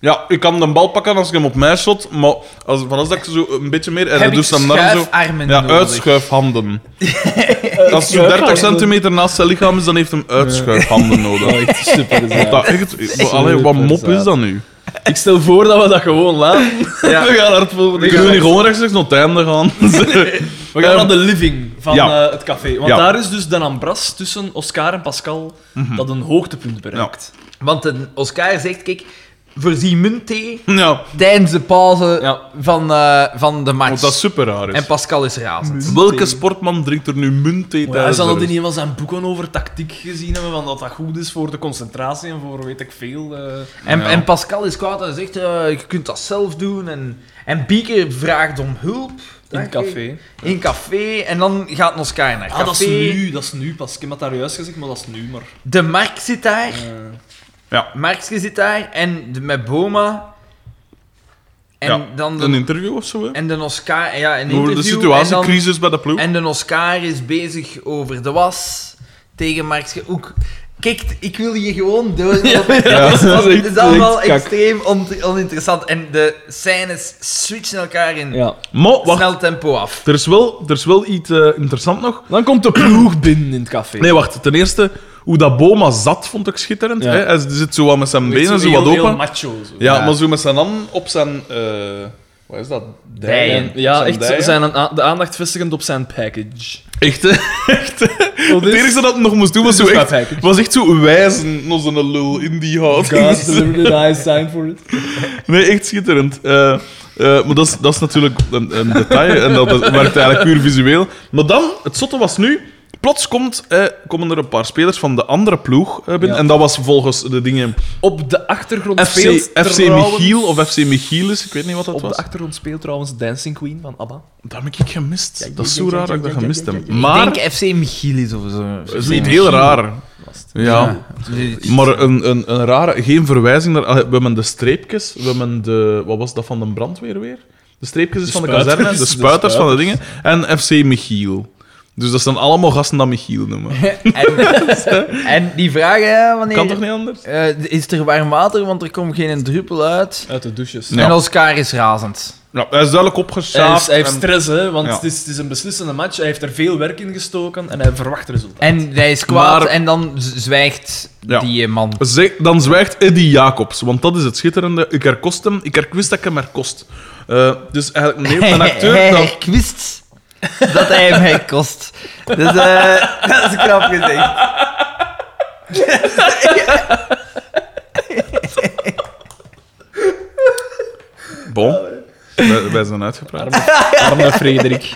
S1: Ja, ik kan de bal pakken als ik hem op mij shot, maar als, van als dat ik zo een beetje meer... En
S3: heb
S1: dan
S3: ik
S1: doe hem daar zo...
S3: schuifarmen
S1: Ja,
S3: nodig.
S1: uitschuifhanden. Als het zo 30 centimeter naast zijn lichaam is, dan heeft hem uitschuifhanden nodig.
S2: Oh, echt super
S1: Want
S2: zaad.
S1: Dat echt, allee, wat mop is dat nu?
S2: Ik stel voor dat we dat gewoon laten.
S3: Ja.
S2: We gaan naar het volgende.
S1: Kunnen we niet gewoon rechtstreeks naar het einde gaan?
S2: We gaan naar de living van
S1: ja.
S2: eh, het café. Want
S1: Ja. Mhm.
S2: daar is dus de ambras tussen Oscar en Pascal dat een hoogtepunt bereikt.
S3: Want de Oscar zegt, kijk... Voorzien munt thee
S1: Ja,
S3: tijdens de pauze
S2: Ja.
S3: van, eh, van de match.
S1: want dat is super raar. Is.
S3: En Pascal is razend.
S1: Welke sportman drinkt er nu munt thee
S2: Maar Hij
S1: tijdens
S2: zal
S1: de
S2: dat in
S1: rust?
S2: een van zijn boeken over tactiek gezien hebben, want dat dat goed is voor de concentratie en voor weet ik veel. eh.
S3: En,
S1: Ja.
S3: en Pascal is kwaad en zegt, eh, je kunt dat zelf doen. En, en Beaker vraagt om hulp.
S2: In het café.
S3: In café. En dan gaat Oscar naar café.
S2: Ah, dat is nu, dat is nu pas. Ik heb dat daar juist gezegd, maar dat is nu maar. eh,
S3: De Mark zit daar.
S1: Ja.
S3: Markske zit daar. En de, met Boma. En
S1: Ja,
S3: dan de,
S1: Een interview of zo, hè?
S3: en de Oscar... Ja, een
S1: Over de
S3: interview. en, dan-
S1: situatiecrisis bij de ploeg.
S3: en de Oscar is bezig over de was. Tegen Markske. Ook... Kijk, ik wil hier gewoon door.
S1: dat
S3: Want
S1: is
S3: het
S1: echt-
S3: is allemaal
S1: echt kak.
S3: extreem on- oninteressant. En de scènes switchen elkaar in
S2: Ja.
S1: Maar, wacht.
S3: snel tempo af.
S1: Er is wel, er is wel iets eh, interessant nog.
S2: Dan komt de ploeg binnen in het café.
S1: Nee, wacht. Ten eerste, hoe dat Boma zat, vond ik schitterend.
S2: Ja.
S1: Hè? Hij zit zo wat met zijn
S2: Weet je,
S1: benen, zo
S2: heel-
S1: wat
S2: Heel
S1: open.
S2: macho. Zo.
S1: Ja,
S3: Ja.
S1: maar zo met zijn hand op zijn... eh wat is dat?
S3: Dijen.
S2: Ja,
S1: Zijn
S2: echt
S1: dijen.
S2: zijn aan- de aandacht vestigend op zijn package.
S1: Echt, hè? Echt, hè? Het
S2: Dus-
S1: enige dat hij nog moest doen was, zo
S2: is mijn
S1: echt,
S2: package.
S1: was echt zo wijzen naar zijn lul in die houding.
S2: dus- delivered I sign for it.
S1: Nee, echt schitterend. Eh, eh, maar dat is, dat is natuurlijk een, een detail en dat werkt eigenlijk puur visueel. Maar dan, het zotte was nu... Plots komt, eh, komen er een paar spelers van de andere ploeg eh, binnen.
S2: Ja.
S1: En dat was volgens de dingen...
S2: Op de achtergrond
S1: FC,
S2: speelt
S1: FC
S2: trouwens-
S1: Michiel of FC Michielis, ik weet niet wat dat
S2: Op de
S1: was.
S2: achtergrond speelt trouwens Dancing Queen van ABBA.
S1: Dat heb ik gemist.
S2: Ja,
S1: dat is
S2: ja,
S1: zo
S2: ja,
S1: raar
S2: ja,
S1: dat ik dat
S2: ja, ja,
S1: gemist
S2: ja, ja,
S1: heb.
S2: ja.
S1: Maar,
S3: Ik denk FC Michilis of zo. Dus-
S1: het is niet heel raar. Ja. Maar een, een, een rare, geen verwijzing naar... Allee, We hebben de streepjes, we hebben de... Wat was dat van de brandweer weer? De streepjes is van de
S2: spuiters.
S1: kazerne, de
S2: De
S1: spuiters van de dingen. En FC Michiel. Dus dat zijn allemaal gasten dat Michiel noemen.
S3: en, en die vragen, hè, wanneer...
S1: Kan toch niet anders?
S3: eh, is er warm water, want er komt geen druppel uit.
S2: Uit de douches.
S1: Ja.
S3: En Oscar is razend.
S1: Nou, hij is duidelijk
S2: Hij, is-
S1: opgeschaafd.
S2: hij heeft
S1: en-
S2: stress, hè, want
S1: Ja.
S2: het, is, het is een beslissende match. Hij heeft er veel werk in gestoken en hij verwacht resultaat.
S3: En hij is kwaad
S1: Maar-
S3: en dan z- zwijgt
S1: Ja.
S3: die eh, man.
S1: Zeg- dan zwijgt Eddie Jacobs, want dat is het schitterende. Ik herkost hem, ik herkwist dat ik hem herkost. Eh, dus eigenlijk neemt een acteur...
S3: hij
S1: Dan,
S3: herkwist dat hij hem herkost. Dus eh, dat is knap gezegd.
S1: bon, wij, wij zijn uitgepraat.
S2: Arme Frederik.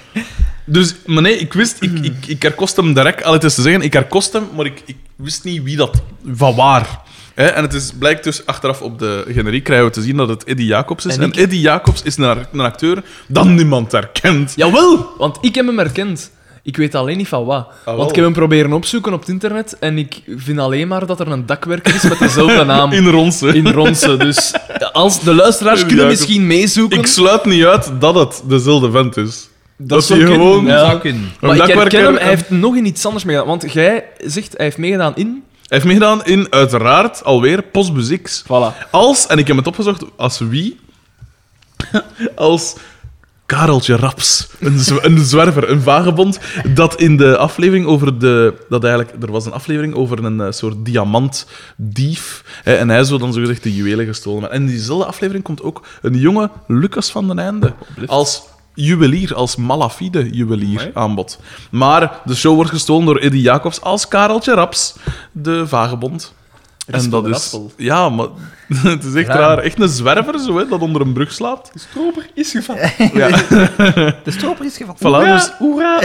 S1: Dus, maar nee, ik wist, ik, ik, ik herkost hem direct. Al het is te zeggen, ik herkost hem, maar ik, ik wist niet wie dat, van waar. Hè, en het is, blijkt dus achteraf op de generiek krijgen we te zien dat het Eddie Jacobs is. En,
S3: En ik-
S1: Eddie Jacobs is een, ar- een acteur dat niemand herkent.
S2: Jawel, want ik heb hem herkend. Ik weet alleen niet van wat.
S1: Ah, wel.
S2: want ik heb hem proberen opzoeken op het internet en ik vind alleen maar dat er een dakwerker is met dezelfde naam
S1: In Ronsen.
S2: in Ronsen. Dus als de luisteraars
S1: Ja,
S2: kunnen
S1: ik-
S2: misschien meezoeken.
S1: Ik sluit niet uit dat het dezelfde vent is. Dat, hij
S2: zou kunnen,
S1: gewoon...
S2: ja.
S3: Zou kunnen.
S1: een
S2: Maar ik
S1: dakwerker-
S2: herken hem, hij
S1: een-
S2: heeft nog in iets anders meegedaan. Want jij zegt, hij heeft meegedaan in...
S1: Hij heeft meegedaan in, uiteraard, alweer Postbus X.
S2: Voilà.
S1: Als, en ik heb het opgezocht, als wie? als Kareltje Raps, een, zw- een zwerver, een vagebond, dat in de aflevering over de... Dat eigenlijk, er was een aflevering over een eh, soort diamantdief. Hè, en hij zo dan zogezegd de juwelen gestolen. hebben. En in diezelfde aflevering komt ook een jonge Lucas van den Einde. Als juwelier, als malafide juwelier aan bod. Maar de show wordt gestolen door Eddie Jacobs als Kareltje Raps, de vagebond. En dat is...
S2: Raspel.
S1: Ja, maar het is echt
S3: Raar.
S1: raar. Echt een zwerver, zo, hè, dat onder een brug slaapt.
S2: De stroper is gevallen.
S1: Ja.
S3: De stroper is gevallen.
S1: Voilà, dus
S2: hoera.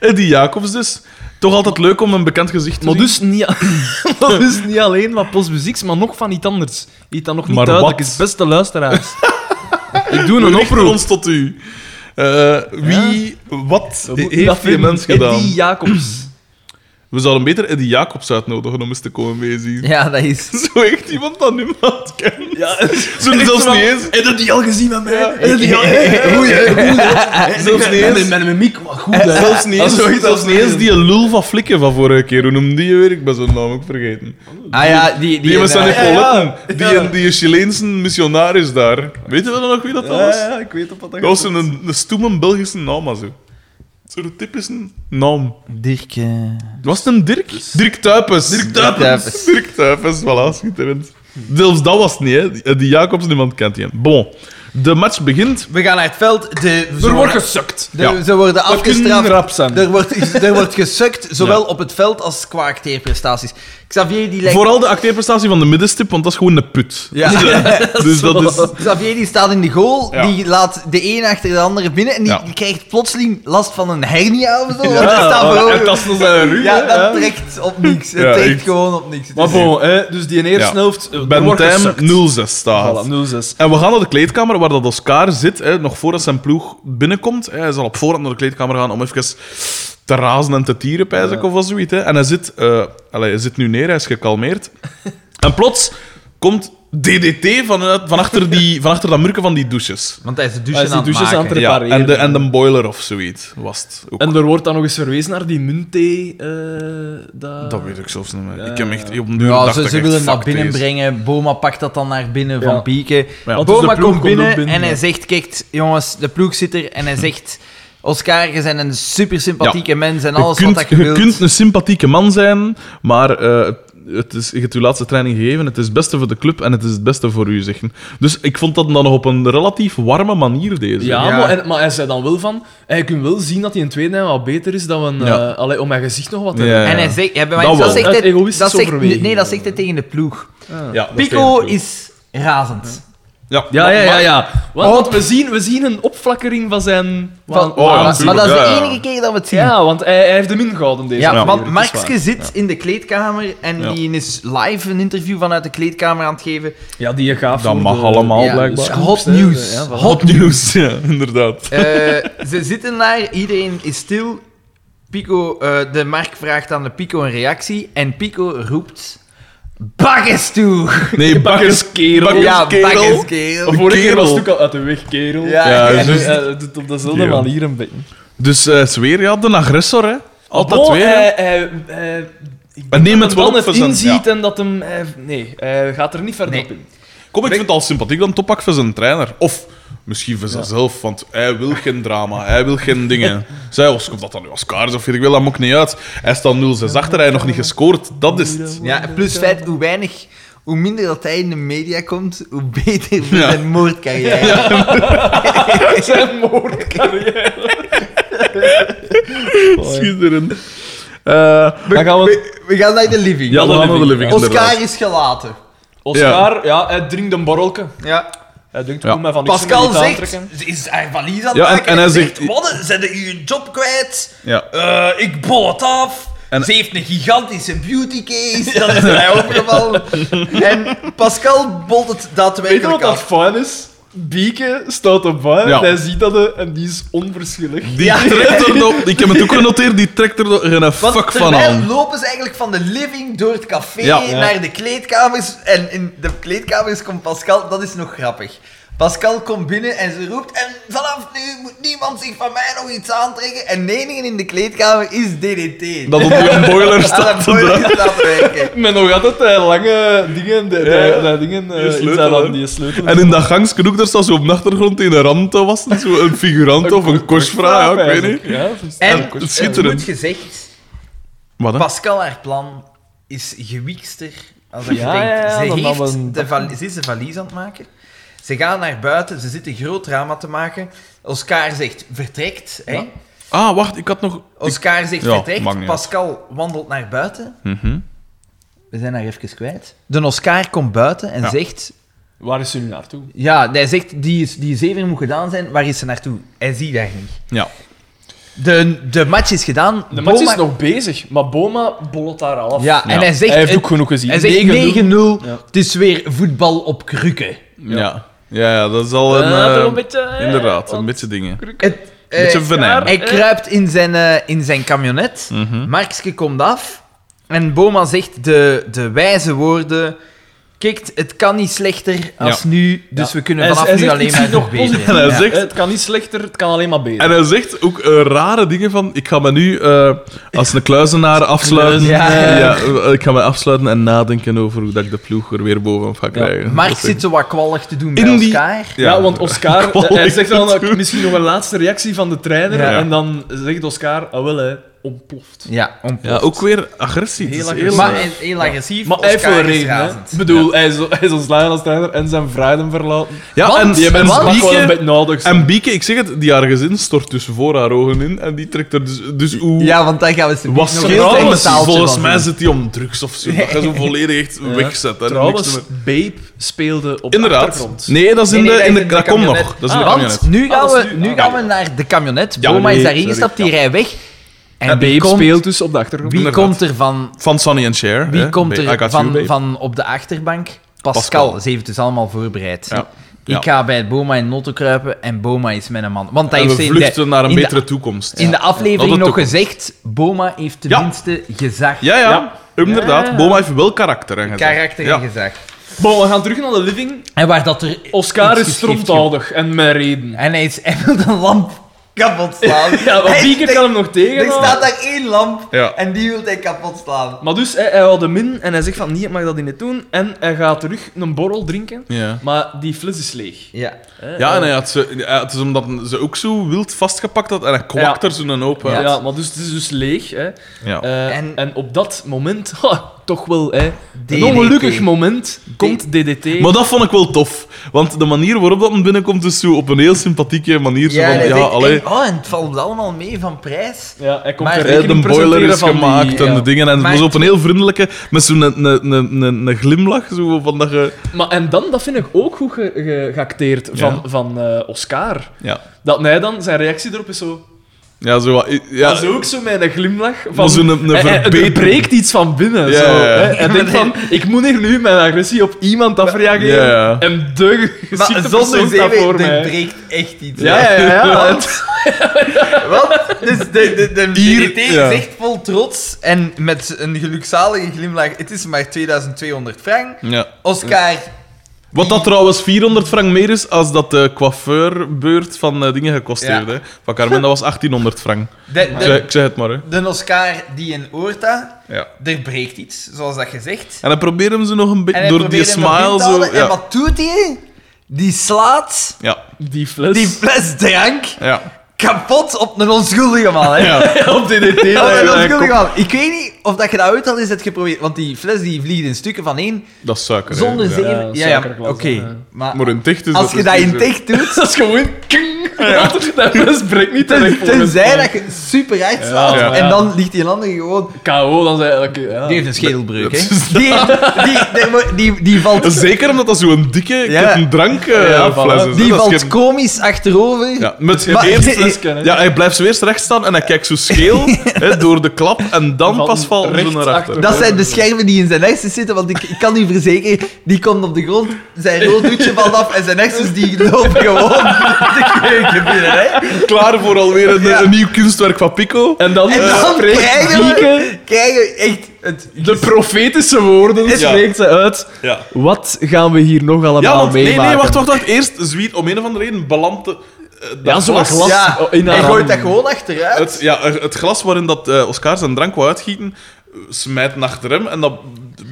S1: Eddie Jacobs dus. Toch altijd leuk om een bekend gezicht te
S2: Maar
S1: zien.
S2: dus, niet, maar dus niet alleen wat postmuziek, maar nog van iets anders. Iets dat nog niet
S1: Maar
S2: duidelijk
S1: wat?
S2: is. Beste luisteraars. Ik doe een
S1: We richten
S2: oproep.
S1: ons tot u. Eh, wie, wat
S2: We moeten dat
S1: heeft die
S2: vinden.
S1: mens gedaan?
S2: Eddie Jacobs.
S1: We zouden beter Eddie Jacobs uitnodigen om eens te komen meezien.
S3: Ja, dat is...
S1: Zo echt iemand dat niemand kent.
S2: Ja,
S1: Zo zelfs niet eens.
S2: Heb je die al gezien met mij? Heb je die al
S1: Zelfs niet eens.
S2: Met mijn mic, maar goed. hè.
S1: Zelfs niet eens,
S2: Als zoiets
S1: zelfs
S2: als
S1: niet eens die lul van Flikken van vorige keer. Hoe noemde die je weer? Ik ben zijn naam ook vergeten.
S3: Ah ja, die...
S1: Die was aan de
S3: eh,
S1: Poletten. Die, die Chileense missionaris daar. Weten we dan nog wie dat was?
S2: ik weet op wat
S1: Dat was een, een stoeme Belgische naam, maar zo. Zo'n typische naam.
S3: Dirk... eh,
S1: Was het een
S2: Dus-
S1: Dirk? Dirk Tuipes. Dirk
S3: Tuypes.
S1: Dirk Tuypes, voilà, schitterend. Zelfs dat was het niet, hè. Eh, Die- Die Jacobs, niemand kent die. Bon, de match begint.
S3: We gaan naar het veld. De,
S2: Er
S3: ze,
S2: wordt
S3: worden,
S2: gesukt.
S3: de-
S1: ja.
S3: ze worden
S2: kunnen
S3: afgestraft.
S2: rap zijn.
S3: Er wordt, er wordt gesukt, zowel op het veld als qua acteerprestaties. Xavier die lijkt...
S1: Vooral de acteerprestatie van de middenstip, want dat is gewoon een put.
S3: Ja.
S1: Dus dat is...
S3: Xavier die staat in de goal,
S1: Ja.
S3: die laat de een achter de andere binnen en die,
S1: Ja.
S3: die krijgt plotseling last van een hernia of zo. want er staat
S1: Ja,
S3: voor-
S1: en tasten zijn rug.
S3: ja,
S1: hè.
S3: dat trekt op niks. Het
S1: Ja,
S3: trekt
S1: echt.
S3: gewoon op niks. Het
S2: Maar
S3: is-
S2: bon, hè, dus die eerste
S1: Ja.
S2: helft... eh, er
S1: Ben
S2: wordt
S1: Tijm
S2: gesukt.
S1: 0-6 staat.
S2: Voilà, 0-6.
S1: En we gaan naar de kleedkamer waar dat Oscar zit, hè, nog voordat zijn ploeg binnenkomt. Hè, hij zal op voorhand naar de kleedkamer gaan om even te razen en te tieren, pijs ik, of wat zoiets. Hè. En hij zit, eh, allee, hij zit nu neer, hij is gekalmeerd. en plots komt DDT vanuit, van, achter die, van achter dat murken van die douches.
S3: Want hij is de douche
S2: Hij is
S3: aan
S2: die
S3: het
S2: douches aan
S3: maken.
S2: het
S1: Ja,
S2: repareren.
S1: en, de, en de boiler of zoiets was het ook.
S2: En er wordt dan nog eens verwezen naar die munthee. eh dat...
S1: dat weet ik zelfs niet meer.
S2: Ja,
S1: ik heb echt op nu
S3: Ja,
S1: dacht
S3: ze,
S1: ik
S3: ze
S1: echt,
S3: willen
S1: fuck
S3: dat binnen
S1: deze.
S3: brengen. Boma pakt dat dan naar binnen
S2: Ja.
S3: van Pieken.
S1: Maar ja,
S2: Want dus
S3: Boma
S2: de ploeg
S3: komt
S2: komt
S3: binnen,
S2: ook binnen,
S3: en hij
S2: ja.
S3: zegt: Kijk, jongens, de ploeg zit er. En hij zegt: Oscar, je bent een super sympathieke mens en alles
S1: je kunt,
S3: wat dat je, wilt.
S1: kunt een sympathieke man zijn, maar eh, het is, je hebt je laatste training gegeven. Het is het beste voor de club en het is het beste voor u, zeggen. Dus ik vond dat dan nog op een relatief warme manier, deze.
S2: Ja,
S3: Ja.
S2: Maar, en- maar hij zei dan wel van... eh, Je kunt wel zien dat hij in tweede helft wat beter is dan we... eh,
S1: Ja.
S2: allee, om mijn gezicht nog wat te
S1: Ja.
S2: hebben.
S3: En hij zegt: ja, bij mij-
S1: Dat
S3: dat
S1: wel.
S3: zegt
S2: Uit
S3: hij-
S2: egoïstische
S3: dat zegt-
S2: overweging.
S3: Nee, dat zegt hij tegen de ploeg.
S1: Ja, dat
S3: Pico
S1: tegen de
S3: is razend.
S1: ploeg.
S2: Ja,
S1: Maar-
S2: ja, ja.
S1: maar-
S2: ja. Want, want we, zien, we zien een opflakkering van zijn...
S3: Van-
S1: Oh, ja,
S3: maar, maar dat is
S1: natuurlijk,
S3: de
S1: ja, ja.
S3: enige keer dat we het zien. Ja.
S2: ja, want hij, hij heeft hem ingehouden deze keer,
S3: want
S2: het is waar.
S3: Markske zit in de kleedkamer en
S1: Ja.
S3: die is live een interview vanuit de kleedkamer aan het geven.
S2: Ja, die gaat
S1: Dat
S2: voor
S1: mag
S2: de-
S1: allemaal,
S3: Ja,
S1: blijkbaar.
S3: dus Hot nieuws.
S2: Ja, voilà.
S1: Hot nieuws, ja, inderdaad.
S3: Eh, ze zitten daar, iedereen is stil. Pico, eh, de Mark vraagt aan de Pico een reactie en Pico roept... Bakkes toe!
S1: Nee, bakkerskerel.
S3: ja,
S1: Bakkerskerel.
S3: bakkerskerel.
S2: De vorige keer
S1: Kerel.
S2: was het ook al uit de weg, kerel.
S3: Ja,
S1: Ja, dus-
S2: En nu,
S1: juist.
S2: eh, doet op dezelfde
S1: Kerel.
S2: manier een beetje.
S1: Dus eh zweer, ja, de agressor, hè. Altijd
S2: Bon,
S1: weer. hè.
S2: hij- hij- hij- ik
S1: Maar
S2: denk
S1: neem
S2: dat
S1: het
S2: hem
S1: wel
S2: dan
S1: op voor zijn-
S2: inziet en dat hem... hij- nee, hij gaat er niet verder
S3: Nee.
S2: op in.
S1: Kom, ik vind het al sympathiek dan toppak voor zijn trainer. Of misschien voor zichzelf, want hij wil geen drama, hij wil geen dingen. Zij, of komt dat dan nu als kaars of weet ik wel, dat maakt niet uit. Hij staat 0-6 achter, hij heeft nog niet gescoord. Dat is het.
S3: Ja, plus feit, hoe weinig... Hoe minder dat hij in de media komt, hoe beter voor
S1: Ja.
S3: zijn moordcarrière.
S2: Zijn moordcarrière.
S1: Schitterend. Eh,
S2: Dan gaan we...
S3: We, we gaan naar de living.
S1: ja, dan aan de living,
S3: Oscar
S1: inderdaad.
S3: is gelaten.
S2: Oscar, ja. hij drinkt een borrelke.
S3: Ja.
S2: Hij drinkt
S1: Ja.
S2: ja. mij van niks
S3: Pascal
S2: meer niet
S3: zegt...
S2: aantrekken.
S3: Ze is haar valies aan het
S1: Ja, en-
S3: maken.
S1: en hij zegt-
S3: Mannen, zijn jullie je job kwijt?
S1: Ja.
S3: Eh, ik bol het af.
S1: En-
S3: Ze heeft een gigantische beauty case. Dat is mij opgevallen. En Pascal bolt het
S2: Weet je
S3: daadwerkelijk
S2: wat dat
S3: af.
S2: fijn is? Bieke staat op bar,
S1: Ja.
S2: hij ziet dat eh, en die is onverschillig.
S1: Die trekt er nog, ik heb het ook genoteerd, die trekt er nog geen
S3: Want
S1: fuck van
S3: terwijl
S1: aan.
S3: lopen ze eigenlijk van de living door het café
S1: Ja.
S3: naar de kleedkamers. En in de kleedkamers komt Pascal. Dat is nog grappig. Pascal komt binnen en ze roept. En vanaf nu moet niemand zich van mij nog iets aantrekken. En de enige in de kleedkamer is DDT.
S1: Dat op een boiler staat te draaien.
S3: werken.
S2: Met nog altijd eh, lange dingen, de, de-
S1: Ja.
S2: de dingen eh,
S1: Die sleutel,
S2: iets aan
S1: hè.
S2: dat- die sleutel.
S1: En in dat gangsken ook, daar staat zo op de achtergrond in de rand te wassen. Zo een figurant of een kostvraag, ja, ik weet niet.
S2: Ja,
S3: En
S1: Ja,
S3: het
S1: schitterend.
S3: moet gezegd,
S1: Wat hè?
S3: Pascal haar plan is gewikster als dat je
S2: Ja,
S3: denkt.
S2: ja, ja,
S3: ze,
S2: dan
S3: heeft
S2: hadden we-
S3: de val- ze is de valies aan het maken. Ze gaan naar buiten, ze zitten groot drama te maken. Oscar zegt vertrekt.
S2: Ja.
S3: Hè?
S1: Ah, wacht, ik had nog... Ik...
S3: Oscar zegt
S1: ja, maakt
S3: vertrekt.
S1: niet
S3: Pascal wandelt naar buiten.
S1: Mhm.
S3: We zijn haar even kwijt. De Oscar komt buiten en
S1: Ja.
S3: zegt...
S2: Waar is ze nu naartoe?
S3: Ja, hij zegt, die, is, die zeven moet gedaan zijn. Waar is ze naartoe? Hij ziet haar niet.
S1: Ja.
S3: De, de match is gedaan.
S2: De match
S3: Boma-
S2: is nog bezig, maar Boma bollot daar al af.
S3: Ja, en
S1: Ja.
S3: hij zegt...
S2: hij heeft
S3: het-
S2: ook genoeg gezien.
S3: Hij zegt
S2: 9-0.
S3: 9-0.
S2: Ja.
S3: Het is weer voetbal op krukken.
S1: Ja. ja. Ja, dat is al een...
S2: Ja, toch
S1: eh,
S2: een beetje, eh,
S1: Inderdaad,
S2: want-
S1: een beetje dingen. Een
S3: Het, eh,
S1: beetje venijn.
S3: hij kruipt in zijn, eh, in zijn camionet.
S1: Mhm.
S3: Markske komt af. En Boma zegt de, de wijze woorden... Kijk, het kan niet slechter als nu, dus
S2: Ja.
S3: we kunnen
S2: Hij-
S3: vanaf
S2: hij
S3: nu
S2: zegt
S3: alleen
S2: iets
S3: maar
S2: nog
S3: verbeteren.
S1: En hij
S3: Ja.
S1: zegt-
S2: Het kan niet slechter, het kan alleen maar beter.
S1: En hij zegt ook eh, rare dingen van... Ik ga me nu eh, als een kluizenaar afsluiten.
S3: Ja.
S1: eh, ik ga me afsluiten en nadenken over hoe dat ik de ploeg er weer bovenop ga krijgen.
S3: Mark
S1: Dat is-
S3: zit zo wat kwallig te doen bij
S1: In die-
S3: elkaar.
S2: Ja, want Oscar,
S1: Kwal
S2: hij
S1: is
S2: zegt
S1: het
S2: dan ook
S1: goed.
S2: misschien nog een laatste reactie van de trainer.
S1: Ja.
S2: En dan zegt Oscar, ah wel hè, ontploft.
S3: Ja,
S1: Ja,
S3: ontploft.
S1: ook weer agressie. Het
S2: Heel
S1: is
S2: agressief.
S3: maar
S1: eh,
S3: hij is heel agressief.
S2: Maar hij heeft wel
S3: Oscar is
S2: reden, hè.
S3: razend.
S2: Ik bedoel, hij, is, hij is ontslagen als trainer en zijn vrijden verlaten.
S1: Ja,
S3: Want-
S1: en,
S2: Die hebben
S1: en
S2: zijn pak wel een
S1: Bieke,
S2: beetje nodig.
S1: en Bieke, ik zeg het, die haar gezin stort dus voor haar ogen in en die trekt er dus, dus hoe...
S3: Ja, want dan gaan we ze
S1: was
S3: nog een klein
S1: trouwens,
S3: taaltje
S1: volgens
S3: van
S1: mij
S3: doen.
S1: zit die om drugs of zo. Dat je zo volledig echt
S2: Ja.
S1: wegzet. hè. Niks
S2: Trouwens,
S1: meer.
S2: Babe speelde op de
S1: Inderdaad.
S2: achtergrond.
S1: Nee, dat is in
S3: Nee, nee,
S1: de... In
S3: dat
S1: de
S3: is
S1: dat komt
S3: camionet.
S1: nog. Dat is in de
S3: Want
S1: camionet.
S3: nu gaan
S2: Ah, dat
S3: we,
S2: is nu-
S3: nu
S2: ah,
S3: gaan
S2: ja.
S3: we naar de camionet.
S1: Ja,
S3: Boma
S1: nee,
S3: is daarin
S1: sorry,
S3: gestapt, die
S1: ja.
S3: rijdt weg. En,
S2: En
S3: wie
S2: Babe
S3: komt,
S2: speelt dus op de achtergrond.
S3: wie
S1: Inderdaad.
S3: komt er, van,
S1: Van Sonny en Cher.
S3: wie
S1: hè.
S3: komt
S1: I got
S3: er
S1: you,
S3: van,
S1: babe.
S3: van op de achterbank? Pascal.
S1: Pascal.
S3: Ze heeft het dus allemaal voorbereid.
S1: Ja. Ja.
S3: Ik ga bij Boma in Notto kruipen en Boma is mijn man. Want hij
S1: En
S3: heeft
S1: we
S3: ze in de-
S1: vluchten naar een
S3: in de-
S1: betere toekomst.
S3: In de
S1: Dat
S3: aflevering
S1: het
S3: nog
S1: toekomst.
S3: gezegd, Boma heeft
S1: Ja.
S3: tenminste gezag.
S1: Ja, ja.
S2: Ja.
S1: Inderdaad.
S2: Ja.
S1: Boma heeft wel karakter. en gezag.
S3: Karakter
S1: Ja.
S3: en gezag.
S2: Bon, we gaan terug naar de living.
S3: En waar dat er...
S2: Oscar
S3: iets
S2: is
S3: geschrift,
S2: strontoudig en met reden.
S3: joh. En hij, is, hij wil de lamp kapot slaan.
S2: Ja, want
S3: Hij-
S2: Bieke
S3: er-
S2: kan hem nog tegen.
S3: Er staat daar één lamp
S1: Ja.
S3: en die wil hij kapot slaan.
S2: Maar dus, hij, hij houdt hem in en hij zegt van, nee, ik mag dat niet doen. En hij gaat terug een borrel drinken,
S1: Ja.
S2: maar die fles is leeg.
S3: Ja.
S2: Hè,
S1: Ja, en
S2: en-
S1: hij had ze, ja, het is omdat ze ook zo wild vastgepakt had en hij kwakt
S2: Ja.
S1: er zo'n open.
S2: Ja,
S1: uit.
S2: maar dus, het is dus leeg. Hè.
S1: Ja.
S2: Eh,
S3: En-
S2: en... op dat moment, ha, toch wel, hè, een
S3: DDT.
S2: ongelukkig moment, komt DDT.
S1: Maar dat vond ik wel tof. Want de manier waarop dat hem binnenkomt is zo op een heel sympathieke manier. zo
S3: en
S1: van,
S3: hij
S1: ja,
S3: denkt,
S1: allee,
S3: en- oh, en het valt allemaal mee van prijs.
S2: Ja, hij komt
S3: Maar-
S2: de
S1: eh, de
S2: rekening
S1: boiler
S2: presenteren
S1: is
S2: van die-
S1: gemaakt en
S2: ja.
S1: de dingen. En het
S3: Maar
S1: was op een
S3: toen-
S1: heel vriendelijke, met zo'n een, een, een, een, een glimlach. Zo van dat je...
S2: Maar, en dan, dat vind ik ook goed ge- ge- geacteerd van,
S1: Ja.
S2: van eh, Oscar.
S1: Ja,
S2: Dat hij dan, zijn reactie erop is zo...
S1: ja zo wat-
S2: Ja.
S1: ja,
S2: Dat is ook zo met een glimlach.
S1: Maar
S2: Van,
S1: zo'n- een
S2: Hij- hij-
S1: verbetering.
S2: er breekt iets van binnen.
S1: Ja,
S2: zo,
S1: ja, ja.
S2: hè. Hij denkt van, ik moet hier nu mijn agressie op iemand afreageren.
S1: Ja, ja.
S2: En de
S3: Maar
S2: geschikte
S3: zonder
S2: persoon staat
S3: zeven,
S2: voor
S3: er
S2: mij.
S3: breekt echt iets.
S2: Ja, ja, ja. ja.
S3: Want- Wat? Dus de, de, de
S1: Hier-
S3: DDT
S1: ja.
S3: zegt vol trots en met een gelukzalige glimlach: Het is maar 2200 frank.
S1: ja.
S3: Oscar,
S1: Wat dat trouwens 400 frank meer is als dat de coiffeurbeurt van eh, dingen gekost
S3: Ja.
S1: heeft. Hè. Van Carmen, dat was 1800 frank.
S3: de,
S1: Ik zeg,
S3: de,
S1: ik zeg het maar. Hè.
S3: de Oscar die in Oorta,
S1: Ja.
S3: er breekt iets, zoals dat gezegd.
S1: En dan proberen hem ze nog een beetje
S3: En hij
S1: door die
S3: probeert hem nog
S1: smile
S3: in te halen.
S1: zo.
S3: En
S1: Ja.
S3: wat doet hij? Die slaat
S1: Ja.
S2: Die fles.
S1: Dus-
S3: die fles drank
S1: Ja.
S3: kapot op een onschuldige man. Hè?
S1: ja.
S2: op DDT.
S3: Ja, maar
S1: ja,
S3: dat
S1: ja,
S3: wil
S1: kom.
S3: ik wel. Ik weet niet of dat je dat ooit al eens hebt geprobeerd. Want die fles die vliegt in suiker van één,
S1: Dat is suiker. hè.
S3: zonder
S1: Ja.
S3: zeven.
S2: Ja,
S3: Ja, ja, oké.
S2: suikerglas, ja.
S3: Maar
S1: Maar in ticht is
S3: als je dat
S1: dus
S3: in
S1: niet zo.
S3: ticht doet,
S2: dat is gewoon... King. Dat fles breekt niet
S3: ten,
S2: terecht. volgens mij.
S3: tenzij dat je super hard slaat,
S1: ja.
S3: en dan ligt die andere gewoon...
S2: K.O. dan zei hij... oké, ja.
S3: Die heeft een schedelbreuk,
S1: Ja,
S3: hè.
S1: dus
S3: Die, die, die, die, die valt,
S1: Zeker omdat dat zo'n dikke
S3: Ja.
S1: een drank
S2: Ja,
S1: eh
S2: voilà.
S1: fles is. hè. Dat
S3: die
S1: is
S3: valt
S1: geen-
S3: komisch achterover.
S1: Ja, met
S3: Maar-
S1: eerst,
S2: flesje, hè.
S1: ja, hij blijft zo eerst recht staan en hij kijkt zo scheel hè, door de klap en dan
S2: Van
S1: pas valt ze
S2: rechts
S1: naar achter.
S2: achter.
S3: Dat zijn de schermen die in zijn hersens zitten, want ik, ik kan u verzekeren, die komt op de grond, zijn rood doetje valt af en zijn hersens die lopen gewoon de keuken binnen. Hè.
S1: Klaar voor alweer een,
S3: Ja.
S1: een nieuw kunstwerk van Pico.
S2: En dan,
S3: En dan
S2: spreekt
S3: krijgen we,
S2: Bieke-
S3: krijgen we echt
S2: het,
S4: De profetische woorden spreekt ze uit.
S1: Ja.
S4: Wat gaan we hier nog allemaal
S1: Ja,
S2: Nou,
S1: want nee,
S4: meemaken?
S1: nee, wacht, wacht, wacht. Eerst Zwiet, om een of andere reden, belandt de- eh, dat
S4: Ja, zo'n glas
S3: Ja,
S4: in haar
S3: hij
S4: hand.
S3: gooit dat gewoon achteruit.
S1: Het, ja, er- het glas waarin dat, eh, Oscar zijn drank wou uitgieten, eh, smijt naar achter hem en dat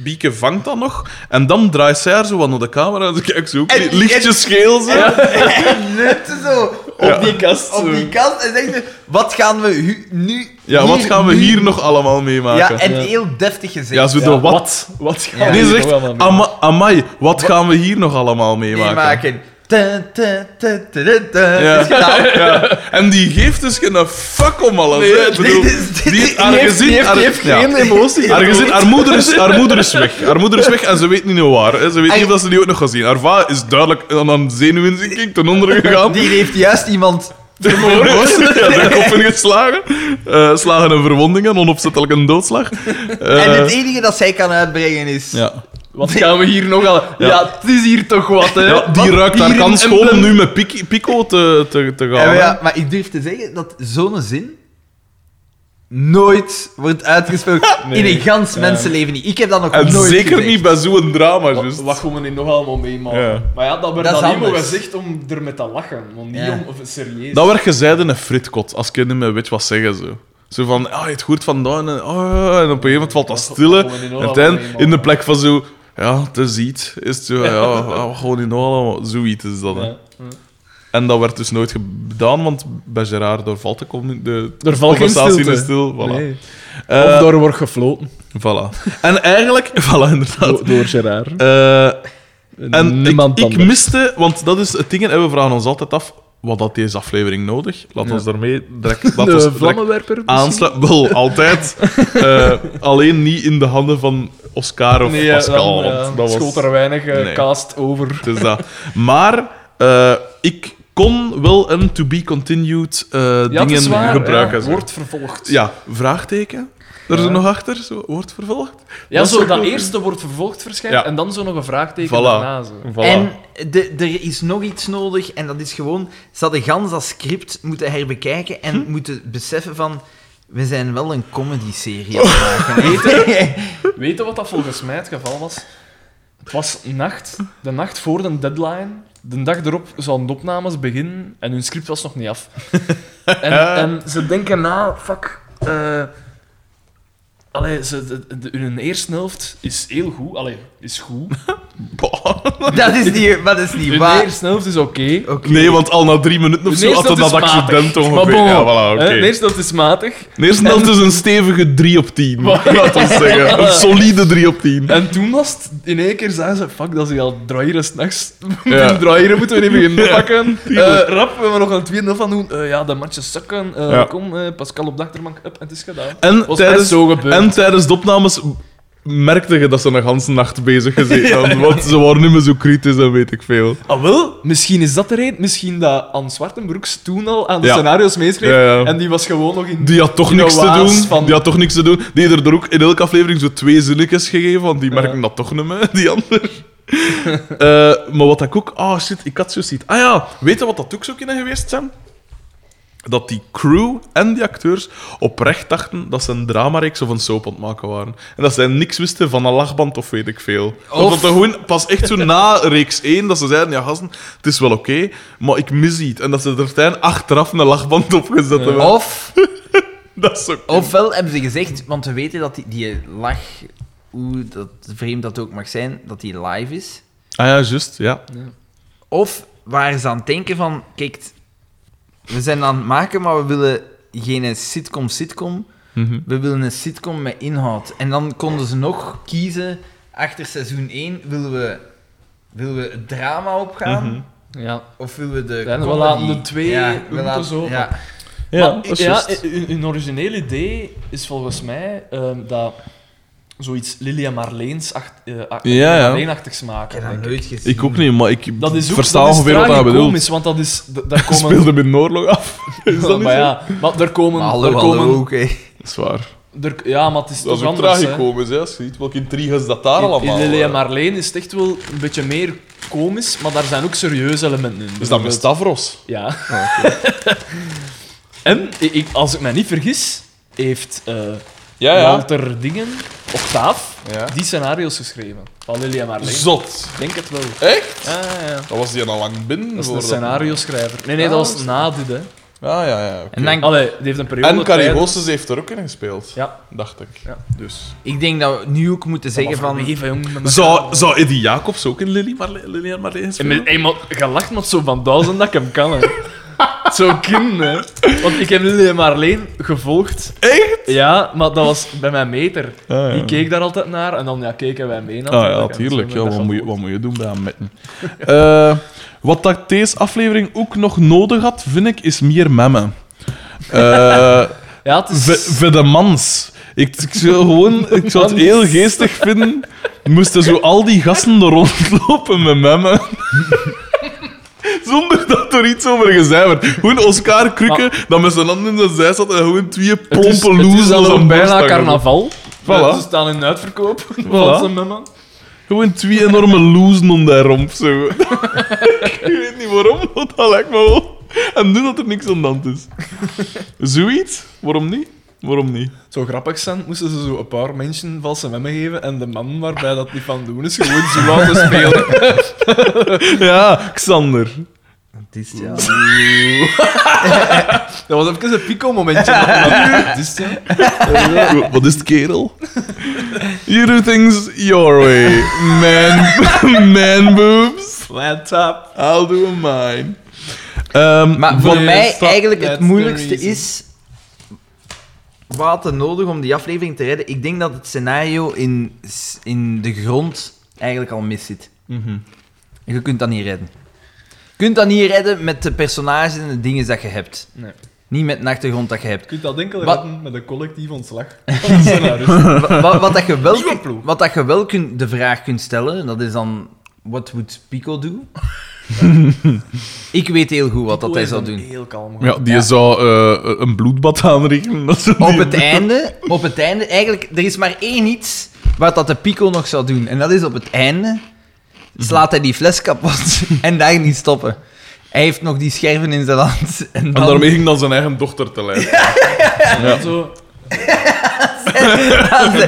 S1: bieke vangt dat nog. En dan draait zij haar zo wat naar de camera en ze kijkt zo ook
S3: En-
S1: lichtjes scheel ze.
S3: En nutte zo op die
S1: kast.
S3: op die kant en zegt ze, wat gaan we hu- nu
S1: Ja, wat
S3: hier
S1: gaan we
S3: nu-
S1: hier nog allemaal meemaken?
S3: Ja, en heel deftig gezegd.
S1: Ja, zo de
S4: Ja,
S1: wat.
S4: Wat? Wat gaan
S3: Ja.
S4: we
S1: Nee, ze
S4: hier
S1: zegt,
S4: nog allemaal meemaken?
S1: ama, amai, wat gaan we hier nog allemaal meemaken?
S3: maken. Ta, ta, ta, ta, ta, ta.
S1: Ja.
S3: Het is gedaan.
S1: Ja. En die geeft dus geen fuck om alles. hè. Ik bedoel,
S3: dit is- dit-
S1: die
S3: die
S1: haar
S4: heeft-
S1: gezin-
S4: die heeft-
S1: haar-
S4: die heeft
S1: ja.
S4: geen emotie.
S1: Haar, gezin, haar, moeder is, haar moeder is weg. Haar moeder is weg en ze weet niet meer waar. Hè. Ze weet
S3: En-
S1: niet of dat ze die ook nog gaat zien. Haar va is duidelijk aan een zenuwinzinking ten onder gegaan.
S3: Die heeft juist iemand...
S1: ja, de kop ingeslagen. Eh, slagen en verwondingen, onopzettelijk een doodslag. Eh,
S3: en het enige dat zij kan uitbrengen is...
S1: ja.
S4: Wat gaan we hier nog allemaal... Ja. het is hier toch wat, hè?
S1: Ja, die
S4: Wat?
S1: ruikt haar
S4: Hier
S1: kans
S4: een
S1: schoon om
S4: emblem.
S1: nu met Pik- Pico te, te, te gaan.
S3: En
S1: hè.
S3: ja, maar ik durf te zeggen dat zo'n zin nooit wordt uitgesproken in een gans mensenleven niet. Ik heb dat nog
S1: En
S3: nooit
S1: zeker
S3: gezegd.
S1: niet bij zo'n drama, juist.
S2: wat, wat gaan we nu nog allemaal meemaken?
S1: Ja.
S2: Maar ja, dat werd
S3: Dat is
S2: dan helemaal
S3: anders.
S2: gezegd om er met te lachen. Want niet
S3: Ja.
S2: om of serieus.
S1: Dat werd gezegd in een fritkot, als ik niet meer weet wat zeggen ze. Zo van, ah, het hoort vandaan en, ah, en op een gegeven moment valt dat stille. En dan in de plek van zo, ja, het is iets. Is het zo, ja, ja, gewoon in allemaal, zoiets is dat. Hè.
S2: Ja.
S1: En dat werd dus nooit gedaan, want bij Gerard daar valt de, commu- de
S4: Er valt geen
S1: conversatie
S4: stilte.
S1: in stil. Voilà.
S4: Nee.
S1: Eh,
S4: Of door wordt gefloten.
S1: voilà. En eigenlijk, voilà, inderdaad.
S4: Do- door Gerard.
S1: Eh, En
S4: Niemand
S1: ik, ik
S4: anders.
S1: miste, want dat is het ding, en we vragen ons altijd af, wat had deze aflevering nodig? Laat ons daarmee direct, laat ons
S4: De
S1: direct
S4: vlammenwerper
S1: aansluiten. Wel, altijd. Eh, alleen niet in de handen van Oscar of
S2: Nee,
S1: Pascal,
S2: dan, ja,
S1: want dat was...
S2: schoot er weinig eh,
S1: Nee.
S2: cast over.
S1: het is dat. Maar eh, ik kon wel een to-be-continued eh,
S2: Ja, het
S1: dingen
S2: is waar,
S1: gebruiken.
S2: ja.
S1: zo.
S2: Wordt vervolgd.
S1: Ja, vraagteken. Er is er nog achter, zo, wordt vervolgd.
S2: Ja,
S1: Dat is
S2: zo
S1: ook
S2: dat
S1: wel-
S2: eerste wordt vervolgd verschijnt
S1: Ja.
S2: en dan zo nog een vraagteken
S1: Voilà.
S2: daarna. Zo.
S1: Voilà.
S3: En de, er is nog iets nodig, en dat is gewoon... Ze hadden gans dat script moeten herbekijken en
S1: Hm?
S3: moeten beseffen van... We zijn wel een comedy-serie aan het maken.
S2: Weet je wat dat volgens mij het geval was? Het was nacht, de nacht voor de deadline. De dag erop zouden de opnames beginnen en hun script was nog niet af. en, en ze denken na, fuck. eh, allee, ze, de, de- hun eerste helft is heel goed. Allee, is goed.
S1: Bah.
S3: dat is niet, maar dat is niet
S2: Hun
S3: waar.
S2: eerste helft is oké.
S3: Oké.
S1: Nee, want al na drie minuten of
S2: Hun
S1: zo had
S2: eerste
S1: het
S2: helft
S1: dat
S2: is matig.
S1: accident
S2: Maar
S1: ongeveer.
S2: bon, Eh,
S1: Ja, voilà, oké.
S2: hè, De eerste helft is matig.
S1: De eerste helft is een stevige 3 op 10. Laat ons zeggen. Een solide 3 op 10.
S2: En toen was het in één keer zeiden ze: Fuck, dat is hier al draaien s'nachts.
S1: Ja.
S2: Ja. draaien moeten we even beginnen pakken. Eh rap, we hebben nog een tweede van doen. Eh, ja, de matches zakken. Eh,
S1: Ja.
S2: Kom, eh, Pascal op de achterbank. Up, en het is gedaan.
S1: En
S2: Was
S1: tijdens,
S2: echt zo gebeurd.
S1: en tijdens de opnames merkte je dat ze een ganse nacht bezig gezeten hadden. Want ze waren niet meer zo kritisch en weet ik veel.
S2: Ah, wel? Misschien is dat de reden. Misschien dat Anne Zwartenbroeks toen al aan de
S1: Ja.
S2: scenario's meeschreef.
S1: Ja, ja.
S2: En die was gewoon nog in.
S1: Die had toch
S2: Die
S1: niks te
S2: waas
S1: doen.
S2: van-
S1: Die had toch niks te doen. Die had er ook in elke aflevering zo twee zinnetjes gegeven, want die merken dat toch niet meer, die ander. Eh, maar wat ik ook... Ah, shit, ik had zo ziet. Ah ja, weet je wat dat ook zo kunnen geweest zijn? Dat die crew en die acteurs oprecht dachten dat ze een dramareeks of een soap aan het maken waren. En dat zij niks wisten van een lachband of weet ik veel. Of... Dat dat gewoon pas echt zo na reeks 1 dat ze zeiden: ja, gasten, het is wel oké, maar ik mis iets. En dat ze er tijn achteraf een lachband opgezet hebben.
S3: Of,
S1: Dat is ook
S3: ofwel hebben ze gezegd, want we weten dat die, die lach, hoe dat, vreemd dat ook mag zijn, dat die live is.
S1: Ah ja, juist, ja.
S3: Of waar ze aan het denken van, kijk, we zijn aan het maken, maar we willen geen sitcom-sitcom.
S1: Mhm.
S3: We willen een sitcom met inhoud. En dan konden ze nog kiezen, achter seizoen 1 willen we, willen we het drama opgaan.
S1: Mhm.
S2: Ja,
S3: Of willen we de
S2: Ja, we
S3: comedy-
S2: laten de twee
S3: we
S2: punten
S3: laten,
S2: zo.
S3: Ja.
S2: Ja,
S4: dat is
S2: ja, eh,
S4: juist.
S1: eh,
S2: hun hun origineel idee is volgens mij ehm, dat zoiets Lilia Marleens acht, eh, ach-
S1: Ja, ja.
S2: Marleen-achtigs
S3: Ik
S2: maken.
S3: heb
S2: denk
S3: dat
S2: ik.
S3: nooit gezien.
S1: Ik ook niet, maar ik
S2: Dat is ook
S1: versta
S2: dat is
S1: ongeveer wat hij bedoelt.
S2: tragicomisch, want dat is da- daar
S1: Komen...
S2: komen
S1: Speelde met een oorlog af. Is dat niet
S2: maar
S1: zo?
S2: ja, maar er komen,
S3: Maar
S2: er
S3: hallo,
S2: komen
S3: hallo, oké.
S1: Dat is waar.
S2: er, ja, maar het is
S1: Dat
S2: toch
S1: is ook
S2: anders. hè.
S1: tragicomisch, hè. Ziet welke intriges dat daar
S2: In,
S1: allemaal...
S2: in Lilia
S1: eh.
S2: Marleen is het echt wel een beetje meer komisch, maar daar zijn ook serieuze elementen in.
S1: Is dat Ah, met
S2: Bijvoorbeeld-
S1: Stavros?
S2: Ja. en ik, ik- als ik me niet vergis, heeft eh,
S1: Ah, Ja, ja.
S2: Walter Dingen Octaaf
S1: Ja.
S2: die scenario's geschreven van Lilian Marleen.
S1: Zot.
S2: Ik denk het wel.
S1: Echt?
S2: Ja, ja, ja.
S1: Dat was die al lang binnen.
S2: Dat is een
S1: voordat-
S2: scenario-schrijver. Nee, nee,
S1: Ah,
S2: dat
S1: is
S2: was
S1: dat-
S2: na dit, hè.
S1: Ah, ja, ja. oké.
S3: En dan,
S2: Allee, die heeft een periode
S1: En Carrie
S2: tijd-
S1: Goossens heeft er ook in gespeeld,
S2: Ja.
S1: dacht ik.
S2: Ja.
S1: Dus.
S3: ik denk dat we nu ook moeten zeggen van...
S2: Even, jong, met
S1: Zou, zou Eddie Jacobs ook in Lily Marle- Lilian Marleen
S2: En
S1: spelen?
S2: met eenmaal gelacht, maar zo van duizend dat ik hem kan. Hè. Zo kind, hè. Want ik heb Lilian Marleen gevolgd.
S1: Echt?
S2: Ja, maar dat was bij mijn meter.
S1: Ah, ja.
S2: Die keek daar altijd naar en dan ja, keken wij mee.
S1: Ah ja,
S2: natuurlijk. En
S1: natuurlijk. Ja,
S2: zo ben
S1: wat,
S2: ik dat
S1: moet je,
S2: gevolgd.
S1: wat moet je doen bij een metten? Eh, wat dat deze aflevering ook nog nodig had, vind ik, is meer memmen. Eh
S2: Ja, het
S1: Ve-
S2: is...
S1: ve de mans. Ik, ik zou gewoon, ik zou het heel geestig vinden. Moesten zo al die gasten er rondlopen met memmen. Zonder dat er iets over gezegd werd. Gewoon Oscar Krukke, dat met zijn handen in zijn zij zat en gewoon twee
S2: Het is,
S1: plompe loes
S2: het is al
S1: als
S2: zo'n
S1: een
S2: bijna
S1: borsthanger.
S2: carnaval.
S1: Voilà.
S2: Ze staan in uitverkoop. Voilà. man.
S1: Gewoon twee enorme loezen om die romp. Zo. ik weet niet waarom, want dat lijkt me wel. En doen dat er niks aan de hand is. Zoiets? Waarom niet? Waarom niet?
S2: Zo grappig zijn, moesten ze zo een paar mensen valse memmen geven en de man waarbij dat niet van doen is, gewoon zo laten spelen.
S1: Ja, Xander.
S3: Het is ja.
S2: Dat was even een pico-momentje. Het is dus ja.
S1: Eh, Wat is het, kerel? You do things your way. Man, man boobs.
S2: Laptop.
S1: I'll do mine. Ehm,
S3: Maar voor
S1: wat-
S3: mij
S2: stop,
S3: eigenlijk het
S2: that's the
S3: moeilijkste
S2: reason.
S3: is... Wat er nodig om die aflevering te redden? Ik denk dat het scenario in, s- in de grond eigenlijk al mis zit.
S2: Mhm.
S3: Je kunt dat niet redden. Je kunt dat niet redden met de personages en de dingen dat je hebt.
S2: Nee.
S3: Niet met de achtergrond dat je hebt.
S2: Je kunt dat enkel
S3: Wat?
S2: redden met een collectief ontslag. van de scenario's.
S3: Wa- wa- wat, dat je wel,
S2: Nieuwe ploeg.
S3: wat dat je wel kunt, de vraag kunt stellen, dat is dan... What would Pico do? ik weet heel goed wat dat hij
S2: is
S3: zou
S2: een
S3: doen.
S2: Heel kalm.
S1: Ja, die zou eh, een bloedbad aanrichten. Dat ze
S3: op
S1: die-
S3: het einde, op het einde, eigenlijk, er is maar één iets wat dat de Pico nog zou doen. En dat is op het einde, slaat hij die fles kapot en daar niet stoppen. Hij heeft nog die scherven in zijn hand. En,
S1: En
S3: dan,
S1: daarmee ging dan zijn eigen dochter te lijden.
S2: Ja. Zo,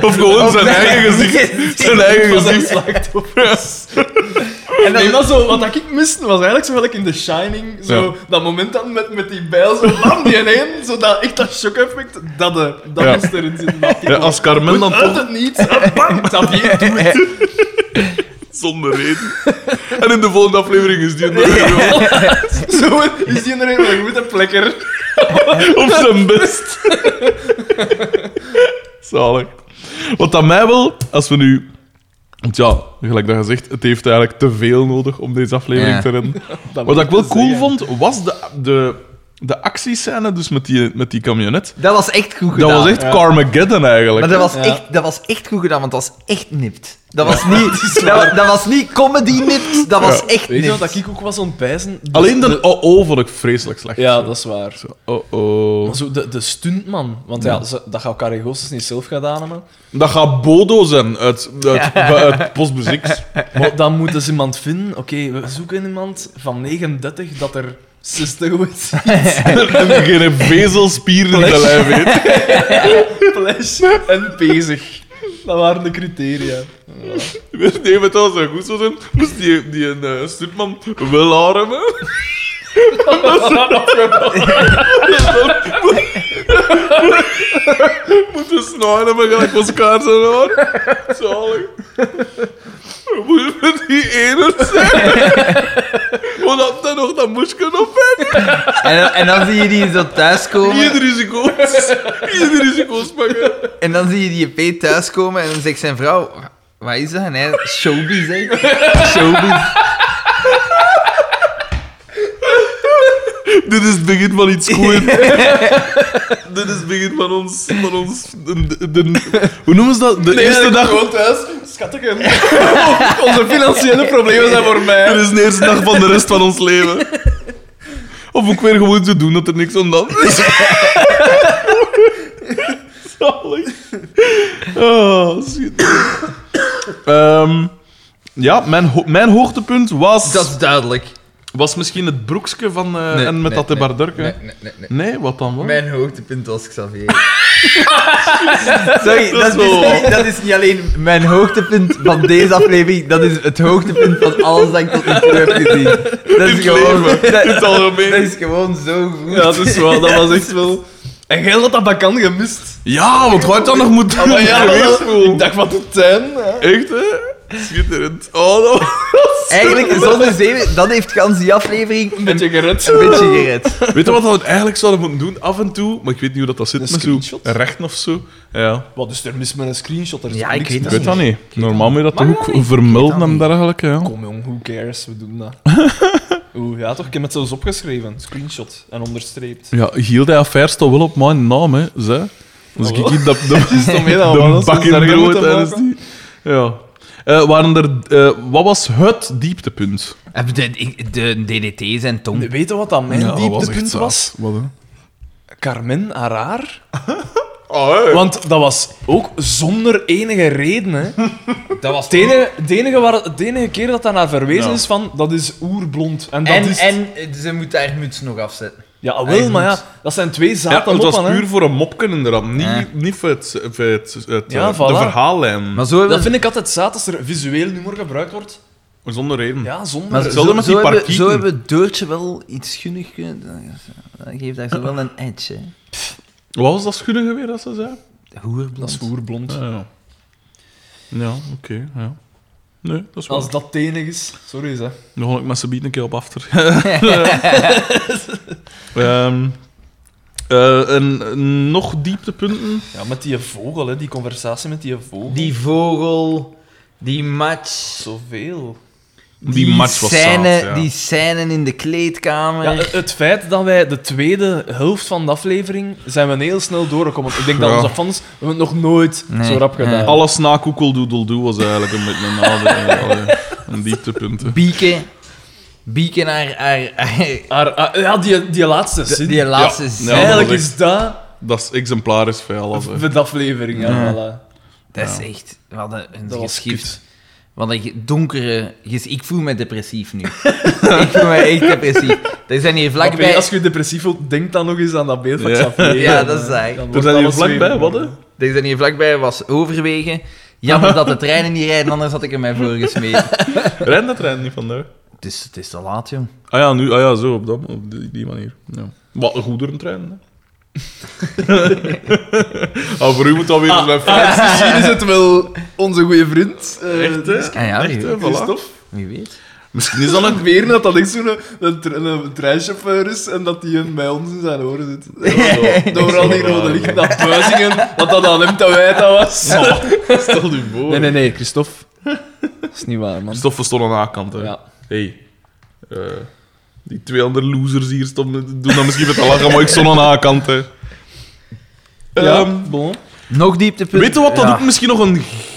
S1: Of gewoon
S3: Op
S1: zijn
S3: mijn
S1: eigen gezicht.
S3: gezicht.
S1: Zijn eigen
S2: was een
S1: gezicht.
S2: slachtoffers.
S3: en dan-
S2: Nee, maar zo, wat ik miste was eigenlijk zo gelijk in The Shining. Zo, Dat moment dan met, met die bijl, zo bam, die ineen. Zo dat, echt dat shock-effect, dat, eh, dat
S1: Ja.
S2: moest erin zitten. Dat
S1: Ja, als Carmen dan
S2: uit
S1: toch
S2: het niets, eh, bam, Xavier, doe het.
S1: zonder reden. En in de volgende aflevering is die er gewoon
S2: Zo is die er een goede plekker.
S1: op zijn best. Zalig. Wat aan mij wel, als we nu. Want ja, gelijk dat gezegd, het heeft eigenlijk te veel nodig om deze aflevering
S3: Ja.
S1: te redden.
S2: Dat
S1: Wat
S2: moet
S1: ik wel
S2: te
S1: cool
S2: zeggen.
S1: vond, was de, de, de actiescène, dus met die, met die camionet.
S3: dat was echt goed gedaan.
S1: Dat was echt Carmageddon eigenlijk.
S3: Maar dat was,
S2: Ja.
S3: echt, dat was echt goed gedaan, want dat was echt nipt. Dat was niet, dat, wa- dat was niet comedy nipt, dat was
S1: Ja.
S3: echt
S2: Weet je
S3: nipt.
S2: wat ik ook was ontbijzen?
S1: Alleen de oh-oh vond ik vreselijk slecht.
S2: Ja, dat is waar.
S1: Oh-oh.
S2: Maar zo de, de stuntman, want ja, ze- dat gaat Carrie Goossens niet zelf gaan aannemen.
S1: Dat gaat Bodo zijn uit, uit, uit Postmuziek.
S2: Maar dan moeten ze iemand vinden. Oké, we zoeken iemand van 39 dat er 60 wordt.
S1: en geen vezelspier in de lijf heeft.
S2: Flash en bezig. Dat waren de criteria.
S1: Nee, maar dat zou goed zo zijn. Moest die, die een eh, stuntman wel armen? Moet de snaren hebben, gelijk van elkaar zijn haar. Zalig. Moet met die ene zijn? Want had hij nog dat moesje op heeft?
S3: En, dan- en dan zie je die zo thuiskomen,
S1: Ieder risico's. Ieder risico's pakken.
S3: en dan zie je die P thuiskomen en dan zegt zijn vrouw, wat is dat? En hij, showbiz, hè? Showbiz.
S1: Dit is het begin van iets goeds. Dit is het begin van ons. Van ons de, de- de- hoe noemen ze dat? De eerste dag.
S2: Gewoon thuis. Schattige. Onze financiële problemen zijn voor mij.
S1: Dit is de eerste dag van de rest van ons leven. Of ook weer gewoon te doen dat er niks aan dat is. Zalig. Oh, schitterend. Ehm, ja, mijn, ho- mijn hoogtepunt was,
S3: Dat is duidelijk.
S1: was misschien het broekje van eh,
S3: Nee,
S1: en met
S3: nee,
S1: dat de
S3: nee,
S1: bardurken.
S3: nee, nee, nee.
S1: Nee, wat dan wel?
S3: Mijn hoogtepunt was Xavier. Sorry, dat,
S1: is wel-
S3: is niet, dat is niet alleen mijn hoogtepunt van deze aflevering, dat is het hoogtepunt van alles dat ik tot nu toe heb gezien. Dat is
S1: Het
S3: gewoon,
S1: leven.
S3: dat,
S1: Het algemeen.
S3: dat is gewoon zo goed.
S2: Ja, dat is wel, dat was echt wel... En jij had dat bakan gemist. Ah
S1: Ja, want hoe had dat nog moeten doen? Geweest,
S2: ik
S1: wel.
S2: dacht wat het zijn. hè.
S1: Echt, hè? Schitterend. Oh, dat was...
S3: Eigenlijk, zonder zeven, dat heeft gans die aflevering
S2: Een beetje gered.
S3: een beetje gered.
S1: Weet je wat we eigenlijk zouden moeten doen af en toe? Maar ik weet niet hoe dat, dat zit.
S2: Een
S1: met zo
S2: screenshot?
S1: rechten of zo. Ja.
S2: Wat is er mis met een screenshot? Er is
S3: Ja,
S2: toch
S3: ik
S2: niks
S3: weet
S1: Ik
S2: mis
S1: weet
S2: mee?
S1: dat niet. Normaal moet je dat toch
S3: Maar ja,
S1: ook
S3: ik- ik weet
S1: vermelden
S3: dat
S1: en
S3: niet.
S1: dergelijke. Ja.
S2: Kom jong, who cares, we doen dat. Oeh, ja toch, ik heb het zelfs opgeschreven. Screenshot en onderstreept.
S1: ja, Giel, die affaire staat wel op mijn naam, hè. Zij. Dus
S2: Ah,
S1: ik
S2: wel.
S1: hier dat de,
S2: Is het om heel aan
S1: de
S2: alles
S1: bak in
S2: daar
S1: brood
S2: moeten
S1: en is
S2: maken?
S1: die... Ja. Eh, waren er, eh, wat was het dieptepunt?
S3: Heb De, ik- de DDT zijn tong.
S2: Weet je wat dat mijn
S1: Hm. dat echt
S2: dieptepunt
S1: zaad.
S2: was?
S1: Wat, hè?
S2: Carmen Araar. Ah,
S1: Oh, hey.
S2: Want dat was ook zonder enige reden. Hè.
S3: Dat was
S2: Het enige, het enige waar, het enige keer dat daar naar verwezen
S1: Ja.
S2: is van, dat is oerblond. En dat
S3: en,
S2: is...
S3: en eh, ze moet haar muts nog afzetten.
S2: ja, wel,
S3: Eigenlijk.
S2: maar ja, dat zijn twee
S1: Ja,
S2: zaten
S1: het was
S2: moppen, hè.
S1: puur voor een mopken inderdaad. Niet,
S3: Ja.
S1: niet voor het, voor het, het,
S2: Ja,
S1: eh, de
S2: voilà.
S1: verhaallijn.
S3: Maar zo hebben
S2: Dat vind ik altijd zaad als er visueel humor gebruikt wordt.
S1: Zonder reden.
S2: Ja, zonder...
S3: Maar
S1: Hetzelfde
S3: zo,
S1: met
S3: zo
S1: die
S3: hebben,
S1: parkieten.
S3: zo hebben Deurtje wel iets gunnig kunnen. Dat geeft daar zo wel een edge, hè.
S1: Wat was dat schunnige weer dat ze zei?
S2: Dat
S3: Hoerblond.
S2: is oerblond.
S1: Ah, ja, ja oké. ja. Nee, dat is wel.
S2: Als dat het enige is. Sorry, hè.
S1: Dan ga ik met ze bieden een keer op after. Ehm, eh, en eh, nog dieptepunten?
S2: Ja, met die vogel, hè. Die conversatie met die vogel.
S3: Die vogel, die match.
S2: Zoveel.
S1: Die, match was
S3: scène,
S1: zaad, ja.
S3: Die scène in de kleedkamer.
S2: Ja, het het feit dat wij de tweede helft van de aflevering zijn we heel snel doorgekomen. Ik denk dat
S1: Ja.
S2: onze fans hebben het nog nooit
S3: Nee,
S2: zo rap gedaan.
S3: nee.
S1: Alles na koekeldoedeldoe was eigenlijk een beetje een nadeel. Allee, Een dieptepunten.
S3: Bieke. Bieke naar haar, haar-
S2: Maar, ah, ja, die, die laatste zin.
S3: die laatste
S1: Ja,
S3: scène.
S1: ja, dat
S2: Eigenlijk
S1: was
S2: is dat
S1: Dat is exemplarisch voor alles. hè.
S2: de aflevering. Ja,
S3: Ja.
S2: voilà.
S3: dat is echt wat een, een
S2: Dat was
S3: geschift.
S2: kut.
S3: Wat een ge- donkere... ges- Ik voel me depressief nu. ik voel me echt depressief. Er zijn hier
S2: Maar
S3: vlakbij...
S2: Als je depressief voelt, denk dan nog eens aan dat beeld van
S1: Ja.
S2: Xavier.
S3: Ja, dat is eigenlijk.
S2: Dan wordt
S1: Er zijn hier
S2: alles
S1: vlakbij,
S2: weer-
S1: wat hè?
S3: Er zijn hier vlakbij was Overwegen. Jammer dat de treinen niet rijden, anders had ik er mij voor gesmeten.
S1: Rijdt dat trein niet vandaag?
S3: Het is, het is te laat, jong.
S1: Ah ja, nu, ah ja zo, op, dat, op die, die manier. Ja. Wat een goederentrein, hè? ah, voor u moet dat weer eens mijn
S2: ah.
S1: feit
S2: Misschien is het wel onze goede vriend. eh,
S1: Echt, hè?
S3: Ah ja,
S1: Echt, hè?
S3: wie,
S1: Voilà.
S2: Christophe.
S3: wie weet.
S1: Misschien is dat een...
S2: Weer dat dat echt zo'n een, tre- een treinchauffeur is en dat die hem bij ons in zijn oren zit. Door al die rode lichten, dat buizingen, wat dat aan hem te wijten was.
S1: Ah, Stel u voor.
S2: Nee, nee, nee, Christophe. Dat is niet waar, man.
S1: Stoffen stond aan de A-kant, hè.
S2: Ja.
S1: Hey. eh, die twee andere losers hier stonden, doen dat misschien met te lachen, maar ik stond aan de A-kant, hè. Ehm,
S2: Ja, bon.
S3: Nog dieptepunt.
S1: Weet je wat, dat
S3: Ja.
S1: ook misschien nog een g-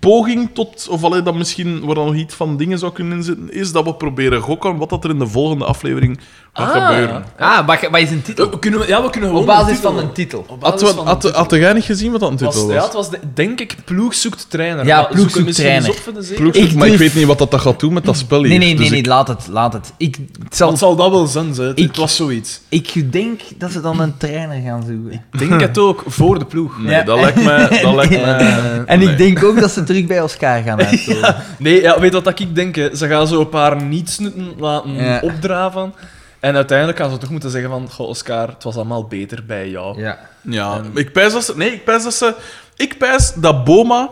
S1: poging tot, of allee, dat misschien waar dan nog iets van dingen zou kunnen inzitten, is dat we proberen gokken wat dat er in de volgende aflevering gaat
S2: Ah.
S1: gebeuren.
S3: Ah, wat, ge- wat is een titel?
S2: We kunnen, ja, we kunnen gewoon
S3: Op basis
S2: een titel-
S3: van een titel.
S2: Op
S1: Had,
S2: basis
S1: we-
S2: van
S1: had,
S2: een
S1: had jij niet gezien wat dat een
S2: titel.
S1: titel
S2: was, ja, het
S1: was?
S2: was de- denk ik ploeg zoekt trainer.
S3: Ja,
S2: Maar zoek
S3: ploeg
S2: hem
S3: zoekt
S2: misschien
S3: trainer.
S2: eens op voor de zekerheid.
S1: Ploeg zoekt,
S3: Ik
S1: maar ik
S3: durf-
S1: weet niet wat dat, dat gaat doen met dat spel hier.
S3: Nee, nee, nee,
S1: Dus
S3: nee,
S1: ik-
S3: laat het, laat het. Ik, het zal,
S2: Het zal dat wel zijn, ze. Het
S3: Ik-
S2: was zoiets.
S3: ik denk dat ze dan een trainer gaan zoeken.
S2: Ik denk het ook, voor de ploeg. Eh,
S1: Nee,
S3: Ja.
S1: dat lijkt mij... Dat lijkt mij
S3: en
S1: nee.
S3: ik denk ook dat ze terug bij Oscar gaan uitkomen.
S2: Nee, ja, weet wat dat ik denk? hè? Ze gaan zo een paar nietsnutten laten
S3: Ja.
S2: opdraven. En uiteindelijk gaan ze toch moeten zeggen van... Goh, Oscar, het was allemaal beter bij jou.
S3: Ja.
S1: Ja, ik pijs dat ze... Nee, ik pijs dat ze... Ik pijs dat Boma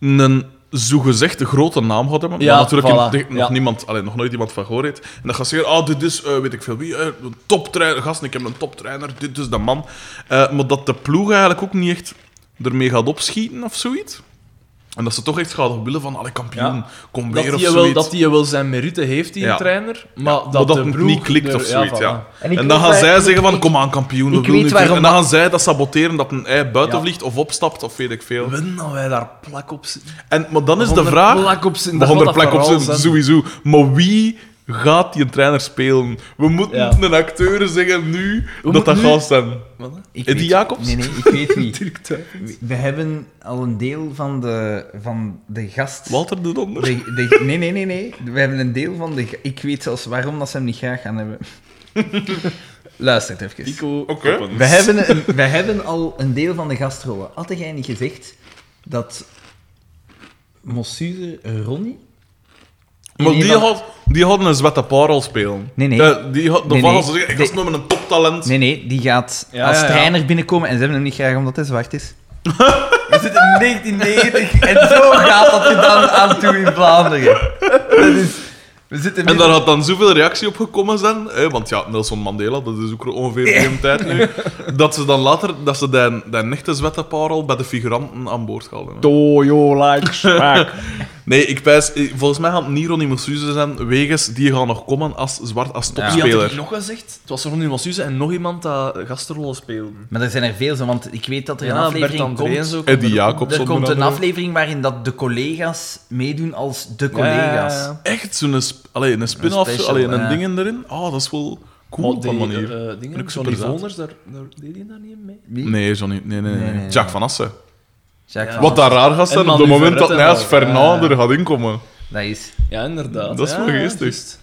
S1: een zogezegd grote naam had hebben.
S2: Ja,
S1: maar natuurlijk
S2: voilà,
S1: in- nog,
S2: ja.
S1: niemand, allee, nog nooit iemand van gehoord heeft. En dan gaat ze zeggen, ah, dit is, eh, weet ik veel wie, eh, een toptrainer, gast, ik heb een toptrainer, dit is de man. Eh, maar dat de ploeg eigenlijk ook niet echt ermee gaat opschieten of zoiets. En dat ze toch echt gaat willen van, allee, kampioen,
S2: Ja.
S1: kom
S2: Dat
S1: weer of
S2: hij
S1: zoiets.
S2: wel, dat die wel zijn merite heeft, die
S1: Ja.
S2: trainer. Maar dat,
S1: dat, dat
S2: de
S1: het
S2: ploeg
S1: niet klikt
S2: er-
S1: of zoiets, ja.
S2: voilà.
S3: En
S1: En,
S3: ik
S1: dan
S3: weet
S1: gaan
S3: waar-
S1: zij
S3: ik-
S1: zeggen van,
S3: ik-
S1: kom aan kampioen, we
S3: ik
S1: willen
S3: weet
S1: nu
S3: waarom
S1: terug. En dan
S3: dat-
S1: gaan zij dat saboteren, dat een ei buiten
S2: Ja.
S1: vliegt of opstapt, of weet ik veel.
S2: Willen dat wij daar plak op zitten?
S1: En, maar dan is de
S2: Honderd
S1: vraag...
S2: Plak op zitten, dat
S1: Begon er
S2: gaat
S1: plek
S2: dat
S1: op
S2: verhaal
S1: zijn,
S2: zijn.
S1: sowieso. Maar wie gaat die een trainer spelen? We moeten
S2: Ja.
S1: een acteur zeggen nu dat
S2: moeten
S1: dat
S2: nu-
S1: gaat zijn.
S2: Wat, hè?
S3: Ik
S1: Eddie
S3: weet-
S1: Jacobs?
S3: Nee, nee, ik weet wie.
S2: Dirk Thijs.
S3: We hebben al een deel van de, van de gast...
S1: Walter de Donder?
S3: De, de- nee, nee, nee, nee. We hebben een deel van de... Ik weet zelfs waarom dat ze hem niet graag gaan hebben.
S5: Luister het even.
S1: Pico
S4: Oké.
S1: Oppens.
S5: We hebben, een- we hebben al een deel van de gastrollen. Had jij niet gezegd dat Monsieur Ronnie...
S1: Maar
S5: Nee,
S1: die,
S5: maar-
S1: had, die hadden een zwette parel spelen.
S5: Nee, nee.
S1: Eh, die had, de
S5: Nee,
S1: nee, nee.
S5: nee.
S1: zeggen, ik was nog met een toptalent.
S5: Nee, nee, die gaat
S2: Ja,
S5: als
S2: ja, ja.
S5: trainer binnenkomen en ze hebben hem niet graag omdat hij zwart is.
S3: We zitten in 1990 en zo gaat dat gedaan aan toe in Vlaanderen. Dat is, we zitten
S1: En daar had dan zoveel reactie op gekomen zijn, hè, want ja, Nelson Mandela, dat is ook ongeveer de hele tijd nu, dat ze dan later, dat ze die, die echte zwette parel bij de figuranten aan boord haalden. hè.
S4: Toyo like smaak.
S1: Nee, ik pijs, eh, volgens mij gaat het niet Ronnie Mossuze zijn, wegens die gaan nog komen als zwart, als
S2: Wie had
S1: topspeler.
S2: er nog gezegd? Het was Ronnie Massuze en nog iemand dat gastrollen speelde.
S3: Maar er zijn er veel zo, want ik weet dat er een
S2: Ja, Bert
S3: aflevering komt.
S2: Andreas ook.
S1: Eddie Jacobs
S3: Er
S1: onder
S3: komt een
S1: andere.
S3: aflevering waarin dat de collega's meedoen als de
S2: Ja, ja, ja,
S3: collega's.
S2: ja.
S1: Echt zo'n sp allee, een spin-off,
S3: Een
S1: een,
S3: special,
S1: een
S3: ja.
S1: ding erin. Ah, dat is wel cool
S2: Maar
S1: op
S2: die,
S1: een manier.
S2: eh, eh, dingen,
S1: Ook
S2: Johnny
S1: superzaad.
S2: Voners, daar, daar deed hij daar niet mee.
S5: Wie?
S1: Nee, Johnny. Nee, nee, nee.
S5: Nee, nee,
S1: Jack van Assen.
S5: Jacques
S2: Ja.
S5: van
S1: Wat daar raar gaat zijn,
S2: En
S1: op het
S2: Manu
S1: moment dat
S2: Verrette
S1: Nijs
S2: wel.
S1: Fernand er gaat inkomen.
S5: Dat is...
S2: Ja, inderdaad.
S1: Dat is
S2: ja,
S1: wel geestig.
S2: juist.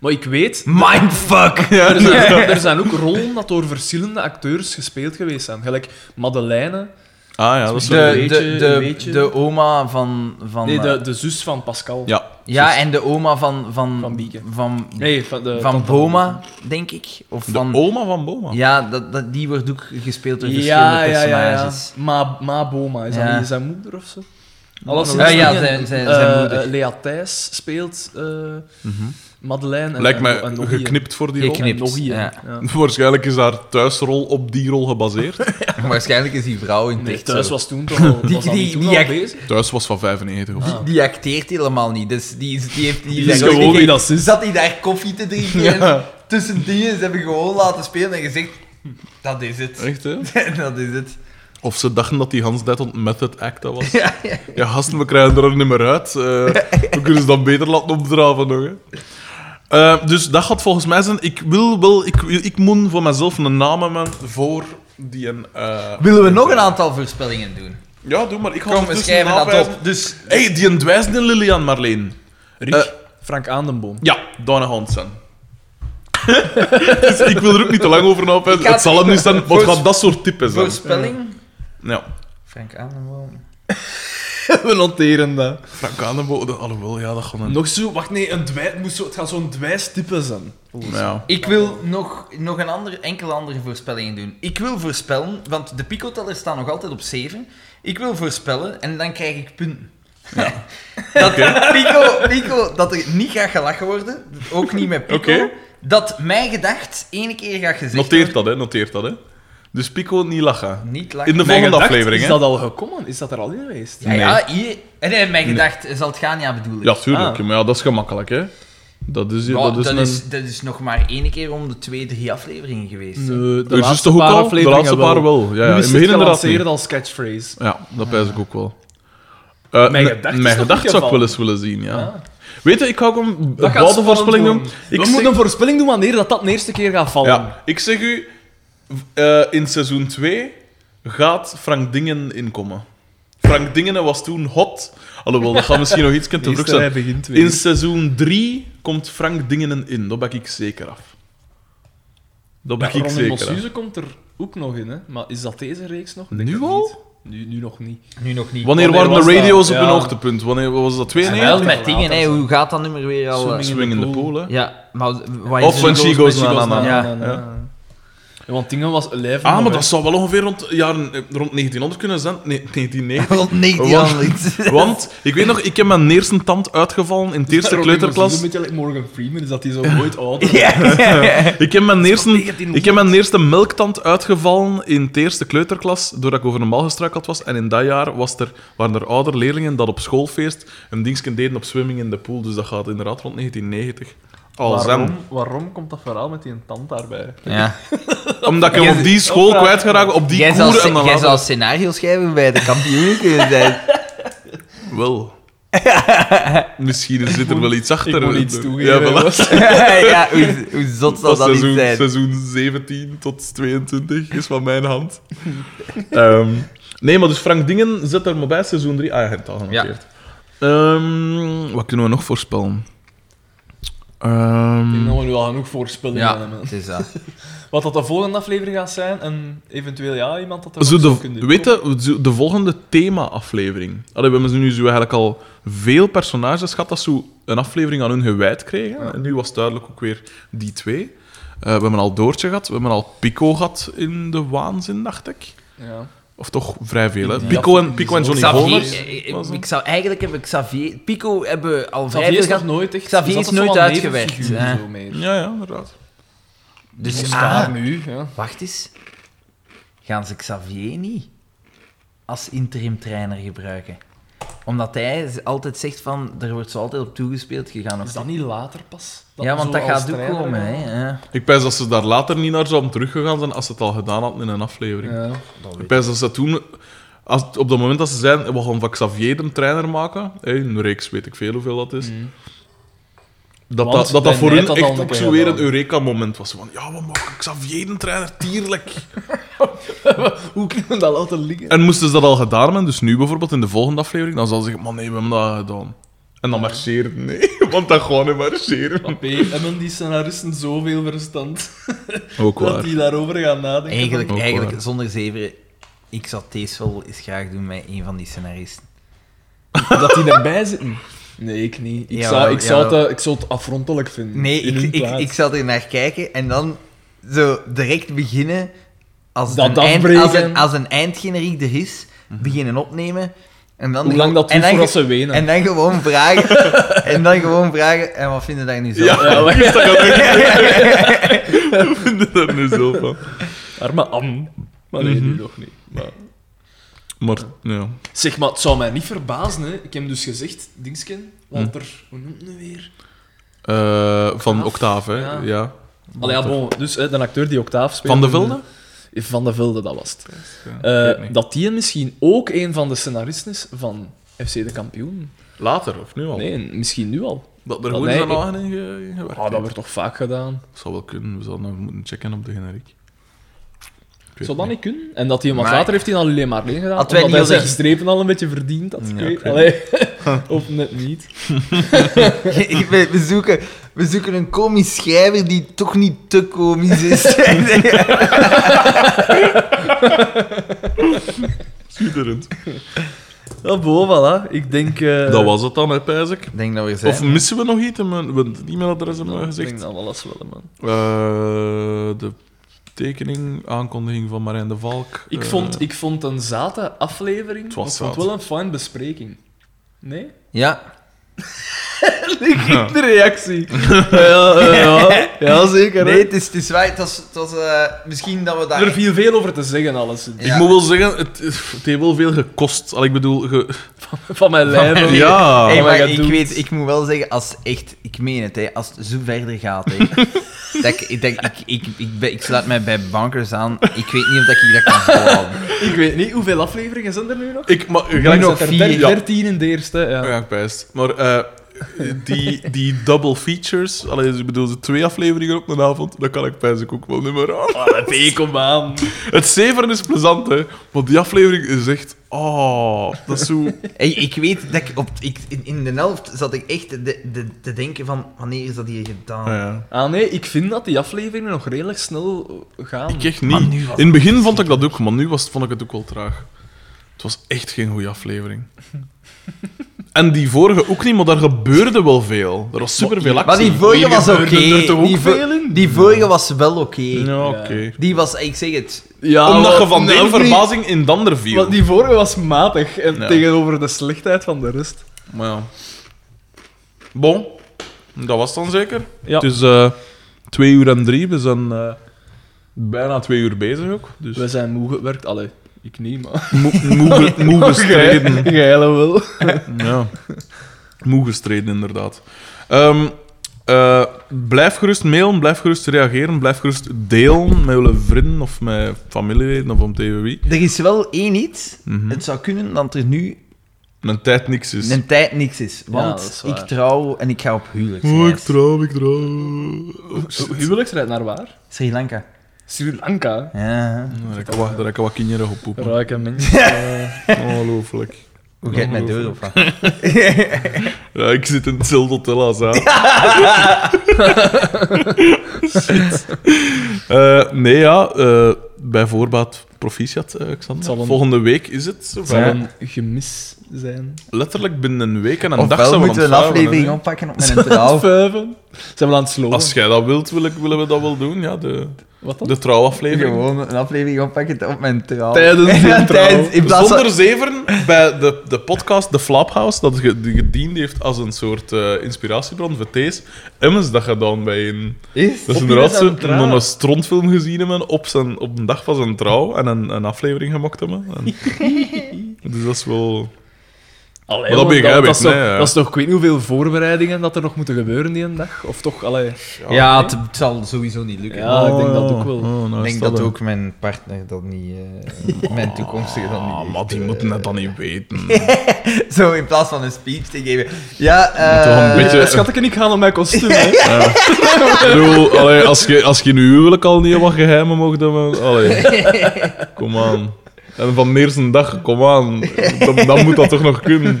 S2: Maar ik weet,
S3: Mindfuck!
S2: er zijn, er zijn ook rollen dat door verschillende acteurs gespeeld geweest zijn. Gelijk Madeleine,
S1: Ah ja, dat is
S2: Zo'n
S1: wel...
S3: De,
S2: beetje,
S3: de,
S2: een
S3: de,
S2: beetje.
S3: de oma van... van
S2: nee,
S3: eh,
S2: de, de zus van Pascal.
S1: Ja.
S3: ja, en de oma van... Van,
S2: Van Bieke.
S3: Van,
S2: Nee, eh, van, de,
S3: van Boma, denk ik. Of
S1: De
S3: van...
S1: oma van Boma.
S3: Ja, dat, dat, die wordt ook gespeeld door verschillende
S2: ja, ja, ja, ja.
S3: personages.
S2: Ma, Ma Boma, is
S3: Ja.
S2: dat niet zijn moeder of zo? Alles Eh,
S3: Ja, ja, zijn- zijn- zijn moeder.
S2: Lea Thijs speelt eh
S1: Mhm.
S2: Madeleine. En,
S1: Lijkt
S2: en-
S1: mij
S2: en nog iemand.
S1: geknipt voor die rol.
S3: Geknipt,
S2: En nog iemand,
S3: ja.
S2: ja.
S1: Waarschijnlijk is haar thuisrol op die rol gebaseerd.
S5: Waarschijnlijk is die vrouw in het
S2: Nee,
S5: echt eh.
S2: thuis
S5: zo.
S2: was toen toch al,
S3: Die-
S2: was dat
S3: die-
S2: niet toen
S3: die
S2: al
S3: act-
S2: bezig.
S1: Thuis was van 95
S3: Ah.
S1: of zo.
S5: Die acteert helemaal niet, dus die, is- die heeft... Die,
S2: is
S5: zegt-
S2: gewoon
S5: die-
S2: wie dat is.
S5: Zat hij daar koffie te drinken en tussen dingen ze hebben gewoon laten spelen en gezegd... Dat is het.
S1: Echt, hè?
S5: dat is het.
S1: Of ze dachten dat die Hans Dead met het act was. Ja, gasten, we krijgen er niet meer uit. Eh, we kunnen ze dan beter laten opdraven nog. Hè. Eh, dus dat gaat volgens mij zijn. Ik wil wel, ik, wil- ik moet voor mezelf een naam hebben voor die een. eh,
S5: Willen we nog
S1: een
S5: aantal voorspellingen doen?
S1: ja, doe maar. Ik ga
S5: Kom, we
S1: ondertussen
S5: schrijven dat
S1: nawijzen.
S5: op. Dus...
S1: hey, die een dwijzende Lilian Marleen.
S2: Rick,
S1: Eh,
S2: Frank Aandenboom.
S1: Ja, Donna Hansen. dus ik wil er ook niet te lang over
S5: Ik
S1: nawijzen.
S5: had-
S1: Het zal hem niet zijn, maar het
S5: Voor-
S1: gaat dat soort types zijn.
S5: Voorspelling?
S1: Ja.
S5: Frank Aanenboom.
S2: We noteren dat.
S1: Frank Aandenbo, dat- alhoewel, ja, dat gaat een...
S2: Nog zo, wacht nee, een dwij, het moest zo, het gaat zo'n dwijstype zijn.
S1: Ja.
S5: Ik wil nog, nog een andere, enkele andere voorspellingen doen. Ik wil voorspellen, want de picotellers staan nog altijd op 7. Ik wil voorspellen en dan krijg ik punten. dat Pico, Pico, dat er niet gaat gelachen worden, ook niet met Pico.
S1: Oké.
S5: Dat mijn gedacht ene keer gaat gezegd
S1: Noteert dat, hè? Noteert dat, hè? Dus Pico niet lachen.
S5: worden. Niet lachen.
S1: In de
S2: Mijn
S1: volgende
S2: gedacht,
S1: aflevering,
S2: Is
S1: hè?
S2: dat al gekomen? Is dat er al in geweest?
S5: Ja, ja, hier. En nee, mijn gedacht zal het gaan, ja, bedoel ik.
S1: Ja, tuurlijk.
S2: Ah.
S1: Maar ja, dat is gemakkelijk, hè? Dat is,
S5: Ja,
S1: dat is
S5: dat,
S1: een...
S5: is, dat is nog maar één keer om de twee, drie afleveringen geweest. hè.
S2: Nee,
S1: Er is dus toch ook al- de laatste paar wel. Ja, ja.
S2: Nu
S1: In
S2: is
S1: het
S2: het
S1: begin inderdaad
S2: gelanceerd
S1: niet.
S2: als catchphrase.
S1: Ja, dat pijs ik ook wel. Eh,
S2: Mijn
S1: ne-
S2: gedacht is
S1: mijn
S2: nog
S1: gedacht
S2: niet
S1: zou ik wel
S2: gevallen.
S1: eens willen zien, ja.
S2: Ah.
S1: Weet je, ik ga ook een
S2: Dat gaat
S1: bepaalde
S2: spannend
S1: voorspelling doen.
S2: worden.
S1: Ik
S2: We
S1: zeg,
S2: moeten een voorspelling doen wanneer dat, dat de eerste keer gaat vallen.
S1: ja, ik zeg u, eh, in seizoen 2 gaat Frank Dingen inkomen. Frank Dingen was toen hot. Alhoewel, dat gaat misschien nog iets te vroeg zijn.
S2: begint
S1: In seizoen 3 komt Frank Dingen in. Dat ben ik zeker af. Dat ben ik
S2: Ronnie
S1: zeker af.
S2: Mossuze komt er ook nog in, hè? maar is dat deze reeks nog?
S1: Nu
S2: het
S1: al?
S2: niet. Nu, nu nog niet.
S5: Nu nog niet.
S1: Wanneer, waren
S2: Wanneer
S1: de
S2: was dat?
S1: radio's op
S2: Ja.
S1: een hoogtepunt? Wanneer was dat?
S5: En wel
S1: 92?
S5: met dingen, hè. hoe gaat dat nummer weer al? eh?
S1: Swing in the pool, hè?
S5: Ja, maar wat is
S1: Of
S5: er-
S1: when she goes
S2: She
S1: na na
S2: goes
S1: na.
S2: na,
S1: Ja.
S2: na, na, na. Ja, Want dingen was lijf.
S1: Ah, maar dat zou wel ongeveer rond, de jaren, eh, rond 1900 kunnen zijn. Nee, 1990.
S5: Rond 19 jaar niet.
S1: Want, ik weet nog, ik heb mijn eerste tand uitgevallen in de eerste
S2: Een
S1: kleuterklas.
S2: beetje like Morgan Freeman, is dat hij zo nooit ouder
S1: Ik heb, mijn eerste,
S2: 1900.
S1: ik heb mijn eerste melktand uitgevallen in de eerste kleuterklas, doordat ik over een mal gestruikeld was. En in dat jaar was er, waren er ouder leerlingen dat op schoolfeest een dingetje deden op swimming in de pool. Dus dat gaat inderdaad rond 1990. Al zijn.
S2: Waarom, waarom komt dat verhaal met die tand daarbij?
S5: Ja.
S1: Omdat ik hem op die school kwijtgeraakt, op die
S5: Jij zou,
S1: koer
S5: sce-
S1: en dan
S5: jij
S1: later-
S5: zou scenario schrijven bij de kampioen kunnen zijn.
S1: Wel. Misschien zit er wel iets achter.
S2: ik moet iets
S1: Ja,
S2: toegeven.
S1: voilà.
S5: ja, hoe, hoe zot zal
S1: Dat
S5: dat niet
S1: seizoen,
S5: zijn?
S1: seizoen 17 tot 22 is van mijn hand. Ehm, nee, maar dus Frank Dingen zit er maar bij, seizoen 3. Ah, hij heeft het al genoteerd. Ehm, wat kunnen we nog voorspellen?
S2: Ik
S1: Ehm,
S2: denk dat we nu al genoeg voorspellingen
S5: Ja,
S2: hebben.
S5: het is dat.
S2: Wat dat de volgende aflevering gaat zijn, en eventueel ja, iemand dat er
S1: zo
S2: ook zou
S1: de,
S2: kunnen
S1: weet je, zo de volgende thema-aflevering. Allee, we hebben nu zo eigenlijk al veel personages gehad dat zo een aflevering aan hun gewijd kregen. En nu was duidelijk ook weer die twee. Eh, we hebben al Doortje gehad, we hebben al Pico gehad in de waanzin, dacht ik.
S2: Ja.
S1: Of toch vrij veel, hè?
S2: Ja.
S1: Pico en, Pico en Johnny
S3: Xavier,
S1: Holmes.
S3: eh, eh,
S1: was hem.
S3: ik zou eigenlijk hebben Xavier... Pico hebben we al
S2: Xavier
S3: vijf
S2: is
S3: gehad.
S2: nog nooit echt...
S3: Xavier is
S2: altijd zo
S3: nooit
S2: aan
S3: uitgewerkt,
S2: nevenfiguur
S3: hè.
S2: zo meer.
S1: Ja, ja, inderdaad.
S3: Dus
S2: Dus
S3: ah,
S2: daar nu, ja.
S3: wacht eens. Gaan ze Xavier niet als interim trainer gebruiken? Omdat hij z- altijd zegt van, er wordt zo altijd op toegespeeld gegaan. Of
S2: Is dat niet later pas?
S3: ja, want
S2: zo als
S3: dat gaat ook
S2: trainer
S3: komen.
S2: dan?
S3: Hè? Ja.
S1: Ik pijs dat ze daar later niet naar zouden teruggegaan zijn als ze het al gedaan hadden in een aflevering.
S2: Ja.
S1: Ik pijs dat ze toen, als, op dat moment dat ze zijn, we gaan van Xavier een trainer maken, hè, een reeks weet ik veel hoeveel dat is. Dat
S2: Mm. Want
S1: dat, dat, dat
S2: Ben
S1: voor
S2: Nijt
S1: hun
S2: had al
S1: echt
S2: een
S1: ook
S2: keer
S1: zo weer een
S2: gedaan.
S1: Eureka-moment was. Van, ja, we maken Xavier een trainer, tierlijk.
S2: Hoe kunnen we dat laten liggen?
S1: En moesten ze dat al gedaan hebben, dus nu bijvoorbeeld in de volgende aflevering, dan zal ze zeggen, man, nee, we hebben dat gedaan. En dan marcheren, nee, want dat gewoon niet marcheren.
S2: P, hebben die scenaristen zoveel verstand
S1: Ook
S2: dat
S1: waar.
S2: die daarover gaan nadenken?
S3: Eigenlijk,
S1: Ook
S3: eigenlijk
S1: waar.
S3: zonder zeveren, ik zou deze wel eens graag doen met een van die scenaristen.
S2: Dat die erbij zitten? Nee, ik niet. Ik,
S3: Jawel,
S2: zou, ik, zou,
S3: jawel.
S2: het, eh, ik zou het afrontelijk vinden.
S3: Nee,
S2: In hun
S3: ik, ik,
S2: plaats.
S3: ik zal er naar kijken en dan zo direct beginnen. Als,
S2: Dat
S3: een, eind,
S2: afbreken. Mhm.
S3: als, een, als een eindgeneriek er is, beginnen opnemen. En dan
S2: Hoe lang dat
S3: en
S2: duurt
S3: dan
S2: voordat
S3: ge-
S2: ze wenen.
S3: En dan gewoon vragen. en dan gewoon vragen. En wat vinden daar nu zo?
S1: Ja, dat is dat ook. We vinden daar nu zo van.
S2: Arme Am. Maar nee, nu
S1: Mhm.
S2: nog niet. Maar...
S1: Maar, ja.
S2: Zeg, maar het zou mij niet verbazen. Hè. Ik heb dus gezegd, Dingsken, Walter, hoe noemt hij weer?
S1: Eh, van
S2: Octaaf?
S1: Octave, hè?
S2: Ja.
S1: Ja.
S2: Allee, ja, bon, dus hè, de acteur die Octaaf speelt.
S1: Van
S2: Eh,
S1: de Velde?
S2: Van de Velde, dat was het.
S1: ik weet
S2: Eh,
S1: niet.
S2: dat die misschien ook een van de scenaristen is van FC de kampioen.
S1: Later, of nu al?
S2: Nee, misschien nu al.
S1: Dat er
S2: Dat
S1: gewoon
S2: nee,
S1: zijn
S2: ik-
S1: nagen in ge- in gewerkt
S2: Ah, dat
S1: heeft.
S2: wordt toch vaak gedaan.
S1: zou wel kunnen, we zouden nog moeten checken op de generiek. Ik weet
S2: Zou dat
S1: het
S2: niet kunnen? En dat hij, want
S3: Maar-
S2: later heeft hij dan alleen maar alleen gedaan.
S3: Had wij
S2: Omdat
S3: niet
S2: hij zijn
S3: gezegd-
S2: strepen al een beetje verdiend had. ik
S1: Ja,
S2: weet-
S1: ik weet
S2: Allee, of net niet.
S3: Ik weet- we, zoeken, we zoeken een komisch schrijver die toch niet te komisch is. ja,
S1: Schitterend.
S2: Ja, bo, voilà. Ik denk... eh,
S1: Dat was het dan, hè, pijs ik.
S3: ik denk dat we er zijn.
S1: Of missen we nog iets? Hebben We het e-mailadres hebben we
S2: Ik
S1: gezegd.
S2: denk dat alles wel, man.
S1: Eh, de tekening, aankondiging van Marijn de Valk.
S2: Ik,
S1: eh,
S2: vond, ik vond een zate aflevering.
S1: Het was
S2: maar ik vond
S1: zaad.
S2: wel een fijn bespreking. Nee?
S3: ja.
S2: De reactie. ja, ja, ja. Ja, zeker. hè.
S3: Nee, het is, het is waar. Het was, het was, eh, misschien dat we daar...
S2: Er viel veel over te zeggen, alles.
S3: Ja.
S1: Eh, Ik moet wel zeggen, het, het heeft wel veel gekost. Al, ik bedoel, ge-
S2: Van mijn lijf.
S1: ja.
S3: Hey,
S2: wat
S3: maar
S2: je
S3: ik
S2: doet.
S3: weet, ik moet wel zeggen, als echt, ik meen het, hè, als het zo verder gaat, hè, dat ik, ik, denk, ik, ik, ik, ben- ik sluit mij bij bankers aan. Ik weet niet of dat ik dat kan volhouden.
S2: Ik weet niet, hoeveel afleveringen zijn er nu nog?
S1: Ik, maar, gelijk
S2: nog
S1: dat er
S2: vier,
S1: der- ja.
S2: 13 in de eerste, ja.
S1: Ja, ik pijs. Maar eh, die, die double features, allee, dus ik bedoel, de twee afleveringen op een avond, dat kan ik pijs ik ook wel niet meer aan.
S2: Ah, nee, kom aan.
S1: Het zeveren is plezant, hè. Want die aflevering is echt... Oh, dat is zo...
S3: Hey, ik weet dat ik, op, ik in, in de helft zat ik echt de, de, te denken van, wanneer is dat hier gedaan?
S1: Ah, ja.
S2: Ah nee, ik vind dat die afleveringen nog redelijk snel gaan.
S1: Ik echt niet. In het begin vond ik dat ook, maar nu was, vond ik het ook wel traag. Het was echt geen goede aflevering. En die vorige ook niet, maar daar gebeurde wel veel. Er was superveel actie.
S3: Maar die vorige was oké.
S2: er toch ook
S3: Die, vo-
S2: veel in?
S3: die vorige was wel oké.
S1: Ja, oké.
S3: Die was, ik zeg het,
S2: Ja,
S1: Omdat je
S2: want-
S1: van de
S2: Oh, nee,
S1: ene
S2: ook niet,
S1: verbazing in de ander viel.
S2: Want die vorige was matig en
S1: Ja.
S2: tegenover de slechtheid van de rest.
S1: Maar ja. Bon, dat was dan zeker.
S2: Ja.
S1: Het is eh, twee uur en drie. We zijn eh, bijna twee uur bezig ook. Dus
S2: We zijn moe gewerkt. Allee, ik niet, maar...
S1: moe, moe, be- moe gestreden.
S2: Geilen wel.
S1: Ja. Moe gestreden, inderdaad. Ehm, eh, blijf gerust mailen, blijf gerust reageren, blijf gerust delen met jullie vrienden of met familieleden of om tegen wie.
S3: er is wel één iets.
S1: Mhm. Dus-
S3: Het zou kunnen dat er nu
S1: Mijn tijd niks is.
S3: een tijd niks is.
S2: dat is
S3: Want
S2: waar.
S3: ik trouw en ik ga op
S1: Oh, ik
S3: huwelijksreis.
S1: trouw, ik trouw. Oh, shit.
S2: Huwelijksrijd naar waar?
S3: Sri Lanka.
S2: Sri Lanka.
S3: Ja.
S1: Daar heb ik wat- daar heb ik wat kinderen op poepen.
S2: Ruiken mensen. eh,
S1: Ongelooflijk.
S3: Hoe gaat mijn deur op?
S1: Ja, ik zit in hetzelfde hotel als haar. Eh, nee, ja. eh, bij voorbaat proficiat, eh, Xander.
S2: zal een-
S1: Volgende week is het zover.
S2: zal een gemis zijn.
S1: Letterlijk binnen een week en een dag
S3: Ofwel
S1: zijn we
S3: moeten we een
S1: aan het vuilen,
S3: aflevering
S1: hè.
S3: oppakken op mijn trouw.
S2: Vuiven. Zijn we aan het slopen?
S1: Als jij dat wilt, wil ik, willen we dat wel doen. Ja, de,
S2: Wat dan?
S1: de trouwaflevering.
S3: Gewoon een aflevering oppakken op mijn trouw.
S2: Tijdens de
S3: Ja,
S2: trouw.
S3: tijdens- in plaats van-
S1: Zonder zeven bij de, de podcast The Flaphouse, dat ge- die gediend heeft als een soort eh, inspiratiebron voor Thees. Emmens dat gedaan bij een...
S3: Is?
S1: Dat is inderdaad
S2: Op iemand aan
S1: zo'n
S2: het trouwen.
S1: een strontfilm gezien hebben op, zijn, op een dag van zijn trouw en een, een aflevering gemaakt hebben. En, dus dat is wel...
S2: Allee,
S1: Maar dat
S2: man,
S1: begrijp
S2: dat,
S1: ik,
S2: is toch-
S1: nee, ja.
S2: dat is toch, ik weet niet hoeveel voorbereidingen dat er nog moeten gebeuren die een dag? Of toch, allee...
S3: Ja, het, het zal sowieso niet lukken.
S2: Ja, Ah, ik denk dat
S1: Oh,
S2: ook wel.
S1: nou,
S3: Ik denk dat ook mijn partner dat niet... eh, mijn toekomstige dat niet...
S1: Ah, maar die
S3: eh,
S1: moeten het dan niet weten.
S3: Zo, in plaats van een speech te geven. Ja,
S1: toch een
S3: eh...
S1: beetje-
S2: Eh, Schat, ik kan niet gaan op mijn kostuum, hè.
S1: Ik bedoel, allee, als je als je in je huwelijk al niet wat geheimen mocht hebben... Allee, kom aan. En van de eerste dag, kom aan. Dan, dan moet dat toch nog kunnen.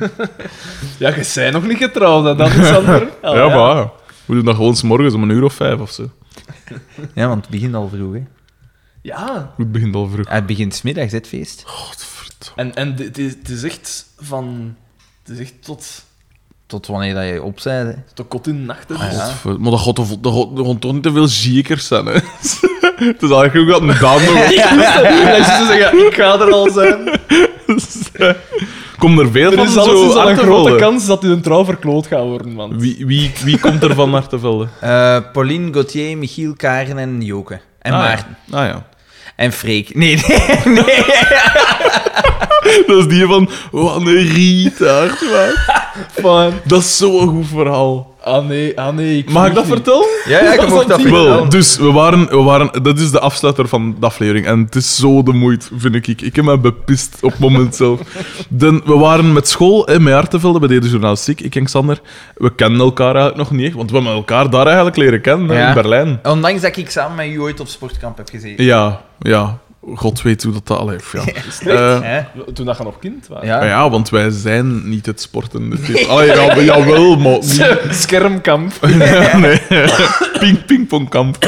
S2: Ja, je bent nog niet getrouwd, hè, dat is ander.
S1: Oh, ja, maar ja. we doen dat gewoon 's morgens om een uur of vijf of zo.
S3: Ja, want het begint al vroeg, hè.
S2: Ja,
S1: Het begint al vroeg.
S3: Het begint smiddags, dit feest.
S1: Godverdomme.
S2: en, en het is- het is echt van... Het is echt tot,
S3: Tot wanneer dat je opzijde.
S2: tot kot in de nacht. hè. Dus-
S1: Godver- Maar dat gaat, toch- dat gaat- dat gaan toch niet te veel ziekers zijn, hè? Het is eigenlijk ook dat een dame wordt.
S2: Als je zo dus zeggen, ik ga er al zijn.
S1: Komt er veel
S2: Er
S1: van
S2: is
S1: zo
S2: al een grote
S1: Achtervelde?
S2: kans dat u een trouw verkloot gaat worden, man.
S1: Wie, wie, wie komt er van Achtervelde?
S3: Eh, Pauline, Gauthier, Michiel, Karen en Joke. En
S1: Ah, ja.
S3: Maarten.
S1: Ah ja.
S3: En Freek. Nee, nee.
S1: Dat is die van... "Oh, Wat een rietaard, man.
S2: Van,
S1: Dat is zo'n goed verhaal.
S2: ah nee, ah nee. Ik
S1: Mag ik dat
S2: vlieg niet.
S1: vertellen?
S3: Ja, ja, ik mocht dat
S1: Wel,
S3: vertellen.
S1: dus we waren, we waren... Dat is de afsluiter van de aflevering. En het is zo de moeite, vind ik. Ik heb me bepist op het moment zelf. Den, we waren met school in mijn Hartenvelde bij deze journalistiek. Ik en Xander. We kennen elkaar eigenlijk nog niet echt. Want we hebben elkaar daar eigenlijk leren kennen, hè,
S3: Ja.
S1: in Berlijn.
S3: Ondanks dat ik samen met u ooit op sportkamp heb gezeten.
S1: Ja, ja. God weet hoe dat... dat allee, ja. Eh,
S3: Hè?
S2: Toen dat je nog kind was.
S1: Maar
S3: Ja.
S1: ja, want wij zijn niet het sporten. Het is- Allee, ja, jawel, maar... niet-
S2: Schermkamp.
S1: Nee, nee. Ping, pingpongkamp.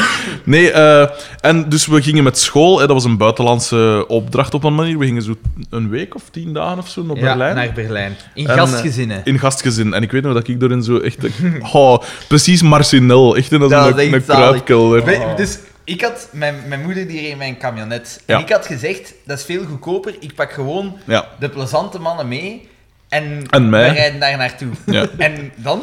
S1: Nee, eh, en dus we gingen met school. Hè, dat was een buitenlandse opdracht op een manier. We gingen zo een week of tien dagen of zo naar
S3: Ja,
S1: Berlijn.
S3: naar Berlijn. eh, In
S1: En,
S3: gastgezinnen.
S1: In gastgezin. En ik weet nog dat ik daarin zo echt... Oh, precies Marcinel. Echt in als
S3: Dat is
S1: een,
S3: echt
S1: een
S3: zalig.
S1: kruipkelder.
S3: We- Dus ik had... Mijn, mijn moeder die reed in mijn camionet.
S1: Ja.
S3: En ik had gezegd, dat is veel goedkoper. Ik pak gewoon
S1: Ja.
S3: de plezante mannen mee. En,
S1: En mij.
S3: we rijden daar naartoe.
S1: Ja.
S3: En dan...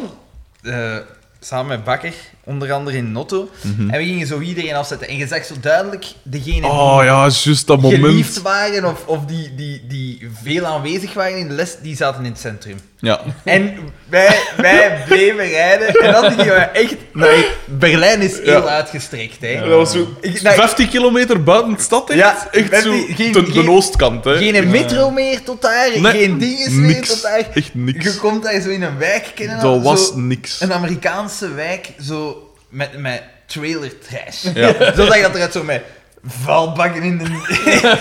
S3: eh, Samen met Bakker, onder andere in Notto. En we gingen zo iedereen afzetten. En je zag zo duidelijk degene die
S1: Mhm. Oh ja, juist dat moment.
S3: geliefd waren of, of die, die, die veel aanwezig waren in de les, die zaten in het centrum.
S1: Ja.
S3: En wij, wij bleven rijden en dan gingen we echt... naar- Berlijn is heel
S1: Ja.
S3: uitgestrekt, hè.
S1: Dat was zo
S3: Ik- nou,
S1: 50 kilometer buiten de stad, echt.
S3: Ja,
S1: echt zo
S3: 50 geen-
S1: ten,
S3: geen-
S1: ten oostkant, hè.
S3: Geen metro meer tot daar,
S1: Nee,
S3: geen dinges meer
S1: niks.
S3: tot daar.
S1: Echt
S3: Je
S1: niks.
S3: komt daar zo in een wijk kennen.
S1: Dat
S3: zo
S1: was niks.
S3: Een Amerikaanse wijk, zo met, met trailer trash.
S1: Ja.
S3: Zo zag dat eruit, zo met valbakken in de,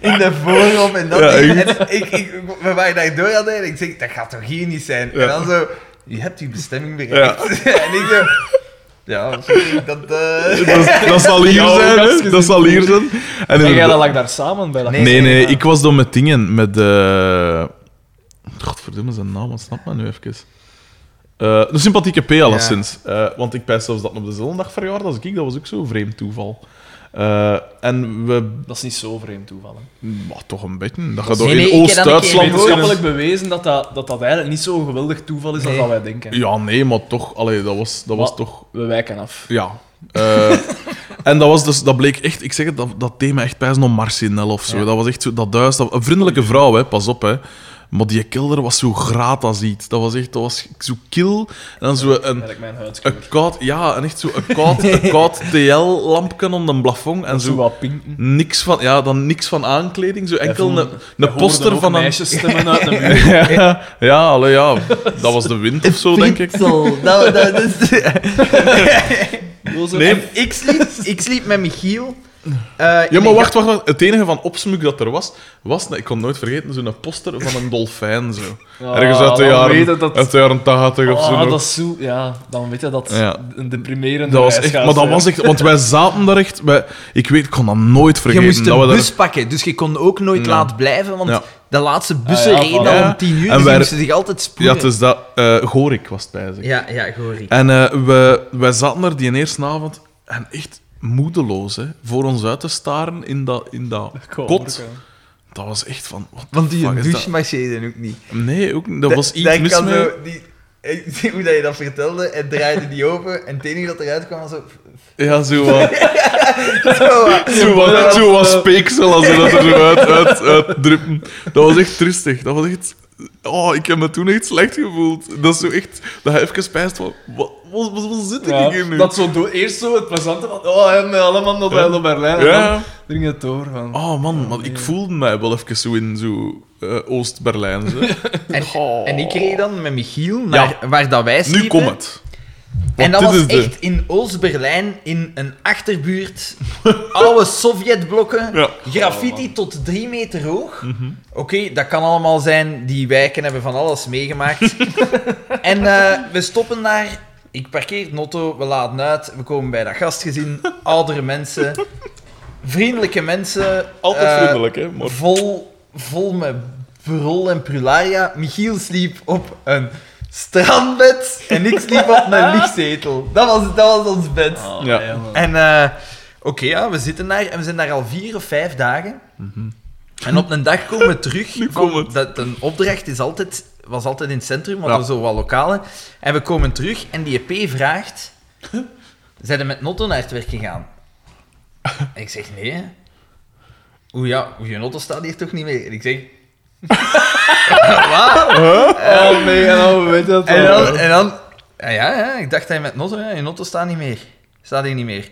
S3: in de voorhoofd en dat.
S1: Ja,
S3: en ik, ik, we waren daar door aan het rijden en ik zeg, dat gaat toch hier niet zijn?
S1: Ja.
S3: En dan zo, je hebt je bestemming bereikt. en ik zo, ja, sorry, dat... eh,
S1: Dat, dat zal hier
S2: Ja,
S1: zijn, hè.
S2: gastgezin.
S1: Dat zal hier zijn. En
S2: En jij
S1: inderdaad-
S2: dat lag daar samen bij dat
S3: Nee.
S1: Nee, nee,
S3: ja.
S1: ik was dan met dingen, met... eh Godverdomme, zijn naam ontsnapt me nu even. Eh, de sympathieke P, alleszins. Eh, want ik pijs zelfs dat hij op dezelfde dag verjaardag als ik. Dat was ook zo'n vreemd toeval. Eh, en we...
S2: Dat is niet zo vreemd toeval. hè.
S1: Maar toch een beetje. Dat gaat door
S3: nee, ik
S1: in
S3: heb dat een
S1: Oost-Duitsland...
S3: keer gehoord.
S2: Wetenschappelijk bewezen dat dat, dat dat eigenlijk niet zo'n geweldig toeval is
S3: Nee.
S2: als dat wij denken.
S1: Ja, nee, maar toch... Allee, dat was, dat was
S2: Maar-
S1: toch...
S2: We wijken af.
S1: Ja. Eh, en dat was dus, dat bleek echt, ik zeg het, dat, dat thema echt pijzen om Marcinel of zo. Dat was echt zo, dat duis, dat, een vriendelijke vrouw, hè, pas op, hè. Maar die kelder was zo graat als iets. Dat was echt, dat was zo kil. En dan zo een,
S2: Merk mijn huidskleur.
S1: een koud, ja, en echt zo een koud, een koud TL-lampje om een plafond. En
S2: Zo
S1: zo
S2: wat pinken.
S1: niks van, ja, dan niks van aankleding. Zo enkel
S2: voelde-
S1: een, een poster van een...
S2: meisjesstemmen uit de muur.
S1: Ja, ja, allee, ja, dat was de wind of zo, denk ik.
S3: Zo, dat, dat is...
S1: Nee,
S3: En ik, sliep, ik sliep met Michiel eh,
S1: Ja, maar wacht, wacht, wacht. Het enige van opsmuk dat er was, was, ik kon nooit vergeten, zo'n poster van een dolfijn. Zo. Ergens uit de
S2: dan
S1: jaren,
S2: weet je dat-
S1: uit de jaren 80 of zo.
S2: Ah,
S1: nog.
S2: dat is zo... Ja, dan weet je dat
S1: Ja.
S2: een deprimerende
S1: Dat was
S2: reis
S1: echt,
S2: gaat
S1: maar dat
S2: zijn.
S1: was echt, want wij zaten daar echt. Wij, ik weet, ik kon dat nooit
S6: Je
S1: vergeten.
S6: moest
S1: dat
S6: een
S1: we daar-
S6: bus pakken, dus je kon ook nooit
S1: Ja.
S6: laat blijven, want
S1: Ja.
S6: de laatste bussen
S2: Ah, ja,
S6: reden
S2: voilà.
S6: al om tien uur,
S1: En
S6: dus
S1: wij-
S6: je moest zich altijd spoelen.
S1: ja, het is dat. eh Gorik was het bij zich.
S6: ja, ja, Gorie.
S1: En eh, we, wij zaten daar die eerste avond en echt moedeloos hè, voor ons uit te staren in dat, in dat kot. Dat was echt van. Wat
S6: Eh, Want
S1: fuck
S6: die
S1: is
S6: douche marcheerden ook niet.
S1: dat? Nee, ook, niet. dat was iets
S6: dat
S1: mis
S6: kan
S1: mee.
S6: zo- die, eh, ik zie hoe dat je dat vertelde en draaide die open en het enige dat eruit kwam was zo...
S1: Ja, zo wat.
S6: zo
S1: Zo wat, zo wat speeksel als ze dat er zo uit, uit, uitdruppen. Dat was echt tristig. Dat was echt... Oh, ik heb me toen echt slecht gevoeld. Dat is zo echt... Dat je even spijst van... Wat, wat, wat, wat zit ik
S2: Ja,
S1: hier nu?
S2: dat zo door, eerst zo het plezante van... Oh, en eh, allemaal nog bij Berlijn. En
S1: Ja.
S2: dan dring het door van...
S1: Oh man, maar ik voelde mij wel even zo in zo eh, Oost-Berlijn. zo.
S3: En,
S1: Oh.
S3: en ik reed dan met Michiel
S1: Ja.
S3: naar waar dat wij sliepen.
S1: Nu komt het.
S3: En dat
S1: dit
S3: was
S1: is de-
S3: echt in Oost-Berlijn, in een achterbuurt. oude Sovjetblokken.
S1: Ja. Mhm.
S3: Graffiti tot drie meter hoog. Oké, dat kan allemaal zijn. Die wijken hebben van alles meegemaakt. en eh, we stoppen daar. Ik parkeer het notto, we laden uit. We komen bij dat gastgezin. Oudere mensen. Vriendelijke mensen.
S1: Altijd
S3: eh,
S1: vriendelijk, hè. Maar...
S3: Vol, vol met brol en prularia. Michiel sliep op een strandbed en ik sliep op een lichtzetel. Dat was, dat was ons bed.
S1: Ja.
S3: En eh, oké, ja, we zitten daar en we zijn daar al vier of vijf dagen. En op een dag komen we terug.
S1: Nu
S3: van-
S1: komt het.
S3: dat, een opdracht is altijd, was altijd in het centrum, want
S1: Ja.
S3: er zo wat lokalen. En we komen terug en die EP vraagt... Zijn er met Notto naar het werk gegaan? En ik zeg, nee. hè. Oeh ja, je Notto staat hier toch niet meer? En ik zeg... Wat?
S2: Oh nee, en dan weet je dat
S3: En
S2: wel.
S3: dan, en dan ja, ja, ja, ik dacht dat je met Notto, ja, je Notto staat niet meer. Staat hier niet meer.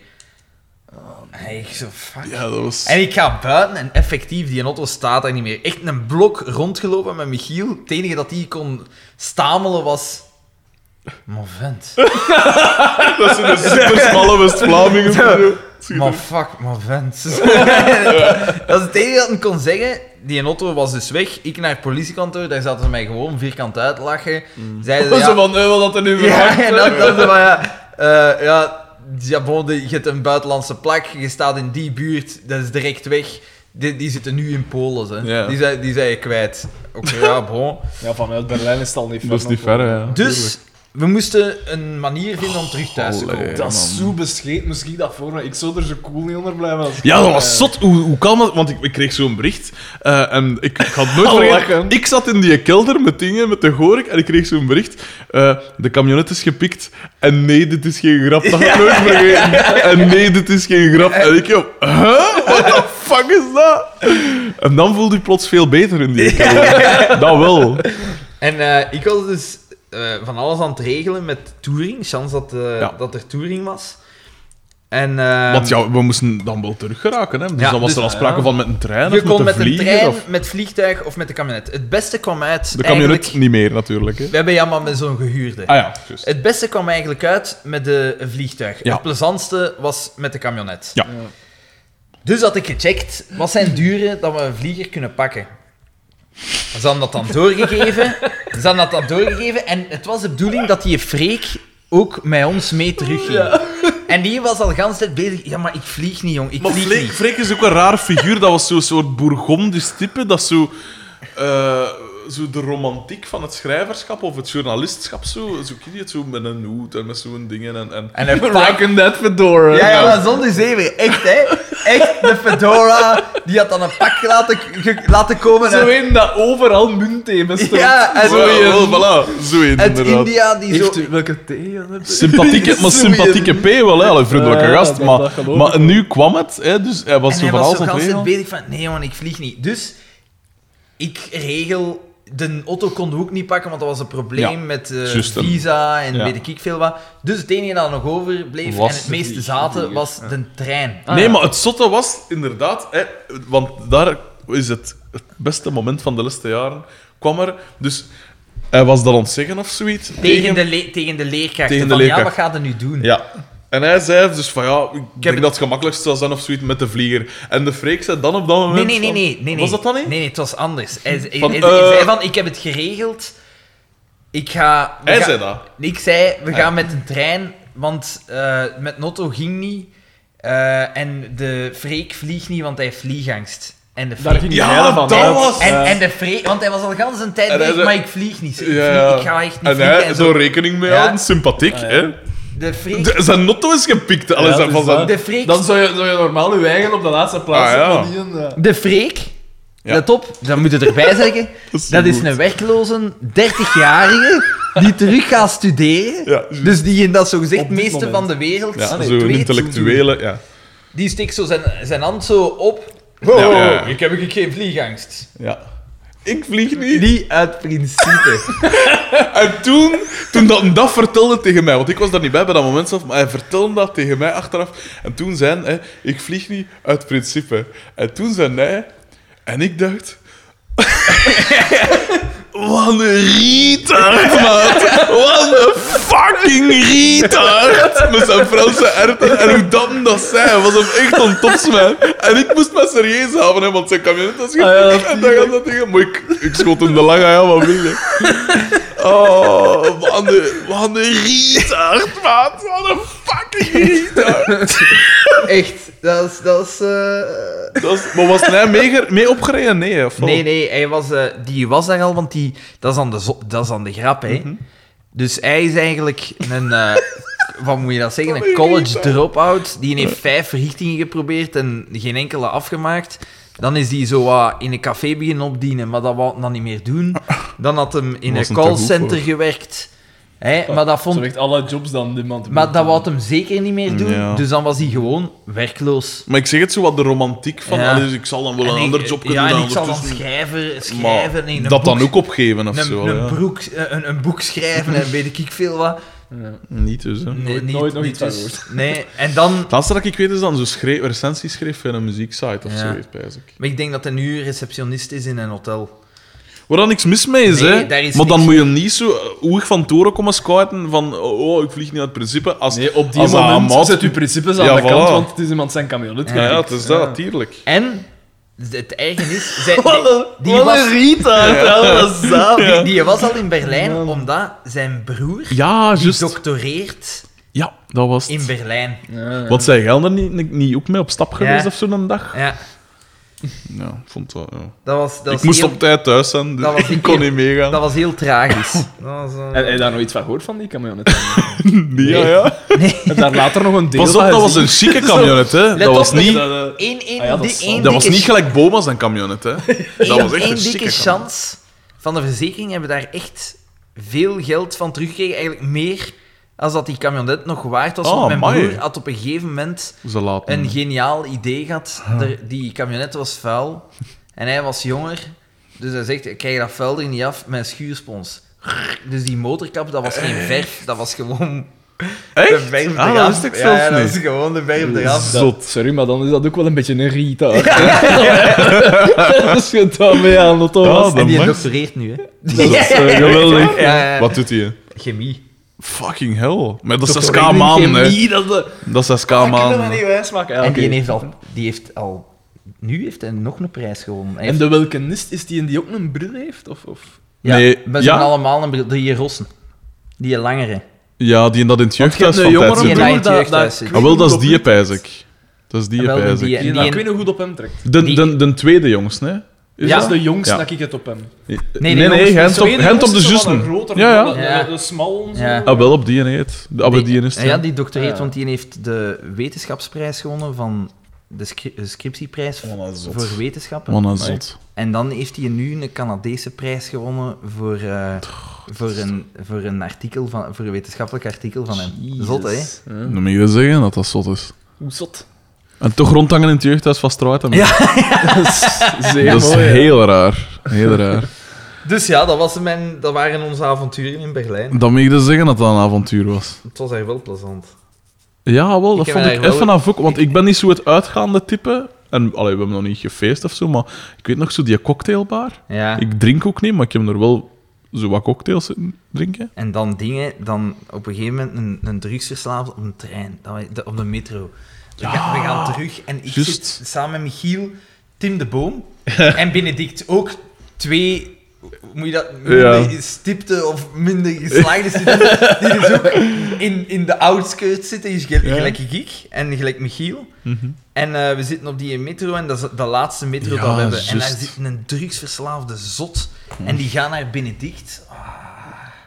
S3: En ik zo, fuck.
S1: ja, dat was...
S3: En ik ga buiten en effectief, die auto staat daar niet meer. Echt een blok rondgelopen met Michiel. Het enige dat hij kon stamelen was... Maar vent.
S1: Dat zijn de supersmalle West-Vlamingen.
S3: Maar fuck, maar vent. dat is het enige dat hij kon zeggen. Die auto was dus weg. Ik naar het politiekantoor, daar zaten ze mij gewoon vierkant uit te lachen. Zeiden ze,
S2: Zo
S3: ja,
S2: van, eh, wat dat er nu verhangt.
S3: Ja, en dan, dan zo van, ja, eh, ja, ja bon, de- je hebt een buitenlandse plak, je staat in die buurt, dat is direct weg. Die, die zitten nu in Polen, hè.
S1: Ja.
S3: Die, zijn, die zijn je kwijt. Oké, ja, bon.
S2: Ja, vanuit Berlijn is het al niet ver.
S1: Dat is niet
S2: nog wel.
S1: ver, ja.
S3: Dus, we moesten een manier vinden om terug thuis te komen.
S1: Allee.
S2: Dat is zo bescheid, misschien dat voor me. Ik zou er zo cool niet onder blijven. Als...
S1: Ja, dat
S3: Eh.
S1: was zot. Hoe, hoe kan dat? Want ik, ik kreeg zo'n bericht. eh, en ik, ik had
S3: Oh,
S1: nooit
S2: Al
S1: vergeten-
S2: lachen.
S1: Ik zat in die kelder met dingen, met de gorik, en ik kreeg zo'n bericht. eh, de camionet is gepikt. En nee, dit is geen grap. Dat had ik nooit vergeten. En nee, dit is geen grap. En ik, joh, huh? What the fuck is dat? En dan voelde je plots veel beter in die kelder. Dat wel.
S3: En eh, ik was dus eh, van alles aan het regelen met touring. Chance dat, eh,
S1: Ja.
S3: dat er touring was. En, eh,
S1: Want ja, we moesten dan wel terug geraken. Hè? Dus
S3: Ja,
S1: dan was
S3: dus-
S1: er al sprake van met een trein
S3: je
S1: of met
S3: kon
S1: een
S3: met
S1: vlieger.
S3: een trein,
S1: of...
S3: met vliegtuig of met de camionet. Het beste kwam uit
S1: De
S3: eigenlijk-
S1: camionet niet meer, natuurlijk. Hè?
S3: We hebben jammer met zo'n gehuurde.
S1: Ah ja, juist.
S3: Het beste kwam eigenlijk uit met de een vliegtuig.
S1: Ja.
S3: Het plezantste was met de camionet.
S1: Ja.
S3: Dus had ik gecheckt, wat zijn duren dat we een vlieger kunnen pakken? Ze hadden dat dan doorgegeven. Ze hadden dat dan doorgegeven. En het was de bedoeling dat die Freek ook met ons mee terugging. En die was al de hele tijd bezig. Ja, maar ik vlieg niet, jong. Ik
S1: Maar
S3: vlieg
S1: Freek,
S3: niet.
S1: Freek is ook een raar figuur. Dat was zo'n soort bourgondisch type. Dat zo, eh, zo de romantiek van het schrijverschap of het journalistschap. Zo, zo ken je het zo met een hoed en met zo'n dingen. En, en...
S3: En hij
S2: Fucking that fedora.
S3: Ja, ja, maar zonder zeven. Echt, hè. Echt, de fedora. Die had dan een pak laten, ge- laten komen.
S2: Zo
S3: uit-
S2: in dat overal munthemens stond.
S3: Ja, en
S1: Zo, wel, voilà, zo
S3: uit
S1: inderdaad.
S3: India die zo...
S2: Heeft u welke thee? Ja, dat-
S1: Sympathieke, maar
S2: Zo in-
S1: sympathieke P wel, hè? Allee, vriendelijke
S2: Ja,
S1: gast.
S2: dat- dat
S1: maar,
S2: geloof ik
S1: maar
S2: wel.
S1: nu kwam het, hè? Dus hij was
S3: en
S1: zo
S3: hij
S1: van
S3: was
S1: alles
S3: zo
S1: aan het
S3: gans
S1: regelen.
S3: bezig van... Nee, man, ik vlieg niet. Dus, ik regel... De auto kon we ook niet pakken, want dat was een probleem
S1: Ja,
S3: met eh,
S1: juist hem.
S3: visa en
S1: Ja.
S3: weet ik veel wat. Dus het enige dat nog overbleef
S1: Was
S3: en het
S1: de
S3: meeste
S1: vlieg-
S3: zaten
S1: vlieger.
S3: was de trein.
S1: nee, maar het zotte was inderdaad, hè, want daar is het, het beste moment van de laatste jaren. Kwam er, dus hij was dat ontzeggen of zoiets?
S3: Tegen de, le- tegen de leerkrachten.
S1: Tegen de
S3: van,
S1: leerkracht.
S3: Ja, wat gaat er nu doen?
S1: Ja. En hij zei dus van ja, ik denk dat het gemakkelijkst zou zijn of zoiets met de vlieger. En de Freek zei dan op dat moment...
S3: Nee, nee, nee,
S1: van-
S3: nee, nee, nee.
S1: Was dat dan niet?
S3: Nee, nee, het was anders. Hij, hij-
S1: Van,
S3: hij- hij zei
S1: eh,
S3: van, ik heb het geregeld. Ik ga... we
S1: Hij
S3: ga-
S1: zei dat. Ah,
S3: Ik zei, we gaan met de trein, want eh, met Notto ging niet. Eh, en de Freek vliegt niet, want hij heeft vliegangst. En de
S2: Daar
S3: Freek...
S2: ging
S1: Ja,
S2: jij van
S1: dat
S2: uit.
S1: was-
S3: En, en de Freek... Want hij was al gans een tijd
S1: En hij
S3: bezig,
S1: zei-
S3: maar ik vlieg niet. Ik, vlieg- ik ga echt niet
S1: en
S3: vliegen.
S1: hij
S3: en
S1: zo rekening mee
S3: Ja.
S1: aan, sympathiek,
S2: Ah, ja.
S1: hè.
S3: De Freek...
S1: De- zijn notto is gepikt, alles
S2: Ja,
S1: zijn
S2: dus
S1: van zijn...
S2: dat-
S3: De Freek...
S2: Dan zou je, zou je normaal je eigen op de laatste plaats
S1: Ah, ja.
S2: zetten, maar niet een, eh,
S3: De Freek...
S1: Ja.
S3: Let op, dat moet je erbij zeggen.
S1: Dat is zo
S3: Dat is
S1: goed.
S3: een werkloze 30-jarige die terug gaat studeren.
S1: Ja,
S3: Dus die in dat zogezegd
S2: Op dit
S3: meeste
S2: moment.
S3: van de wereld.
S1: ja,
S3: weet
S1: zo'n
S3: hoe
S1: intellectuele, ja.
S3: doet. Die steekt zo zijn, zijn hand zo op. Oh,
S1: Ja, ja, ja.
S3: Ik heb ik geen vliegangst.
S1: ja. Ik vlieg niet.
S3: Die uit principe.
S1: En toen, toen dat, dat vertelde tegen mij, want ik was daar niet bij bij dat moment zelf, maar hij vertelde dat tegen mij achteraf. En toen zei hij, ik vlieg niet uit principe. En toen zei hij, en ik dacht... Wat een retard, maat. Wat een fucking retard. Met zijn Franse erten. En hoe dat hem dat zei, hij was hem echt on topsman. En ik moest me serieus houden, hè, want zijn camionet was gepikt. en dan gaat Ah, dat tegen... Maar ik, ik schoot hem de lange helemaal binnen. Oh, wat een, wat een retard, maat. Wat een fucking retard.
S3: Echt, dat is. Dat is eh,
S1: Dat is, maar was hij mee, ge- mee opgereden? Nee, hè, of wel?
S3: Nee, nee, hij was, eh, die was daar al, want die, dat, is dan de zo- dat is dan de grap, hè. Dus hij is eigenlijk een, eh, wat moet je dat zeggen, een college drop-out. Die heeft vijf richtingen geprobeerd en geen enkele afgemaakt. Dan is die zo wat in een café beginnen opdienen, maar dat wou hij dan niet meer doen. Dan had hem
S1: Was
S3: in een
S1: hem te goed
S3: callcenter gewerkt. Hè, maar dat
S2: Zo
S3: vond...
S2: echt alle jobs dan niemand.
S3: Maar dat wou hem zeker niet meer doen,
S1: Ja.
S3: dus dan was hij gewoon werkloos.
S1: Maar ik zeg het zo wat de romantiek van.
S3: Ja.
S1: allee, Dus ik zal dan wel een
S3: En ik-
S1: ander job kunnen
S3: Ja, en
S1: doen.
S3: ik zal dan
S1: ondertussen.
S3: schrijven,
S1: Maar
S3: schrijven in een
S1: dat dan
S3: boek
S1: ook opgeven of
S3: een,
S1: zo.
S3: een
S1: ja.
S3: broek, eh, een, een boek schrijven en weet ik veel wat.
S1: Niet dus. Hè.
S3: Nee, niet-
S2: nooit nog
S3: niet
S2: iets van
S3: dus.
S2: gehoord.
S3: Nee, en dan...
S1: Het laatste dat ik weet is dan zo schreef, recensie schreef in een muzieksite of
S3: Ja.
S1: zo. Weet ik.
S3: Maar ik denk dat hij nu receptionist is in een hotel.
S1: Waar dan niks mis mee is,
S3: Nee,
S1: hè?
S3: daar is
S1: maar dan
S3: niks
S1: moet je hem niet zo eh, oeig van toren komen scouten van oh, oh, ik vlieg niet uit principe. Als,
S2: Nee, op die
S1: als dat
S2: moment
S3: Ah,
S1: een maat-
S2: zet uw principes aan
S1: Ja,
S2: de kant,
S1: voilà.
S2: want het is iemand zijn kamionet.
S1: Ja, ja, het is dat, natuurlijk.
S3: En, het eigen is... Zij, die,
S2: Wat
S3: was,
S2: een retard, dat was zalig.
S3: die, die was al in Berlijn, omdat zijn broer
S1: Ja, juist.
S3: doctoreert
S1: Ja, dat was
S3: in
S1: het.
S3: Berlijn.
S1: Want zij gelden niet, niet ook mee op stap geweest of zo een dag?
S3: Ja,
S1: Ja, ik vond dat... ja.
S3: dat was, dat
S1: Ik
S3: was
S1: moest
S3: heel,
S1: op tijd thuis zijn, dus
S3: dat was
S1: ik
S3: ik
S1: kon
S3: heel-
S1: niet meegaan.
S3: Dat was heel tragisch. dat was, eh,
S2: Heb je daar nog iets van gehoord van die kamionet?
S1: Nee, ja, ja.
S2: Heb daar later nog een deel
S1: Pas op,
S2: van
S1: dat was
S2: gezien?
S1: een chique camionet, hè.
S3: Let
S1: Dat was
S3: op,
S1: niet...
S2: Dat, eh,
S3: één- één-
S2: Ah ja, dat
S3: die-
S2: is
S3: één
S1: Dat was
S3: dikke
S1: niet gelijk Boma zijn camionet, hè. Dat was echt
S3: Eén
S1: een
S3: dikke
S1: chique camionet.
S3: chance van de verzekering hebben daar echt veel geld van teruggekregen. Eigenlijk meer als dat die camionet nog waard was.
S1: Ah,
S3: want mijn
S1: amai. Hmm.
S3: broer had op een gegeven moment
S1: Ze laten...
S3: een geniaal idee gehad. Er- die camionet was vuil en hij was jonger. Dus hij zegt, ik krijg dat vuil er niet af met een schuurspons. Dus die motorkap, dat was geen verf, dat was gewoon de
S1: Eh. Echt?
S3: verf
S1: Ah,
S3: eraf.
S1: dat wist ik
S3: ja,
S1: zelfs
S3: dat
S1: niet. Dus
S3: is gewoon de verf
S2: dat-
S3: eraf.
S1: Zot.
S2: Sorry, maar dan is dat ook wel een beetje een retard. Als je daarmee aan Lotto
S1: Ja,
S2: was.
S1: dat
S3: En die
S1: mag.
S3: doctoreert nu, hè.
S1: Dat is eh, geweldig.
S3: Ja, ja.
S1: Wat doet hij?
S3: Chemie.
S1: Fucking hell. Maar dat is 6k maanden, hè.
S2: Chemie, dat de...
S1: Dat is 6k
S2: Ik wil dat
S1: maanden.
S2: niet wijsmaken.
S1: Ah,
S2: Ja,
S3: En
S2: oké.
S3: die heeft al... Die heeft al nu heeft hij nog een prijs gewonnen. Hij
S2: En de welkenist, is die in die ook een bril heeft? Of, of?
S3: Ja,
S1: Nee,
S3: we
S1: ja. Ah,
S3: zijn allemaal een bril. Die rossen. Die langere.
S1: Ja, die in dat in het jeugdhuis
S2: een
S1: van tijd
S2: jongere
S3: Die
S1: zit.
S3: broer.
S1: hè.
S3: dat- jeugdhuis
S1: Ah, wel, dat is die, pijs ik. Dat is die,
S3: Wel,
S1: pijs
S3: die-
S1: ik.
S2: Die
S3: En
S2: dat
S3: die-
S2: winnen goed op hem trekt.
S1: De,
S3: die-
S1: de, de tweede jongste, hè? Is
S2: Ja.
S1: dat?
S2: Dat is de jongste
S1: Ja.
S2: dat ik het op hem.
S1: Nee,
S3: die
S1: nee,
S3: jongste-
S1: hand
S2: Zo
S1: op,
S2: één
S1: hand op de
S2: jongste, zo wat een
S1: juisten.
S2: grotere,
S1: Ja, ja.
S2: wat een-
S3: Ja.
S2: De, de smal en zo.
S3: Ja.
S1: Ah, wel op die heet. Ah, bij die is het,
S3: ja,
S1: ja.
S3: die doctoreert,
S2: Ah, ja.
S3: want die heeft de wetenschapsprijs gewonnen van de scri- eh, scriptieprijs
S1: Wat een Oh, zot.
S3: voor wetenschappen.
S1: Wat een zot.
S3: En dan heeft hij nu een Canadese prijs gewonnen voor, eh, voor, een, voor, een, artikel van, voor een wetenschappelijk artikel van hem. Zot, hè?
S1: Dan moet je zeggen dat dat zot is.
S2: Hoe zot.
S1: En toch rondhangen in het jeugdhuis van Struiten. Ja,
S2: Zeer
S1: dat is
S2: mooi. hè.
S1: heel raar. Heel raar.
S3: Dus ja, dat, was mijn, dat waren onze avonturen in Berlijn.
S1: Dan moet je dus zeggen dat dat een avontuur was.
S3: Het was daar wel plezant.
S1: Ja, wel, dat
S3: heb
S1: vond
S3: me
S1: ik
S3: daar
S1: even
S3: wel-
S1: aan ook. Want ik ben niet zo het uitgaande type. En allee, we hebben nog niet gefeest of zo, maar ik weet nog zo die cocktailbar.
S3: Ja.
S1: Ik drink ook niet, maar ik heb er wel zo wat cocktails zitten drinken.
S3: En dan dingen, dan op een gegeven moment een, een drugsverslaafde op een trein, dan wij- de- op de metro. We, gaan, we gaan terug en ik
S1: Juist.
S3: zit samen met Michiel, Tim de Boom en Benedict. Ook twee, hoe moet je dat, minder stipte of minder geslaagde studenten, die dus ook in, in de outskirts zitten, is gel-
S1: Ja. Mhm.
S3: gelijk ik en gelijk Michiel. En eh, we zitten op die metro en dat is de laatste metro dat
S1: Ja,
S3: we hebben. En daar
S1: juist. Mhm.
S3: zit een drugsverslaafde zot en die gaan naar Benedict. Ah.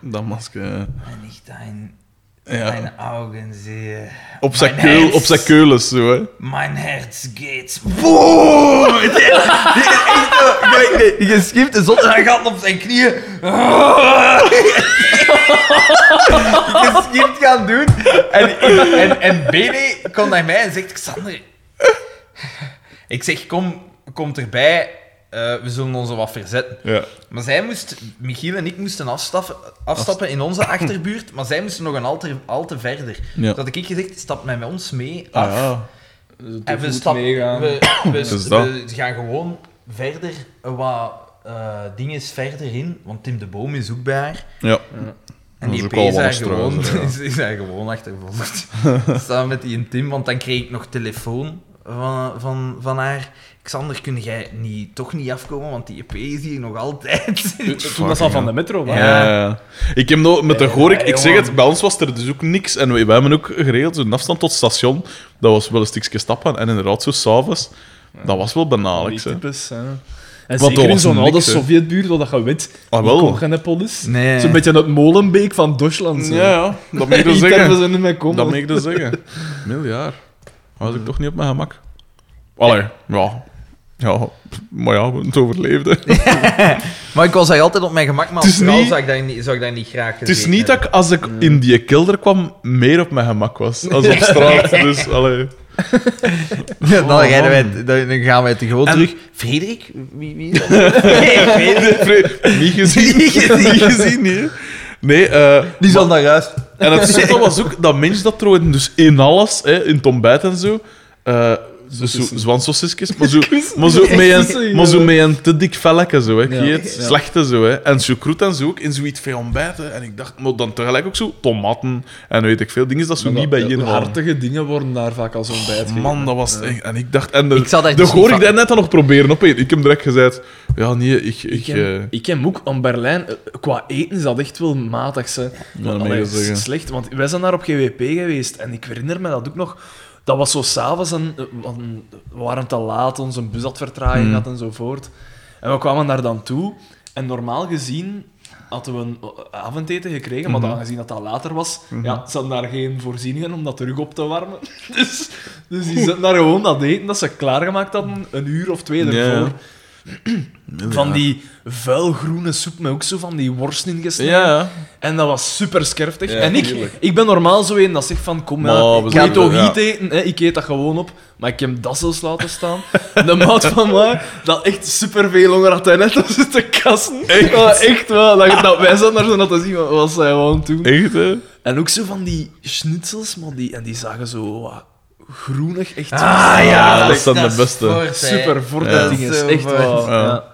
S1: Dat masker.
S3: En ik dein,
S1: Ja.
S3: deine Augen sehe.
S1: Op zijn
S3: Mijn
S1: keul,
S3: herfst.
S1: op zijn keulens, zo, hè.
S3: Mein Herz geht. Boom! Die is echt zo. Nee, nee, die geschipt is zot en hij gaat op zijn knieën. Geschipt gaan doen. En, en, en BD komt naar mij en zegt: Xander. Ik zeg: Kom, komt erbij. eh, we zullen ons er wat verzetten.
S1: Ja.
S3: Maar zij moest, Michiel en ik moesten afstappen, afstappen in onze achterbuurt, maar zij moesten nog een al te, al te verder.
S1: Ja.
S3: Dat had ik gezegd, stap met ons mee af.
S1: Ah, ja.
S3: en we, stap,
S2: meegaan.
S3: we, we,
S1: Dus dat.
S3: we gaan gewoon verder, eh, wat eh dingen verder in, want Tim de Boom is ook bij haar.
S1: Ja. Dat
S3: En
S1: is
S3: die
S1: ook
S3: P
S1: al
S3: is
S1: wel
S3: daar
S1: een
S3: gewoon,
S1: struizer, ja.
S3: is, is daar gewoon achtervolgd. Samen met die en Tim, want dan kreeg ik nog telefoon van, van, van haar. Xander, kun jij niet, toch niet afkomen, want die EP is hier nog altijd.
S1: Eh.
S2: Toen dat al van de metro was.
S1: Ja. ja. Ik heb nou met de Gorik, ik zeg het, bij ons was er dus ook niks. En we, wij hebben ook geregeld, zo'n afstand tot het station, dat was wel een stukje stappen. En inderdaad, zo s'avonds, dat was wel
S2: Die
S1: banalig. hè.
S2: types, hè. En
S1: Want dat
S2: zeker in
S1: was
S2: zo'n
S1: niks,
S2: oude
S1: hè.
S2: Sovjetbuurt, wat dat je weet,
S1: Ah, wel.
S2: Kongenepol is.
S3: Nee.
S2: Zo'n beetje het Molenbeek van Duitsland. zo.
S1: Mm, Ja, ja, dat moet ik
S2: Die
S1: dus
S2: termen
S1: zeggen.
S2: zijn niet meer komen.
S1: Dat moet ik dus zeggen. Miljaar. Was ik toch niet op mijn gemak. Allee, ja. Ja, maar ja, we hebben het overleefd. hè.
S3: Maar ik was daar altijd op mijn gemak,
S1: Het
S3: maar als
S1: is
S3: vrouw
S1: niet-
S3: zou, ik daar niet, zou ik daar niet graag
S1: Het is niet dat ik, als ik in die kelder kwam, meer op mijn gemak was als op straat. Dus, allee.
S3: Dan,
S1: Oh, rijden wij-
S3: gaan wij te gewoon terug. Frederik? Wie, wie is dat? Frederik.
S1: Vre- Niet gezien.
S3: Niet gezien.
S1: Niet gezien, nee. Nee, eh,
S3: Die zal naar huis.
S1: En het zotte was ook dat mensen dat trouwen, dus in alles, hè, in tombijt en zo. eh zo, zo, zwansausjes, maar zo, maar zo, met, een, maar zo met een te dik velletje, zo, hè, ik weet het, slechte zo. Hè. En choucroute en zo ook, in zoiets veel ontbijten. En ik dacht, maar dan tegelijk ook zo, tomaten en weet ik veel dingen, dat zo
S2: Maar
S1: niet bij
S2: dat-
S1: je
S2: ja,
S1: hart.
S2: Hartige dingen worden daar vaak als ontbijt gegeven.
S1: Man, dat was het echt. En ik dacht, en de,
S3: Ik zal daar
S1: de
S3: dus niet
S1: goor ik
S3: van-
S1: daar net dan nog proberen op Ik heb direct gezegd, ja, nee, ik. ik,
S2: Ik
S1: eh,
S2: heb, ik heb ook aan Berlijn, eh, qua eten is dat echt wel matig. Hè.
S1: dat mag je
S2: Allee,
S1: zeggen.
S2: s- slecht, want wij zijn daar op GWP geweest en ik herinner me dat ook nog. Dat was zo s'avonds en eh, we hadden- we waren te laat, onze bus had vertraging
S1: Hmm.
S2: gehad enzovoort. En we kwamen daar dan toe en normaal gezien hadden we een eh, avondeten
S1: Mhm.
S2: gekregen, maar dan aangezien dat dat later was, ja, ze hadden daar geen voorzieningen om dat terug op te warmen. Dus, dus die zetten daar gewoon dat eten dat ze klaargemaakt hadden, een uur of twee
S1: Ja.
S2: ervoor. Van
S1: ja.
S2: die vuilgroene soep met ook zo van die worst ingesneden.
S1: Ja,
S2: En dat was super skerftig.
S1: Ja,
S2: en ik,
S1: tuurlijk.
S2: ik ben normaal zo een dat zegt van, kom
S1: Maar
S2: ja,
S1: we
S2: ik
S1: zijn
S2: kan
S1: er,
S2: toch
S1: ja.
S2: niet eten? Hè? Ik eet dat gewoon op. Maar ik heb dat zelfs laten staan. De maat van mij, dat echt superveel honger had hij net op zitten kassen. Echt? echt wel. Dat, dat, wij zaten daar zo naar te zien, wat was zij gewoon toen.
S1: echt, hè?
S2: En ook zo van die schnitzels, maar die, en die zagen zo wat groenig, echt
S3: Ah ja,
S1: dat zijn de beste.
S2: super voor dat ding is.
S3: Zo
S2: Echt wel.
S1: Ja.
S2: Ja.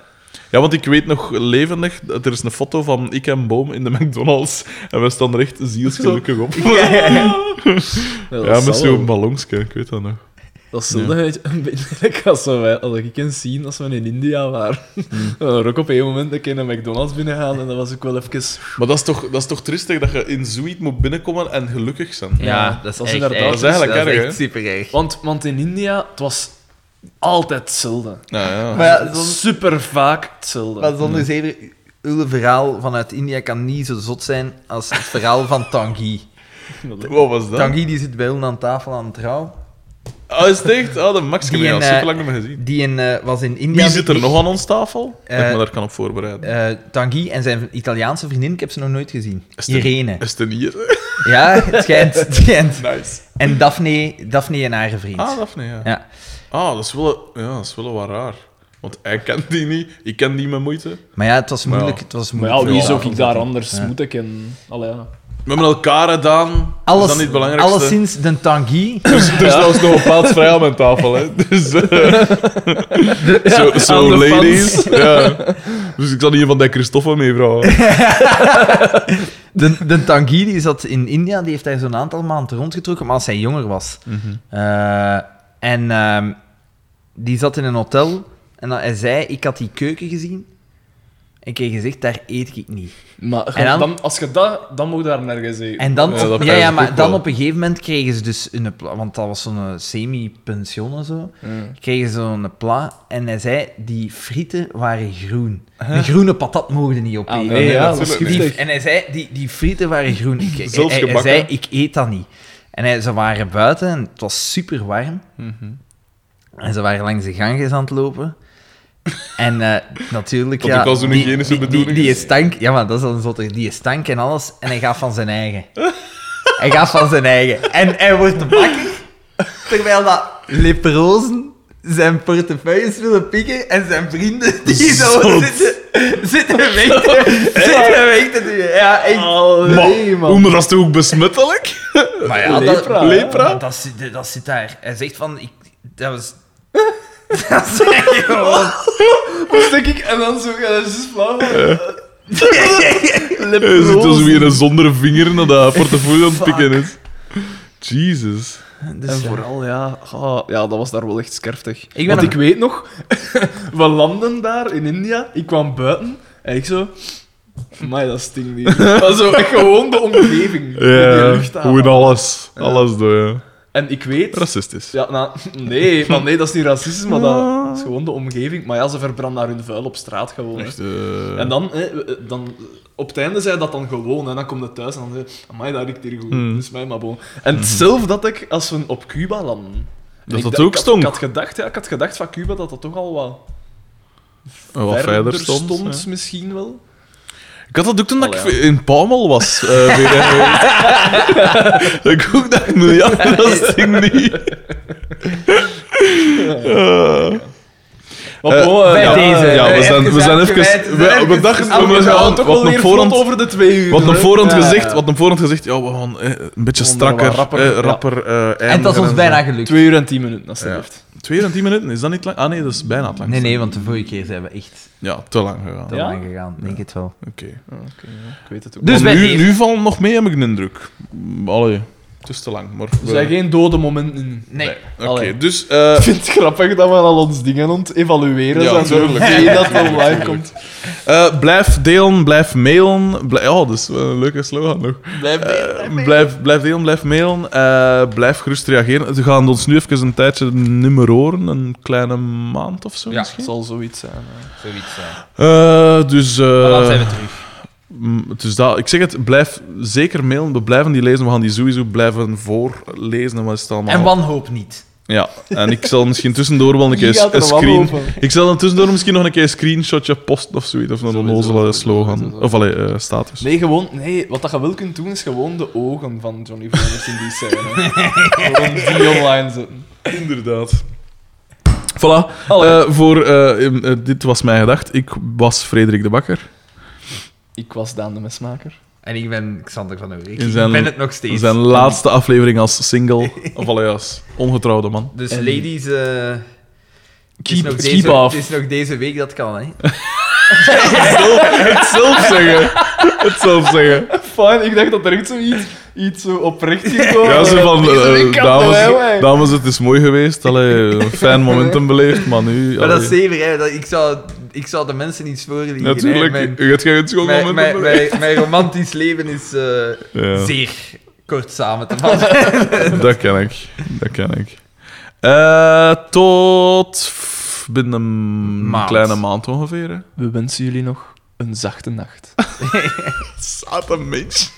S1: Ja, want ik weet nog levendig, dat er is een foto van ik en Boom in de McDonald's. En we staan er echt zielsgelukkig op.
S2: Ja, dat
S1: Ja, met
S2: zal wel.
S1: zo'n ballonske, ik weet dat nog.
S2: Dat is wel een beetje lekker als wij, als ik kan zien als we in India waren.
S1: Hmm.
S2: We waren ook op een moment dat ik in een McDonald's binnengaan en dat was ook wel even.
S1: Maar dat is toch, dat is toch tristig dat je in zoiets moet binnenkomen en gelukkig zijn?
S2: Ja, dat is inderdaad-
S1: dat is eigenlijk
S3: dat is
S1: erg,
S3: echt
S1: hè?
S3: super erg.
S2: Want, want in India, het was altijd hetzelfde.
S1: Ja, ja.
S3: Maar ja, zonder,
S2: Super vaak hetzelfde.
S3: maar zonder zeven, uw verhaal vanuit India kan niet zo zot zijn als het verhaal van Tanguy.
S1: Wat was dat?
S3: Tanguy die zit bij ons aan tafel aan het trouw.
S1: Oh, is het echt? Oh, dat Max, ik
S3: Die
S1: heb al
S3: en, eh,
S1: super lang niet meer gezien.
S3: Die in, eh, was in India...
S1: Wie zit er nog aan ons tafel? Dat ik
S3: Eh,
S1: me daar kan op voorbereiden.
S3: Eh, Tanguy en zijn Italiaanse vriendin, ik heb ze nog nooit gezien.
S1: Is er-
S3: Irene.
S1: Is het een hier?
S3: Ja, het schijnt. Het schijnt.
S1: Nice.
S3: En Daphne, Daphne en haar vriend.
S1: Ah, Daphne, ja.
S3: Ja.
S1: Ah, dat is wel, ja, dat is wel wat raar. Want hij kent die niet, ik ken die met moeite.
S3: Maar ja, het was moeilijk.
S1: ja.
S3: Het was
S2: Maar
S3: moeilijk
S2: ja, wie
S3: voor
S2: zou
S3: haar.
S2: ik daar anders moeten kennen? Allee, ja.
S1: We hebben elkaar gedaan.
S3: Alles,
S1: is dat niet het belangrijkste?
S3: alleszins de Tanguy.
S1: Dus, dus dat was nog een plaats vrij aan mijn tafel, hè. Dus, eh, zo, zo,
S2: aan de
S1: ladies. Ja. Dus ik zal hier van die Christoffer mee vragen.
S3: De, de Tanguy die zat in India, die heeft daar zo'n aantal maanden rondgetrokken, maar als hij jonger was.
S2: Mhm.
S3: Eh, en ehm, die zat in een hotel en dan- hij zei, ik had die keuken gezien. En ik heb gezegd, daar eet ik niet.
S2: Maar
S3: En dan-
S2: dan, als je dat, dan moet je daar nergens eten.
S3: En dan,
S1: Ja, dat
S3: op, ja,
S1: pijs
S3: ja,
S1: ik
S3: maar
S1: ook
S3: dan
S1: wel.
S3: op een gegeven moment kregen ze dus een pla- want dat was zo'n eh, semi-pension en zo, kregen ze zo'n pla en hij zei, die frieten waren groen. Een groene patat mogen niet op
S2: Ah,
S3: eten.
S2: nee,
S1: ja,
S2: ja, dat
S1: natuurlijk
S2: is
S1: niet.
S2: giftig.
S3: Die- en hij zei, die, die frieten waren groen. Ik, hij- hij, hij
S1: gebakken.
S3: zei, ik eet dat niet. En hij, ze waren buiten en het was super warm.
S1: Mhm.
S3: En ze waren langs de ganges aan het lopen. En eh, natuurlijk,
S1: Wat
S3: ja,
S1: ook al zo'n
S3: die-
S1: hygiënische
S3: die, die,
S1: bedoeling
S3: die
S1: is.
S3: stank, ja, maar dat is dan zotter. Die stank en alles, en hij gaat van zijn eigen. hij gaat van zijn eigen. En hij wordt de bakker, terwijl dat leprozen zijn portefeuilles willen pikken en zijn vrienden die zo
S1: Zot.
S3: zitten, zitten weg te, zitten weg te doen. Ja, echt.
S1: Ah. Maar, hoe, maar dat is toch ook besmettelijk?
S3: Maar ja,
S1: Lepra, hè? Lepra?
S3: Dat, dat, zit, dat zit daar. Hij zegt van, ik, dat was... dat zeg je gewoon.
S2: Dus denk ik, en dan zo, ja, dat is flauw.
S1: Hij zit dus weer een zonder vinger naar dat portefeuille aan het pikken is. Jesus.
S3: Dus
S2: en vooral, Dus ja, ah, ja, dat was daar wel echt skerftig.
S3: ben
S2: Want
S3: hem-
S2: ik weet nog, we landen daar in India, ik kwam buiten en ik zo... Maar dat stinkt niet. Maar zo, echt gewoon de omgeving.
S1: Ja,
S2: de luchthaven.
S1: hoe in alles. Alles door, ja.
S2: En ik weet...
S1: Racistisch.
S2: Ja, nou, nee, maar nee, dat is niet racisme, maar dat is gewoon de omgeving. Maar ja, ze verbranden daar hun vuil op straat gewoon. hè.
S1: Echt, eh,
S2: En dan, hè, we- dan, op het einde zei dat dan gewoon. En dan komt het thuis en dan zei amai, dat riekt hier goed.
S1: Hmm.
S2: Dus mij maar bon. En hetzelfde dat ik als we op Cuba landen.
S1: Dat
S2: Ik
S1: dat
S2: d-
S1: ook
S2: ik had-
S1: stonk.
S2: Ik had, gedacht, ja, ik had gedacht van Cuba dat dat toch al wat,
S1: wat verder stond. ja.
S2: misschien wel.
S1: Ik had dat ook toen dat
S2: Allee,
S1: ik in Palmel was. eh, weer, eh, dat ik ook dacht, nee, ja, dat ding niet. Eh,
S2: Maar bon, eh,
S1: bij
S2: ja,
S3: deze.
S1: ja, we
S3: Even
S1: zijn, we zijn
S3: zijn
S1: even...
S3: kwijt, we
S1: we-
S3: zijn
S1: we
S3: even-
S1: dachten,
S2: Ah,
S1: we
S2: we gaan
S1: gaan
S2: toch
S1: wat
S2: wel
S1: nog
S2: weer
S1: voorhand...
S2: vlot over de twee uur.
S1: Wat
S2: hè.
S1: op voorhand
S2: Ja,
S1: gezegd,
S2: ja.
S1: wat op voorhand gezegd, ja, we gaan eh, een beetje
S2: wat
S1: strakker,
S2: rapper,
S1: rapper,
S2: ja.
S1: rapper eh,
S3: En dat
S1: eindigen
S3: is ons
S1: zo.
S3: bijna gelukt.
S2: Twee uur en tien minuten, alsjeblieft.
S1: Twee uur en tien minuten, is dat niet lang? Ah nee, dat is bijna het langste.
S3: Nee, nee, want de vorige keer zijn we echt
S1: Ja, te lang gegaan.
S3: te
S2: Ja?
S3: lang gegaan. Denk het wel.
S1: Oké.
S2: Ik weet het ook.
S3: Dus
S1: Maar
S3: bij
S1: nu,
S3: deze-
S1: nu valt nog mee, heb ik een indruk. Mm, Allee, het is te lang, maar...
S2: Er
S1: we-
S2: zijn geen dode momenten.
S3: Nee.
S1: Oké,
S2: Allee.
S1: dus... eh,
S2: Ik vind het grappig dat we al ons dingen ont evalueren.
S1: Ja,
S2: Ja,
S1: tuurlijk.
S2: natuurlijk. dat het online komt.
S1: Eh, blijf delen, blijf mailen. Blij- oh, dat is wel een leuke slogan nog. Blijf delen, blijf, blijf, delen, blijf mailen. eh, blijf gerust reageren. Ze gaan ons nu even een tijdje nummer horen. Een kleine maand of zo
S5: Ja.
S1: misschien.
S2: zal zoiets zijn. hè.
S5: Zoiets. eh.
S1: Eh, dus... eh,
S5: Maar dan zijn we terug.
S1: mm, dus dat, ik zeg het, blijf zeker mailen. We blijven die lezen. We gaan die sowieso blijven voorlezen. En wat is het allemaal?
S3: En wanhoop niet.
S1: Ja, en ik zal misschien tussendoor wel een
S2: Wie
S1: keer
S2: gaat er
S1: een
S2: wat
S1: screen...
S2: lopen?
S1: Ik zal dan tussendoor misschien nog een keer een screenshotje posten of zoiets. Of een
S2: Sowieso,
S1: onnozele
S2: sowieso,
S1: slogan.
S2: sowieso.
S1: Of allee, eh, status.
S2: Nee, gewoon, nee, wat dat je wel kunt doen is gewoon de ogen van Johnny Flowers in die scène. gewoon die online zetten.
S1: Inderdaad. Voilà.
S2: Allee.
S1: Eh, voor, eh, em, eh, dit was mijn gedacht. Ik was Frederik de Bakker.
S2: Ik was Daan de Mesmaker.
S3: En ik ben Xander van Oerik.
S1: In zijn-
S3: Ik ben het nog steeds.
S1: Zijn laatste aflevering als single. Of allee, als ongetrouwde man.
S3: Dus
S2: En-
S3: ladies... eh, het is
S2: Keep,
S3: nog
S2: keep
S3: deze,
S2: off.
S3: Het is nog deze week dat kan, hè.
S1: Het zelf zeggen. Het zelf zeggen.
S2: Fijn, ik dacht dat er echt zoiets iets zo oprecht ging komen.
S1: Ja, zo van...
S2: Deze
S1: eh,
S2: week kan het wel, hè.
S1: dames, dames, het is mooi geweest. Allee, een fijn momentum beleefd. Maar nu...
S3: Maar dat is
S1: allee.
S3: zeker, hè. Dat, ik, zou, ik zou de mensen iets voorliegen. hè.
S1: Natuurlijk.
S3: Mijn,
S1: Je hebt geen schoon
S3: mijn,
S1: momentum
S3: mijn,
S1: beleefd.
S3: mijn, mijn romantisch leven is eh,
S1: Ja.
S3: zeer kort samen te vatten.
S1: Dat ken ik. Dat ken ik. Eh, tot f- binnen een
S3: Maand.
S1: kleine maand ongeveer. hè.
S2: We wensen jullie nog een zachte nacht.
S1: Satan, mens.